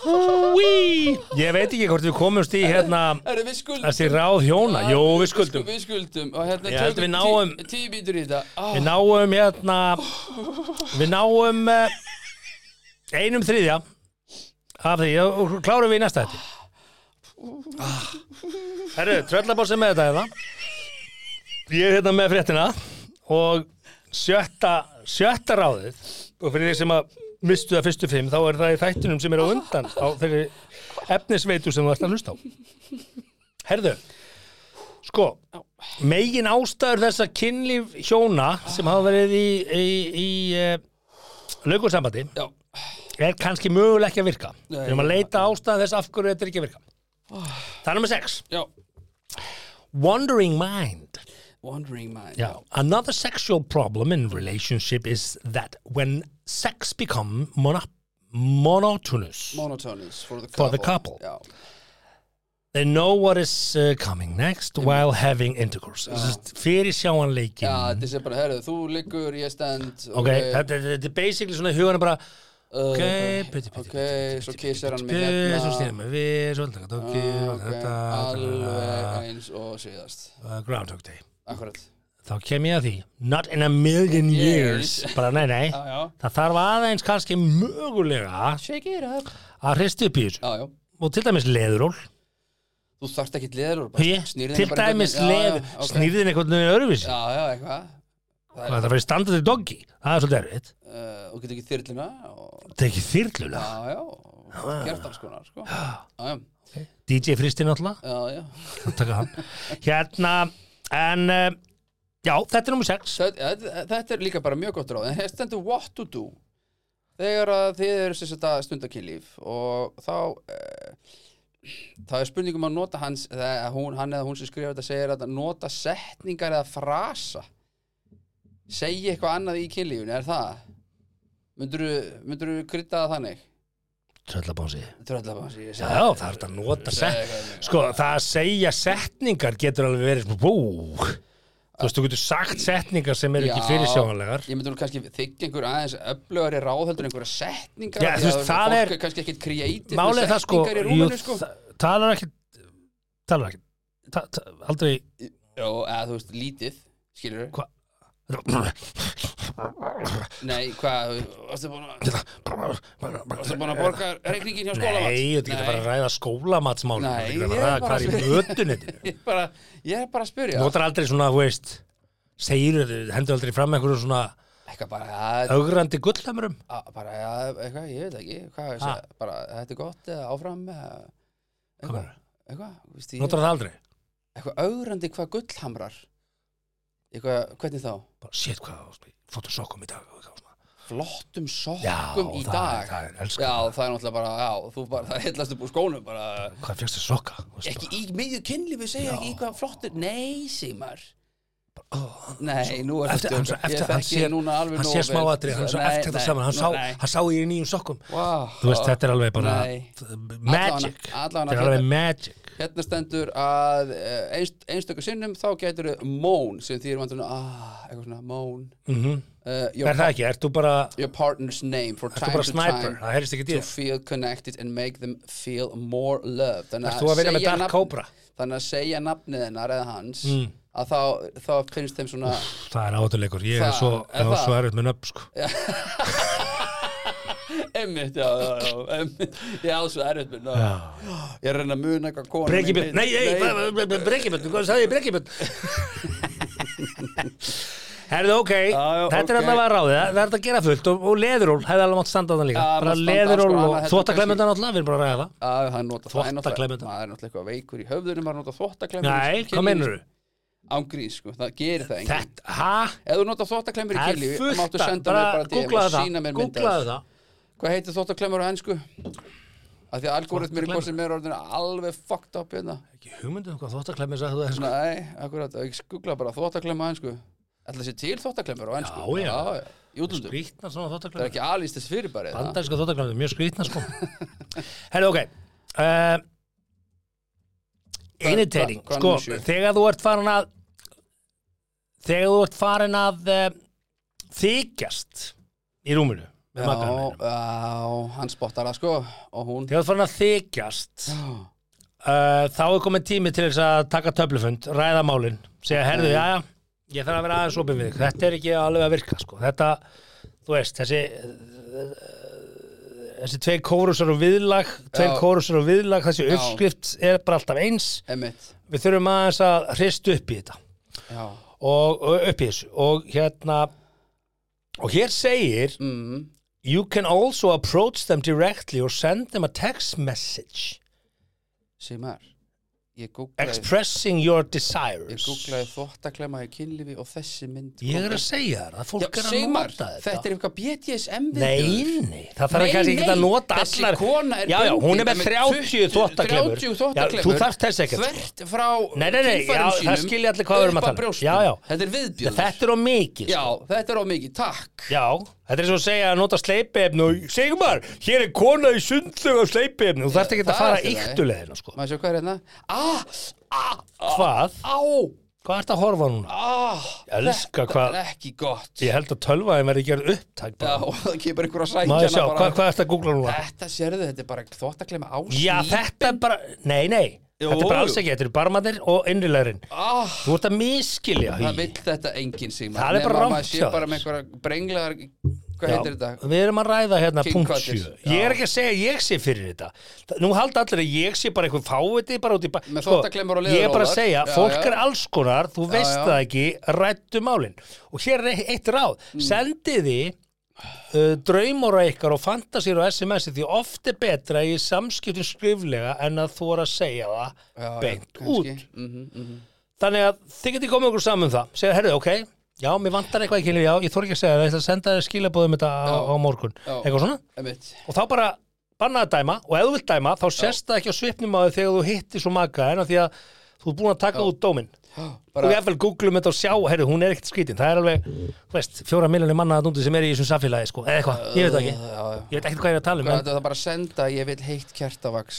Speaker 2: Húi Ég veit ekki hvort við komumst í hérna
Speaker 1: Herðu, við skuldum
Speaker 2: Þessi ráð hjóna, jú við skuldum
Speaker 1: Við skuldum og hérna
Speaker 2: Ég held
Speaker 1: tökum
Speaker 2: við náum-
Speaker 1: tí- Tíu bítur í þetta ah,
Speaker 2: Við náum hérna Við náum eh, Einum þriðja Af því, og og klárum við í næsta þetta Herru, tröllabósi með þetta hérna Ég er hérna með fréttina Og sjötta Sjötta ráðið Og fyrir því sem að mistu það fyrstu fimm Þá er það í þættunum sem er á undan Á þeirri efnisveitu sem þú ert að hlusta á Herðu Sko, megin ástæður þess að kynlíf hjóna sem hafa verið í, í, í uh, lögursambandi
Speaker 1: Já,
Speaker 2: er kannski mögulega ekki að virka.
Speaker 1: Nei.
Speaker 2: Við erum að leita ástæður þess af hverju þetta er ekki að virka. Það er nummer 6.
Speaker 1: já
Speaker 2: Wandering mind.
Speaker 1: Wandering mind
Speaker 2: Yeah. Another sexual problem in relationship is that when sex become mono monotonous,
Speaker 1: Monotonous for the couple.
Speaker 2: For the couple.
Speaker 1: Já,
Speaker 2: they know what is uh, coming next
Speaker 1: Mm.
Speaker 2: while having intercourse. This is Fyrir sjáanleikin.
Speaker 1: já Ah, þetta sé bara, herðu, þú liggur, ég stend
Speaker 2: ok, þetta er- þetta er basically svona hugan er bara ok, piti, piti,
Speaker 1: ok, svo kyssir hann mig
Speaker 2: piti
Speaker 1: hérna. Ah,
Speaker 2: svo stýrðum við við, svo alltaf ok,
Speaker 1: Ok,
Speaker 2: þetta
Speaker 1: alveg eins og síðast
Speaker 2: uh, Groundhog Day
Speaker 1: Akkurat
Speaker 2: þá kem ég að því, not in a million years bara nei, nei
Speaker 1: Já, já
Speaker 2: það þarf aðeins kannski mögulega
Speaker 1: Shake it up
Speaker 2: að hristi upp í þessu
Speaker 1: Já, já
Speaker 2: og til dæmis leðuról
Speaker 1: Þú þarft ekki leður og
Speaker 2: Hugi,
Speaker 1: snýrð henni
Speaker 2: til
Speaker 1: bara
Speaker 2: dæmis
Speaker 1: hvernig- Já,
Speaker 2: leður
Speaker 1: já, ok.
Speaker 2: snýrðin eitthvað nöðu öruvísi
Speaker 1: Já, já, eitthvað
Speaker 2: það þarf að vera standandi doggi, það er svolítið erfitt
Speaker 1: Uh, og getur ekki þyrluna og,
Speaker 2: tekið þyrlulega,
Speaker 1: Já, já, og gert alls konar sko. Já, já,
Speaker 2: DJ fristi náttúrulega
Speaker 1: já, já
Speaker 2: taka hann hérna, en uh, já, þetta er nummer 6
Speaker 1: Það- Þetta þetta er líka bara mjög gott ráð en hér stendur what to do þegar að þið eru sem sagt að stunda kynlíf og þá eh, það er spurningum að nota hans, það, hún, hann eða hún sem skrifa þetta segir að nota setningar eða frasa segja eitthvað annað í kynlífun er það? myndur þú krydda það þannig?
Speaker 2: tröllabánsi
Speaker 1: Tröllabans,
Speaker 2: já,
Speaker 1: ég segi
Speaker 2: það er þetta að nota set sko, það að segja setningar getur alveg verið bú þú veist, þú getur sagt setningar sem eru ekki
Speaker 1: Já,
Speaker 2: fyrirsjáanlegar
Speaker 1: Ég myndi nú kannski þykja einhver aðeins öflögari ráðhöldur einhverja setningar
Speaker 2: Já,
Speaker 1: því
Speaker 2: þú veist,
Speaker 1: að
Speaker 2: það
Speaker 1: fólk
Speaker 2: er-
Speaker 1: kannski ekkit kreatív
Speaker 2: málið er það sko,
Speaker 1: í rúminu,
Speaker 2: jú,
Speaker 1: sko.
Speaker 2: það- talar ekki talar ekki ta, ta, aldrei
Speaker 1: Jó, eða þú veist, lítið, skilur
Speaker 2: hva,
Speaker 1: Nei, hvað, þú- varstu búin að Varstu búin að
Speaker 2: Nei,
Speaker 1: borga reikningin hjá skólamat?
Speaker 2: þetta getur bara að ræða skólamatsmál
Speaker 1: Nei,
Speaker 2: Þetta getur
Speaker 1: ég
Speaker 2: bara
Speaker 1: er
Speaker 2: að ræða
Speaker 1: bara
Speaker 2: hvað er í
Speaker 1: að
Speaker 2: mötunni
Speaker 1: *laughs* Ég er bara, ég er bara að spyrja
Speaker 2: Notar aldrei svona, þú veist segir, hendur aldrei fram einhverjum svona
Speaker 1: Eitthvað bara, að,
Speaker 2: augrandi gullamurum
Speaker 1: að, bara, að, eitthvað, ég veit ekki Hvað,
Speaker 2: Ha?
Speaker 1: ah. bara, þetta er gott eða áfram eða
Speaker 2: Hvað
Speaker 1: Eitthvað,
Speaker 2: meinarðu?
Speaker 1: eitthvað, veist ég
Speaker 2: Notar það aldrei
Speaker 1: Eitthvað augrandi hvað gullhamrar Eitthvað, hvernig þá?
Speaker 2: bara, Shit, hvað, fóttu sokkum í dag og eitthvað svona.
Speaker 1: Flottum
Speaker 2: Já,
Speaker 1: sokkum í
Speaker 2: það-
Speaker 1: dag
Speaker 2: það er- elsku
Speaker 1: Já,
Speaker 2: það.
Speaker 1: það er náttúrulega bara, já, þú bara, *laughs* það heillast upp úr skónum bara
Speaker 2: Hvað fjöxtu sokka? Þú veist,
Speaker 1: ekki í miðju kynlífi segja ekki í hvað flottur nei Sigmar nei, nú er
Speaker 2: eftir, hann, eftir, hann sér,
Speaker 1: núna alveg
Speaker 2: hann sér smáatri hann sá eftir þetta saman, hann sá, hann sá í nýjum sokkum
Speaker 1: wow,
Speaker 2: þú veist, þetta er alveg bara
Speaker 1: Nei.
Speaker 2: magic,
Speaker 1: Allavega- allavega
Speaker 2: þetta er
Speaker 1: hérna-
Speaker 2: alveg magic
Speaker 1: hérna stendur að eh, einst, einstöku sinnum þá getur þau món sem því er vantur ah, eitthvað svona món
Speaker 2: mm
Speaker 1: uh,
Speaker 2: er
Speaker 1: your,
Speaker 2: það ekki, ert þú bara
Speaker 1: your partner's name for
Speaker 2: ert þú
Speaker 1: time
Speaker 2: bara
Speaker 1: to
Speaker 2: sniper,
Speaker 1: time
Speaker 2: það heyrist ekki
Speaker 1: to
Speaker 2: dýr
Speaker 1: feel connected and make them feel more loved þannig
Speaker 2: Ert þú að vinna með
Speaker 1: segja
Speaker 2: Dark
Speaker 1: nafn-
Speaker 2: Cobra?
Speaker 1: þannig að segja nafnið hennar eða hans
Speaker 2: Mm.
Speaker 1: að þá, þá finnst þeim *laughs* svona
Speaker 2: það er átuleikur, ég er
Speaker 1: Það-
Speaker 2: svo
Speaker 1: er
Speaker 2: ég er
Speaker 1: það?
Speaker 2: svo erfitt með nöfn sko.
Speaker 1: Emmitt, já, já, *laughs* já, emmitt Ég á svo erfitt minn
Speaker 2: Já.
Speaker 1: Ég er að reyna að muna eitthvað konu
Speaker 2: Brekkibjörn, nei,
Speaker 1: nei,
Speaker 2: nei, Brekkibjörn hvað sagði ég Brekkibjörn Herðu, ok,
Speaker 1: já,
Speaker 2: þetta er
Speaker 1: ok.
Speaker 2: alltaf að ráðið, það það er þetta að gera fullt og, og leðuról, hefði alveg mátt standa á þann líka,
Speaker 1: Já,
Speaker 2: bara
Speaker 1: mátt standa,
Speaker 2: leðuról
Speaker 1: sko, annað
Speaker 2: og
Speaker 1: heldur
Speaker 2: þvóttaklemmundan alltaf, við erum bara að ræða það.
Speaker 1: Að hann nota það er náttúrulega-
Speaker 2: Þvottaklemmundan.
Speaker 1: Maður er náttúrulega eitthvað veikur í höfðunum Maður nota þvottaklemur
Speaker 2: Nei, hvað meinur þú?
Speaker 1: Ángrís, sko, það gerir það enginn
Speaker 2: Þetta, hæ?
Speaker 1: Ef þú nota þvottaklemur í
Speaker 2: Það
Speaker 1: kynlífi
Speaker 2: er
Speaker 1: þá
Speaker 2: fullt
Speaker 1: Máttu
Speaker 2: að,
Speaker 1: senda
Speaker 2: bara
Speaker 1: mér bara DM og
Speaker 2: googlaðu
Speaker 1: sýna
Speaker 2: það,
Speaker 1: mér mynd af
Speaker 2: googlaðu
Speaker 1: þessu.
Speaker 2: það
Speaker 1: Hvað heitir þvottaklemur á hensku? Af því að algoritmir er hvað sem er orðin alveg fucked up hérna
Speaker 2: Ekki hugmyndum hvað þvóttaklemmi sagði það sko.
Speaker 1: Nei, akkurat, ég skugla bara þvottaklemur á hensku Ætla sér til þvottaklemur á hensku
Speaker 2: Já, já.
Speaker 1: Í útlundum
Speaker 2: Skrýtna svona
Speaker 1: Það er
Speaker 2: þvóttaklemmi
Speaker 1: ekki alýst þess fyrirbærið það?
Speaker 2: Bandaríska þvóttaklemmi, mjög skrýtna sko *laughs* Herra, ok uh, Einitering,
Speaker 1: hvað- hvað
Speaker 2: sko
Speaker 1: er númer sjö?
Speaker 2: Þegar þú ert farin að Þegar þú ert farin að uh, Þykjast Í rúminu með
Speaker 1: Já,
Speaker 2: makanum þínum.
Speaker 1: já, hann spottar það sko og hún
Speaker 2: Þegar þú ert farin að þykjast uh, þá er komin tími til þess að taka töflufund, ræða málin segja, herðu, já, já, ég þarf að vera aðeins opið við þig. þetta er ekki alveg að virka sko. þetta, þú veist, þessi eh, þessi tvei kórusar og viðlag tveir
Speaker 1: Já.
Speaker 2: kórusar og viðlag, þessi
Speaker 1: Já.
Speaker 2: uppskrift er bara alltaf eins,
Speaker 1: Emmitt,
Speaker 2: við þurfum aðeins að hristu upp í þetta
Speaker 1: já
Speaker 2: og, og upp í þessu og hérna og hér segir
Speaker 1: mm,
Speaker 2: you can also approach them directly or send them a text message
Speaker 1: Simar, ég googlaði
Speaker 2: expressing your
Speaker 1: ég
Speaker 2: desires
Speaker 1: googlaði þvottaklemma í kynlífi og þessi mynd
Speaker 2: Ég er að
Speaker 1: kom
Speaker 2: segja þér að
Speaker 1: upp.
Speaker 2: fólk
Speaker 1: Já,
Speaker 2: er að
Speaker 1: Sigmar,
Speaker 2: nota þetta.
Speaker 1: þetta er eitthvað BDSM
Speaker 2: Nei, nei, það þarf kannski ekki að nota
Speaker 1: þessi
Speaker 2: allar
Speaker 1: kona er
Speaker 2: Já, já, hún er
Speaker 1: bundin
Speaker 2: með 30 þvóttaklefur
Speaker 1: 30
Speaker 2: Já,
Speaker 1: þvottaklemur
Speaker 2: Þú þarfst þess ekkert sko.
Speaker 1: Þvert frá
Speaker 2: Nei, nei, nei, já,
Speaker 1: kynfærum
Speaker 2: það
Speaker 1: sínum
Speaker 2: skilja allir hvað við erum að
Speaker 1: upp að
Speaker 2: tala um.
Speaker 1: brjóstum.
Speaker 2: Já, já.
Speaker 1: Þetta er viðbjöður
Speaker 2: Þetta er á mikið
Speaker 1: Já,
Speaker 2: sko.
Speaker 1: þetta er á mikið, takk
Speaker 2: Já, þetta er svo að segja að nota sleipiefni og Sigmar, hér er kona í sundlug á sleipiefni Þú þarfst ekki
Speaker 1: Það
Speaker 2: að
Speaker 1: er
Speaker 2: fara
Speaker 1: allt í lagi.
Speaker 2: yktulegina sko.
Speaker 1: Maður séu hvað er hérna Ah, ah,
Speaker 2: Hvað?
Speaker 1: á,
Speaker 2: Hvað ert að horfa á núna?
Speaker 1: ah
Speaker 2: Elska
Speaker 1: Þetta
Speaker 2: hvað-
Speaker 1: er ekki gott
Speaker 2: Ég held að tölvaðin verði gerð upptæk
Speaker 1: Já, *laughs*
Speaker 2: bara.
Speaker 1: og það kemur einhver að sækja
Speaker 2: Maður
Speaker 1: hana
Speaker 2: sjá,
Speaker 1: bara
Speaker 2: hvað, hvað ert að googla núna?
Speaker 1: Þetta sérðu, þetta er bara þvottaklemma á
Speaker 2: Já, þetta er bara, nei, nei
Speaker 1: Jú.
Speaker 2: Þetta er bara alls ekki, þetta er barmaðir og innrilegurinn
Speaker 1: ah,
Speaker 2: Þú ert að miskilja
Speaker 1: Það vill þetta enginn Sigmar
Speaker 2: Það er bara
Speaker 1: Nema
Speaker 2: rangt
Speaker 1: maður sé
Speaker 2: hjá þér.
Speaker 1: bara með einhverja brenglaðar Hvað heitir þetta?
Speaker 2: Við erum að ræða hérna
Speaker 1: King
Speaker 2: punkt
Speaker 1: Cutters,
Speaker 2: 7
Speaker 1: já.
Speaker 2: Ég er ekki að segja að ég sé fyrir þetta Þa- Nú halda allir að ég sé bara eitthvað fáviti bara út í bæ
Speaker 1: Með þvottaklemmur og
Speaker 2: Ég er bara að
Speaker 1: leðurófar.
Speaker 2: segja,
Speaker 1: Já,
Speaker 2: fólk
Speaker 1: já.
Speaker 2: er alls konar Þú veist
Speaker 1: já.
Speaker 2: það ekki, rættu málin Og hér er eitt ráð
Speaker 1: Mm.
Speaker 2: Sendið þið Uh, draumóra ykkar og fantasýr og SMS-i því oft er betra í samskiptum skriflega en að þú er að segja það
Speaker 1: Já,
Speaker 2: beint
Speaker 1: kannski. Mhm,
Speaker 2: út Þannig að þið getið komið okkur saman um það segja, herrðu, ok, já, mér vantar eitthvað ekki já, ég þór ekki að segja það, ég ætla að senda þér skilabóðum þetta á, á morgun,
Speaker 1: Já.
Speaker 2: eitthvað svona
Speaker 1: Einmitt. *gasps*
Speaker 2: og þá bara bannaði að dæma og ef þú vilt dæma, þá sérst það ekki á svipnum á þér þegar þú hittir svo maka en af því að þú er búin að taka út dóminn og
Speaker 1: Bara,
Speaker 2: ég vel googlum þetta og sjá, herru, hún er ekkert skrítin það er alveg, þú veist, fjóra miljonir manna að núti sem er í þessum samfélagi, sko, eða eitthvað, ég veit það ekki
Speaker 1: já, já.
Speaker 2: ég veit ekkert hvað ég er að tala um,
Speaker 1: Hvað
Speaker 2: en
Speaker 1: Sko, þetta er bara að senda Ég vil heitt kertavax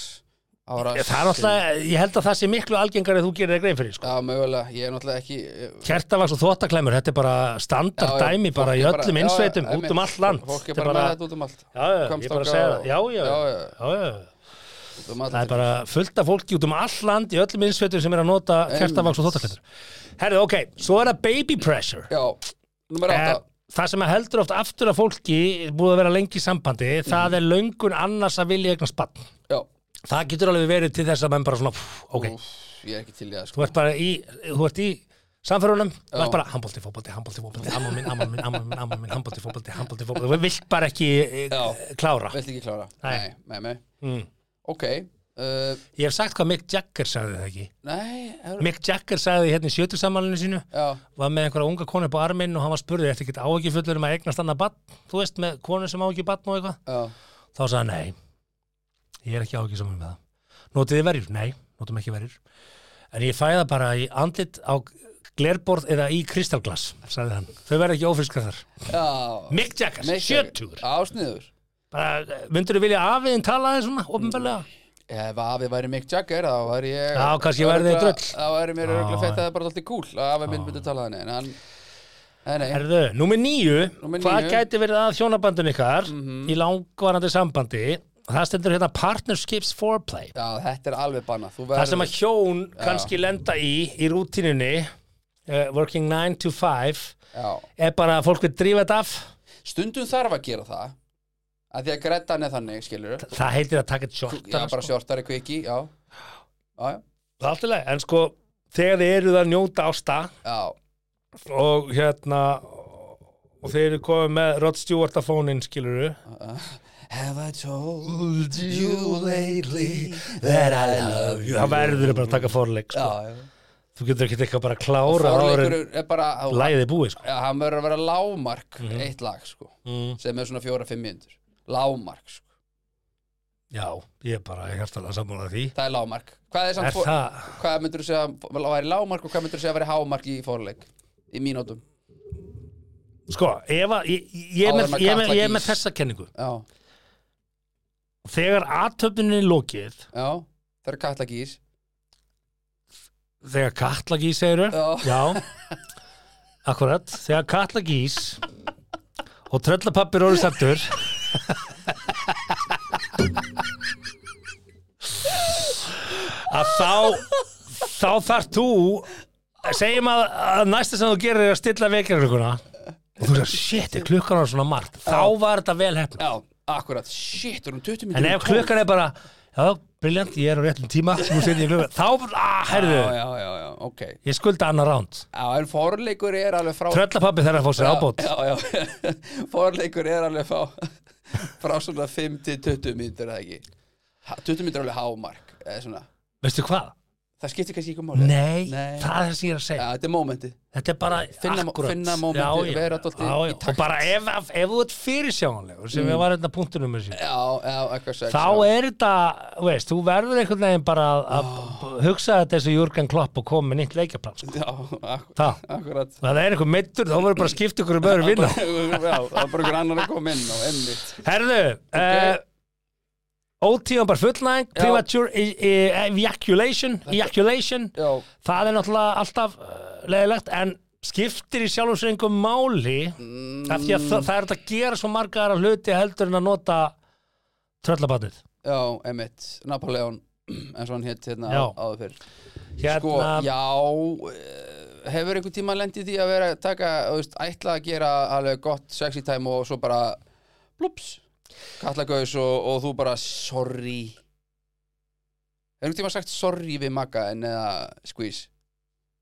Speaker 1: á rassin
Speaker 2: það er alltaf, ég held að það sé miklu algengar þú gerir það grein fyrir, sko
Speaker 1: Já, mögulega, ég er náttúrulega ekki eh,
Speaker 2: Kertavaks og þvottaklemur, þetta er bara standard
Speaker 1: já, já,
Speaker 2: dæmi bara í
Speaker 1: fólk er
Speaker 2: öllum
Speaker 1: já, já,
Speaker 2: innsveitum,
Speaker 1: einmitt.
Speaker 2: út um allt land
Speaker 1: Fólk er
Speaker 2: Þetta
Speaker 1: bara með þetta út um allt
Speaker 2: Já, já, ég er bara að segja það, já, já,
Speaker 1: Já,
Speaker 2: já,
Speaker 1: já.
Speaker 2: já, já.
Speaker 1: út um allt.
Speaker 2: Það er bara fullt af fólki út um all land í öllum innsveitum sem er að nota kertavaks og þóttaklettur. Herðu, ok, svo er það baby pressure.
Speaker 1: Já, nummer
Speaker 2: Eh,
Speaker 1: 8
Speaker 2: Það sem að heldur oft aftur að fólki búið að vera lengi í sambandi,
Speaker 1: Mhm.
Speaker 2: það er löngun annars að vilja eignast bann.
Speaker 1: Já,
Speaker 2: Það getur alveg verið til þess að menn bara svona, pff, ok,
Speaker 1: Úff, ég er ekki til í það sko.
Speaker 2: þú ert bara í, þú ert í samferðunum, þú ert bara handbólti, fótbólti, handbólti, fótbólti, amman minn, amman minn, amman minn, amman minn, handbólti, fótbólti, handbólti, fótbólti, þú vilt bara ekki eh,
Speaker 1: Já.
Speaker 2: klára.
Speaker 1: Vilt ekki klára?
Speaker 2: Nei. Hmm.
Speaker 1: nei, nei, Ok uh,
Speaker 2: Ég hef sagt hvað Mick Jagger sagði það ekki.
Speaker 1: Nei, er,
Speaker 2: Mick Jagger sagði hérna í sjötusammalinu sínu,
Speaker 1: já,
Speaker 2: var með einhverja unga konu upp á arminn og hann var spurði, ertu ekkert áhyggjufullur um að eignast annað barn, þú veist, með konu sem á ekki barn og eitthvað?
Speaker 1: já
Speaker 2: Þá sagði hann, nei, ég er ekki áhyggjusamur með það. Notið þið verjur? Nei, notum ekki verjur. En ég fæ það bara í andlit á glerborð eða í kristalglas, sagði hann. Þau verða ekki ófriskar þar.
Speaker 1: Já
Speaker 2: Mick Jagger,
Speaker 1: Mick Jagger.
Speaker 2: 70.
Speaker 1: Ásniður
Speaker 2: Bara, myndur þú vilja afiðin tala þeim svona,
Speaker 1: Mm,
Speaker 2: ofnbælega?
Speaker 1: Ef afi væri Mick Jagger, þá væri ég
Speaker 2: Já, kannski væri þið
Speaker 1: örugglega-
Speaker 2: drull.
Speaker 1: Þá væri mér örgulega
Speaker 2: Já.
Speaker 1: fett að það er bara alltaf kúl að afi minn myndi tala þannig En hann, nei, nei,
Speaker 2: Herðu, númer níu,
Speaker 1: Númer
Speaker 2: hvað
Speaker 1: níu. Mhm.
Speaker 2: gæti verið að hjónabandun ykkar í langvarandi sambandi? Það stendur hérna partnerships foreplay.
Speaker 1: já, þetta er alveg bannað Þú
Speaker 2: Það sem
Speaker 1: verður-
Speaker 2: að hjón kannski lenda í, í rútinunni, uh, working 9 to 5,
Speaker 1: Já,
Speaker 2: er bara að fólk vil drífa þetta af.
Speaker 1: stundum þarf að gera það að því að grættan er þannig, skilur
Speaker 2: Það heitir að taka þetta
Speaker 1: já,
Speaker 2: shortara.
Speaker 1: bara
Speaker 2: sko.
Speaker 1: sjortari kviki, já já, já,
Speaker 2: Það er allt í lagi, en sko, þegar þið eruð að njóta ásta
Speaker 1: já,
Speaker 2: og hérna, og þeir eru komið með Rod Stewart að fónin, skiluru.
Speaker 1: Have I told you lately
Speaker 2: That I love you. Það verður þið bara að taka forleik, sko.
Speaker 1: Já, já
Speaker 2: Þú getur ekki eitthvað bara að klára áður en
Speaker 1: Forleikur er bara á-
Speaker 2: lagið er búið, sko.
Speaker 1: Já, hann verður að vera lágmark
Speaker 2: Mhm.
Speaker 1: eitt lag, sko sem er svona fjóra-fimm mínútur lágmark, sko,
Speaker 2: Já, ég er bara hjartalega sammálað því.
Speaker 1: það er lágmark hvað er samt
Speaker 2: Er
Speaker 1: fó-
Speaker 2: það...
Speaker 1: hvað myndur þú segja að væri lágmark og hvað myndur þú segja að væri hámark í fórleik í mínútum
Speaker 2: Sko, ef að, ég, ég, ég, er
Speaker 1: Áður
Speaker 2: með,
Speaker 1: en að
Speaker 2: ég, er með,
Speaker 1: kalla
Speaker 2: ég er með
Speaker 1: gís.
Speaker 2: þessa kenningu.
Speaker 1: já,
Speaker 2: Þegar aðtöfninni er lokið,
Speaker 1: já, það eru kalla gís
Speaker 2: þegar Katla gís segir þau,
Speaker 1: Já.
Speaker 2: já, akkurat, þegar Katla gís og tröllapappir orðið sattur, að þá, þá þarf þú, segjum að, að næsta sem þú gerir er að stilla vekjarklukuna og þú sagði, shit, er klukkan var svona margt, þá var þetta vel hefn.
Speaker 1: já, akkurat, shit, erum 20 mínútur
Speaker 2: En ef klukkan er bara Já, briljant, ég er á réttum tíma sem þú setjum í klukkan Þá, ah, herðu,
Speaker 1: já, já, já, já, ok
Speaker 2: ég skulda annar ránd
Speaker 1: já, en fórleikur er alveg frá
Speaker 2: Tröllapappi þarf að fá sér ábót
Speaker 1: já, já, *laughs* fórleikur er alveg frá frá svona 5 til 20 mínútur eða ekki Ha- 20 mínútur er alveg hámark eða svona
Speaker 2: Veistu hvað?
Speaker 1: það skiptir kannski ekki máli
Speaker 2: Nei,
Speaker 1: Nei.
Speaker 2: það er það sem ég er að
Speaker 1: Já,
Speaker 2: segja
Speaker 1: þetta er mómentið
Speaker 2: Þetta er bara
Speaker 1: Finna-
Speaker 2: akkurat
Speaker 1: finna momentið,
Speaker 2: Já, já,
Speaker 1: vera dálítið
Speaker 2: já, já.
Speaker 1: í takt.
Speaker 2: Og bara ef, ef, ef þú ert fyrirsjáanlegur
Speaker 1: Mm.
Speaker 2: sem við varum þetta punktunum með sér
Speaker 1: Já, já, eitthvað sex
Speaker 2: Þá
Speaker 1: já.
Speaker 2: er þetta, þú veist, þú verður einhvern veginn bara að-
Speaker 1: Ah.
Speaker 2: að b- hugsa þetta eins og Jürgen Klopp og koma með nýtt leikjaplan sko.
Speaker 1: Já, akkur,
Speaker 2: Það,
Speaker 1: akkurat
Speaker 2: það er einhver meittur, þá verður bara að skipta ykkur um öðru vinna
Speaker 1: Já, það er bara *laughs* einhver annar að koma inn á einmitt
Speaker 2: Herðu, okay. ótíðanbar fullnæðing,
Speaker 1: Já.
Speaker 2: premature e- e- ejaculation, ejaculation,
Speaker 1: Já,
Speaker 2: það er náttúrulega alltaf uh, leðilegt, en skiptir í sjálfum sér einhver máli
Speaker 1: mm,
Speaker 2: af því að það, það er hægt að gera svo marga aðra hluti heldur en að nota tröllabatnið.
Speaker 1: já, einmitt Napoleon, *clears throat* eins og hann hétt hérna
Speaker 2: Já.
Speaker 1: á- áður fyrr
Speaker 2: Hérna,
Speaker 1: Sko, já eh, Hefur einhvern tíma lendið því að vera að taka, þú veist, ætla að gera alveg gott sexy time og svo bara blups, kallagaus og, og þú bara sorry Hefur einhvern tíma sagt sorry við maga en eða squeeze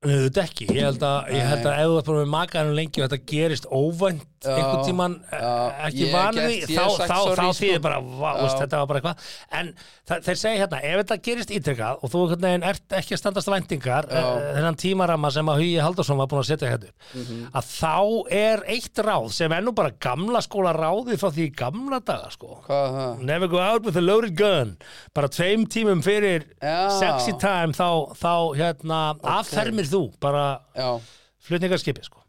Speaker 2: auðvitað ekki, ég held að, ég held að ef þú ert bara með makaðanum lengi og þetta gerist óvænt
Speaker 1: Já,
Speaker 2: einhvern tíman
Speaker 1: já,
Speaker 2: ekki
Speaker 1: ég
Speaker 2: vanið
Speaker 1: gert-
Speaker 2: því,
Speaker 1: ég
Speaker 2: þá,
Speaker 1: hef sagt
Speaker 2: þá,
Speaker 1: sorry,
Speaker 2: þá
Speaker 1: sko.
Speaker 2: þýðir bara, vá,
Speaker 1: Já.
Speaker 2: veist, þetta var bara eitthvað en það, þeir segja hérna, ef þetta gerist ítrekkað og þú einhvern veginn ert ekki að standast væntingar
Speaker 1: Já.
Speaker 2: eh, þennan tímarama sem að Hugi Haldarsson var búin að setja hérna upp,
Speaker 1: Mhm.
Speaker 2: að þá er eitt ráð sem er nú bara gamla skóla ráðið frá því í gamla daga sko
Speaker 1: Hvað er það?
Speaker 2: Never go out with a loaded gun bara tveim tímum fyrir
Speaker 1: Já.
Speaker 2: sexy time þá, þá hérna affermir þú bara
Speaker 1: Já,
Speaker 2: flutningarskipi sko.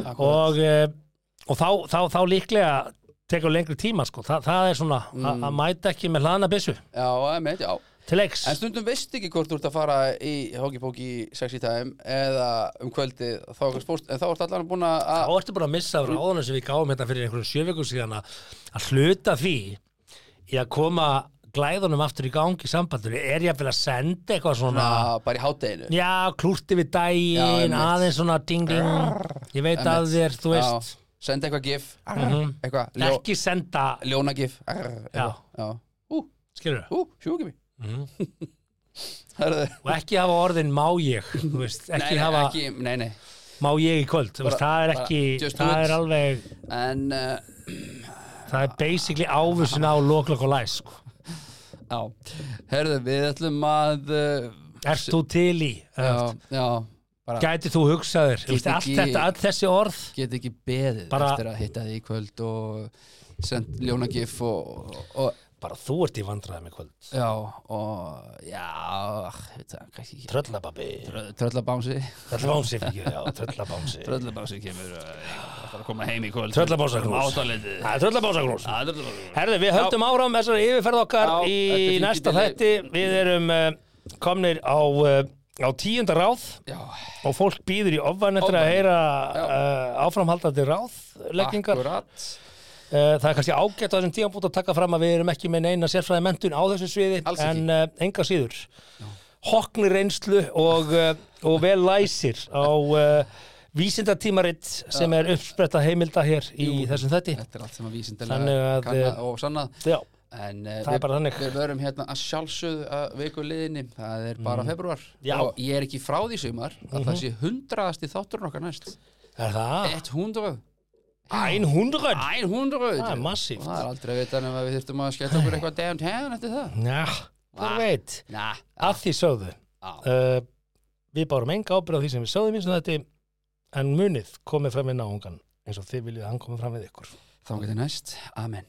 Speaker 1: akkurat
Speaker 2: og, eh, og þá, þá, þá líklega tekur lengri tíma sko. Þa, það er svona a-
Speaker 1: Mm.
Speaker 2: að mæta ekki með hlaðna byssu
Speaker 1: Já, einmitt, já
Speaker 2: til leiks
Speaker 1: En stundum veist ekki hvort þú ert að fara í hókipóki sexy time eða um kvöldi þá, er kannski fórst- en þá ert allan búin að
Speaker 2: þá ertu bara að missa af ráðunum sem við gáum hérna fyrir einhverjum sjöfjökum síðan að að hluta því í að koma glæðunum aftur í gangi í sambandinu er ég að vilja senda eitthvað svona
Speaker 1: Já, bara í hátteginu
Speaker 2: já, klúrti við
Speaker 1: Já,
Speaker 2: daginn
Speaker 1: einmitt.
Speaker 2: aðeins svona ding ding ég veit að þér, þú veist Mhm.
Speaker 1: Senda eitthvað gif Eitthvað ljó,
Speaker 2: ekki senda,
Speaker 1: Ljóna gif
Speaker 2: Já. Mhm.
Speaker 1: Já Ú,
Speaker 2: skilur
Speaker 1: ú, sjúki mig *laughs* Hörðu
Speaker 2: og ekki hafa orðin má ég þú veist,
Speaker 1: Nei,
Speaker 2: ekki
Speaker 1: nei,
Speaker 2: hafa
Speaker 1: ekki, nei, nei
Speaker 2: má ég í kvöld þú veist, það er
Speaker 1: bara
Speaker 2: ekki,
Speaker 1: just do
Speaker 2: það
Speaker 1: it.
Speaker 2: er alveg
Speaker 1: En, uh,
Speaker 2: það er basically ávísun á loklokk og læs sko.
Speaker 1: já Hörðu, við ætlum að uh,
Speaker 2: ert þú til í uh,
Speaker 1: Já, já Bara
Speaker 2: gæti þú hugsaður þú veist, allt
Speaker 1: ekki-
Speaker 2: þetta, allt þessi orð
Speaker 1: get ekki beðið
Speaker 2: Bara-
Speaker 1: Eftir að hitta þig í kvöld og Send ljóna gif og, og
Speaker 2: bara þú ert í vandræðum í kvöld
Speaker 1: Já, og Já, veit það, kannski ekki
Speaker 2: tröllababbi,
Speaker 1: Tröllabámsi
Speaker 2: tröllabámsi fyrir ekki, já, tröllabámsi
Speaker 1: Tröllabámsi kemur uh, Það er að koma heim í kvöld
Speaker 2: Tröllabásagrús
Speaker 1: Átalitið
Speaker 2: Það er Tröllabásagrús
Speaker 1: Tröllabámsi
Speaker 2: Herði, við höldum áram þessari yfirferð okkar
Speaker 1: Já, þetta
Speaker 2: í
Speaker 1: er fínt
Speaker 2: næsta
Speaker 1: í
Speaker 2: þætti Við erum uh, komnir á, uh, á tíunda ráð
Speaker 1: Já,
Speaker 2: og fólk býður í ofan eftir að
Speaker 1: Ofan,
Speaker 2: heyra
Speaker 1: já.
Speaker 2: uh, áframhaldandi ráðleggingar uh,
Speaker 1: Akkurat
Speaker 2: Það er kannski ágætt á þessum tíðanbútt að taka fram að við erum ekki með neina sérfræði mentun á þessu sviði
Speaker 1: Alls ekki.
Speaker 2: en uh, enga síður Hoknir reynslu og, uh, og vel læsir á uh, vísindatímaritt sem er uppspretta heimilda hér í þessum þætti
Speaker 1: Þetta er allt sem
Speaker 2: Þannig
Speaker 1: að vísindilega
Speaker 2: að,
Speaker 1: kanna
Speaker 2: eh,
Speaker 1: og sannað
Speaker 2: Já,
Speaker 1: En uh,
Speaker 2: Það er bara þannig.
Speaker 1: við verum hérna að sjálfsögðu að viku liðinni Það er bara februar
Speaker 2: Mm. Já. Mhm.
Speaker 1: Og ég er ekki frá því sumar að það sé hundraðasti þátturinn okkar næst
Speaker 2: er það?
Speaker 1: Eitt
Speaker 2: 100?
Speaker 1: hundrað Æn hundrað
Speaker 2: Það er massíft.
Speaker 1: Það er aldrei að vita nema að við þurftum að skella okkur eitthvað downtown eftir það
Speaker 2: Já, hver
Speaker 1: Ah.
Speaker 2: veit
Speaker 1: Næ,
Speaker 2: Að því sögðu
Speaker 1: á,
Speaker 2: uh, Við bárum enga ábyrð á því sem við sögðum eins og þetta En munið komið fram við náungan eins og þið viljið að hann komið fram við ykkur
Speaker 1: þá getur næst, amen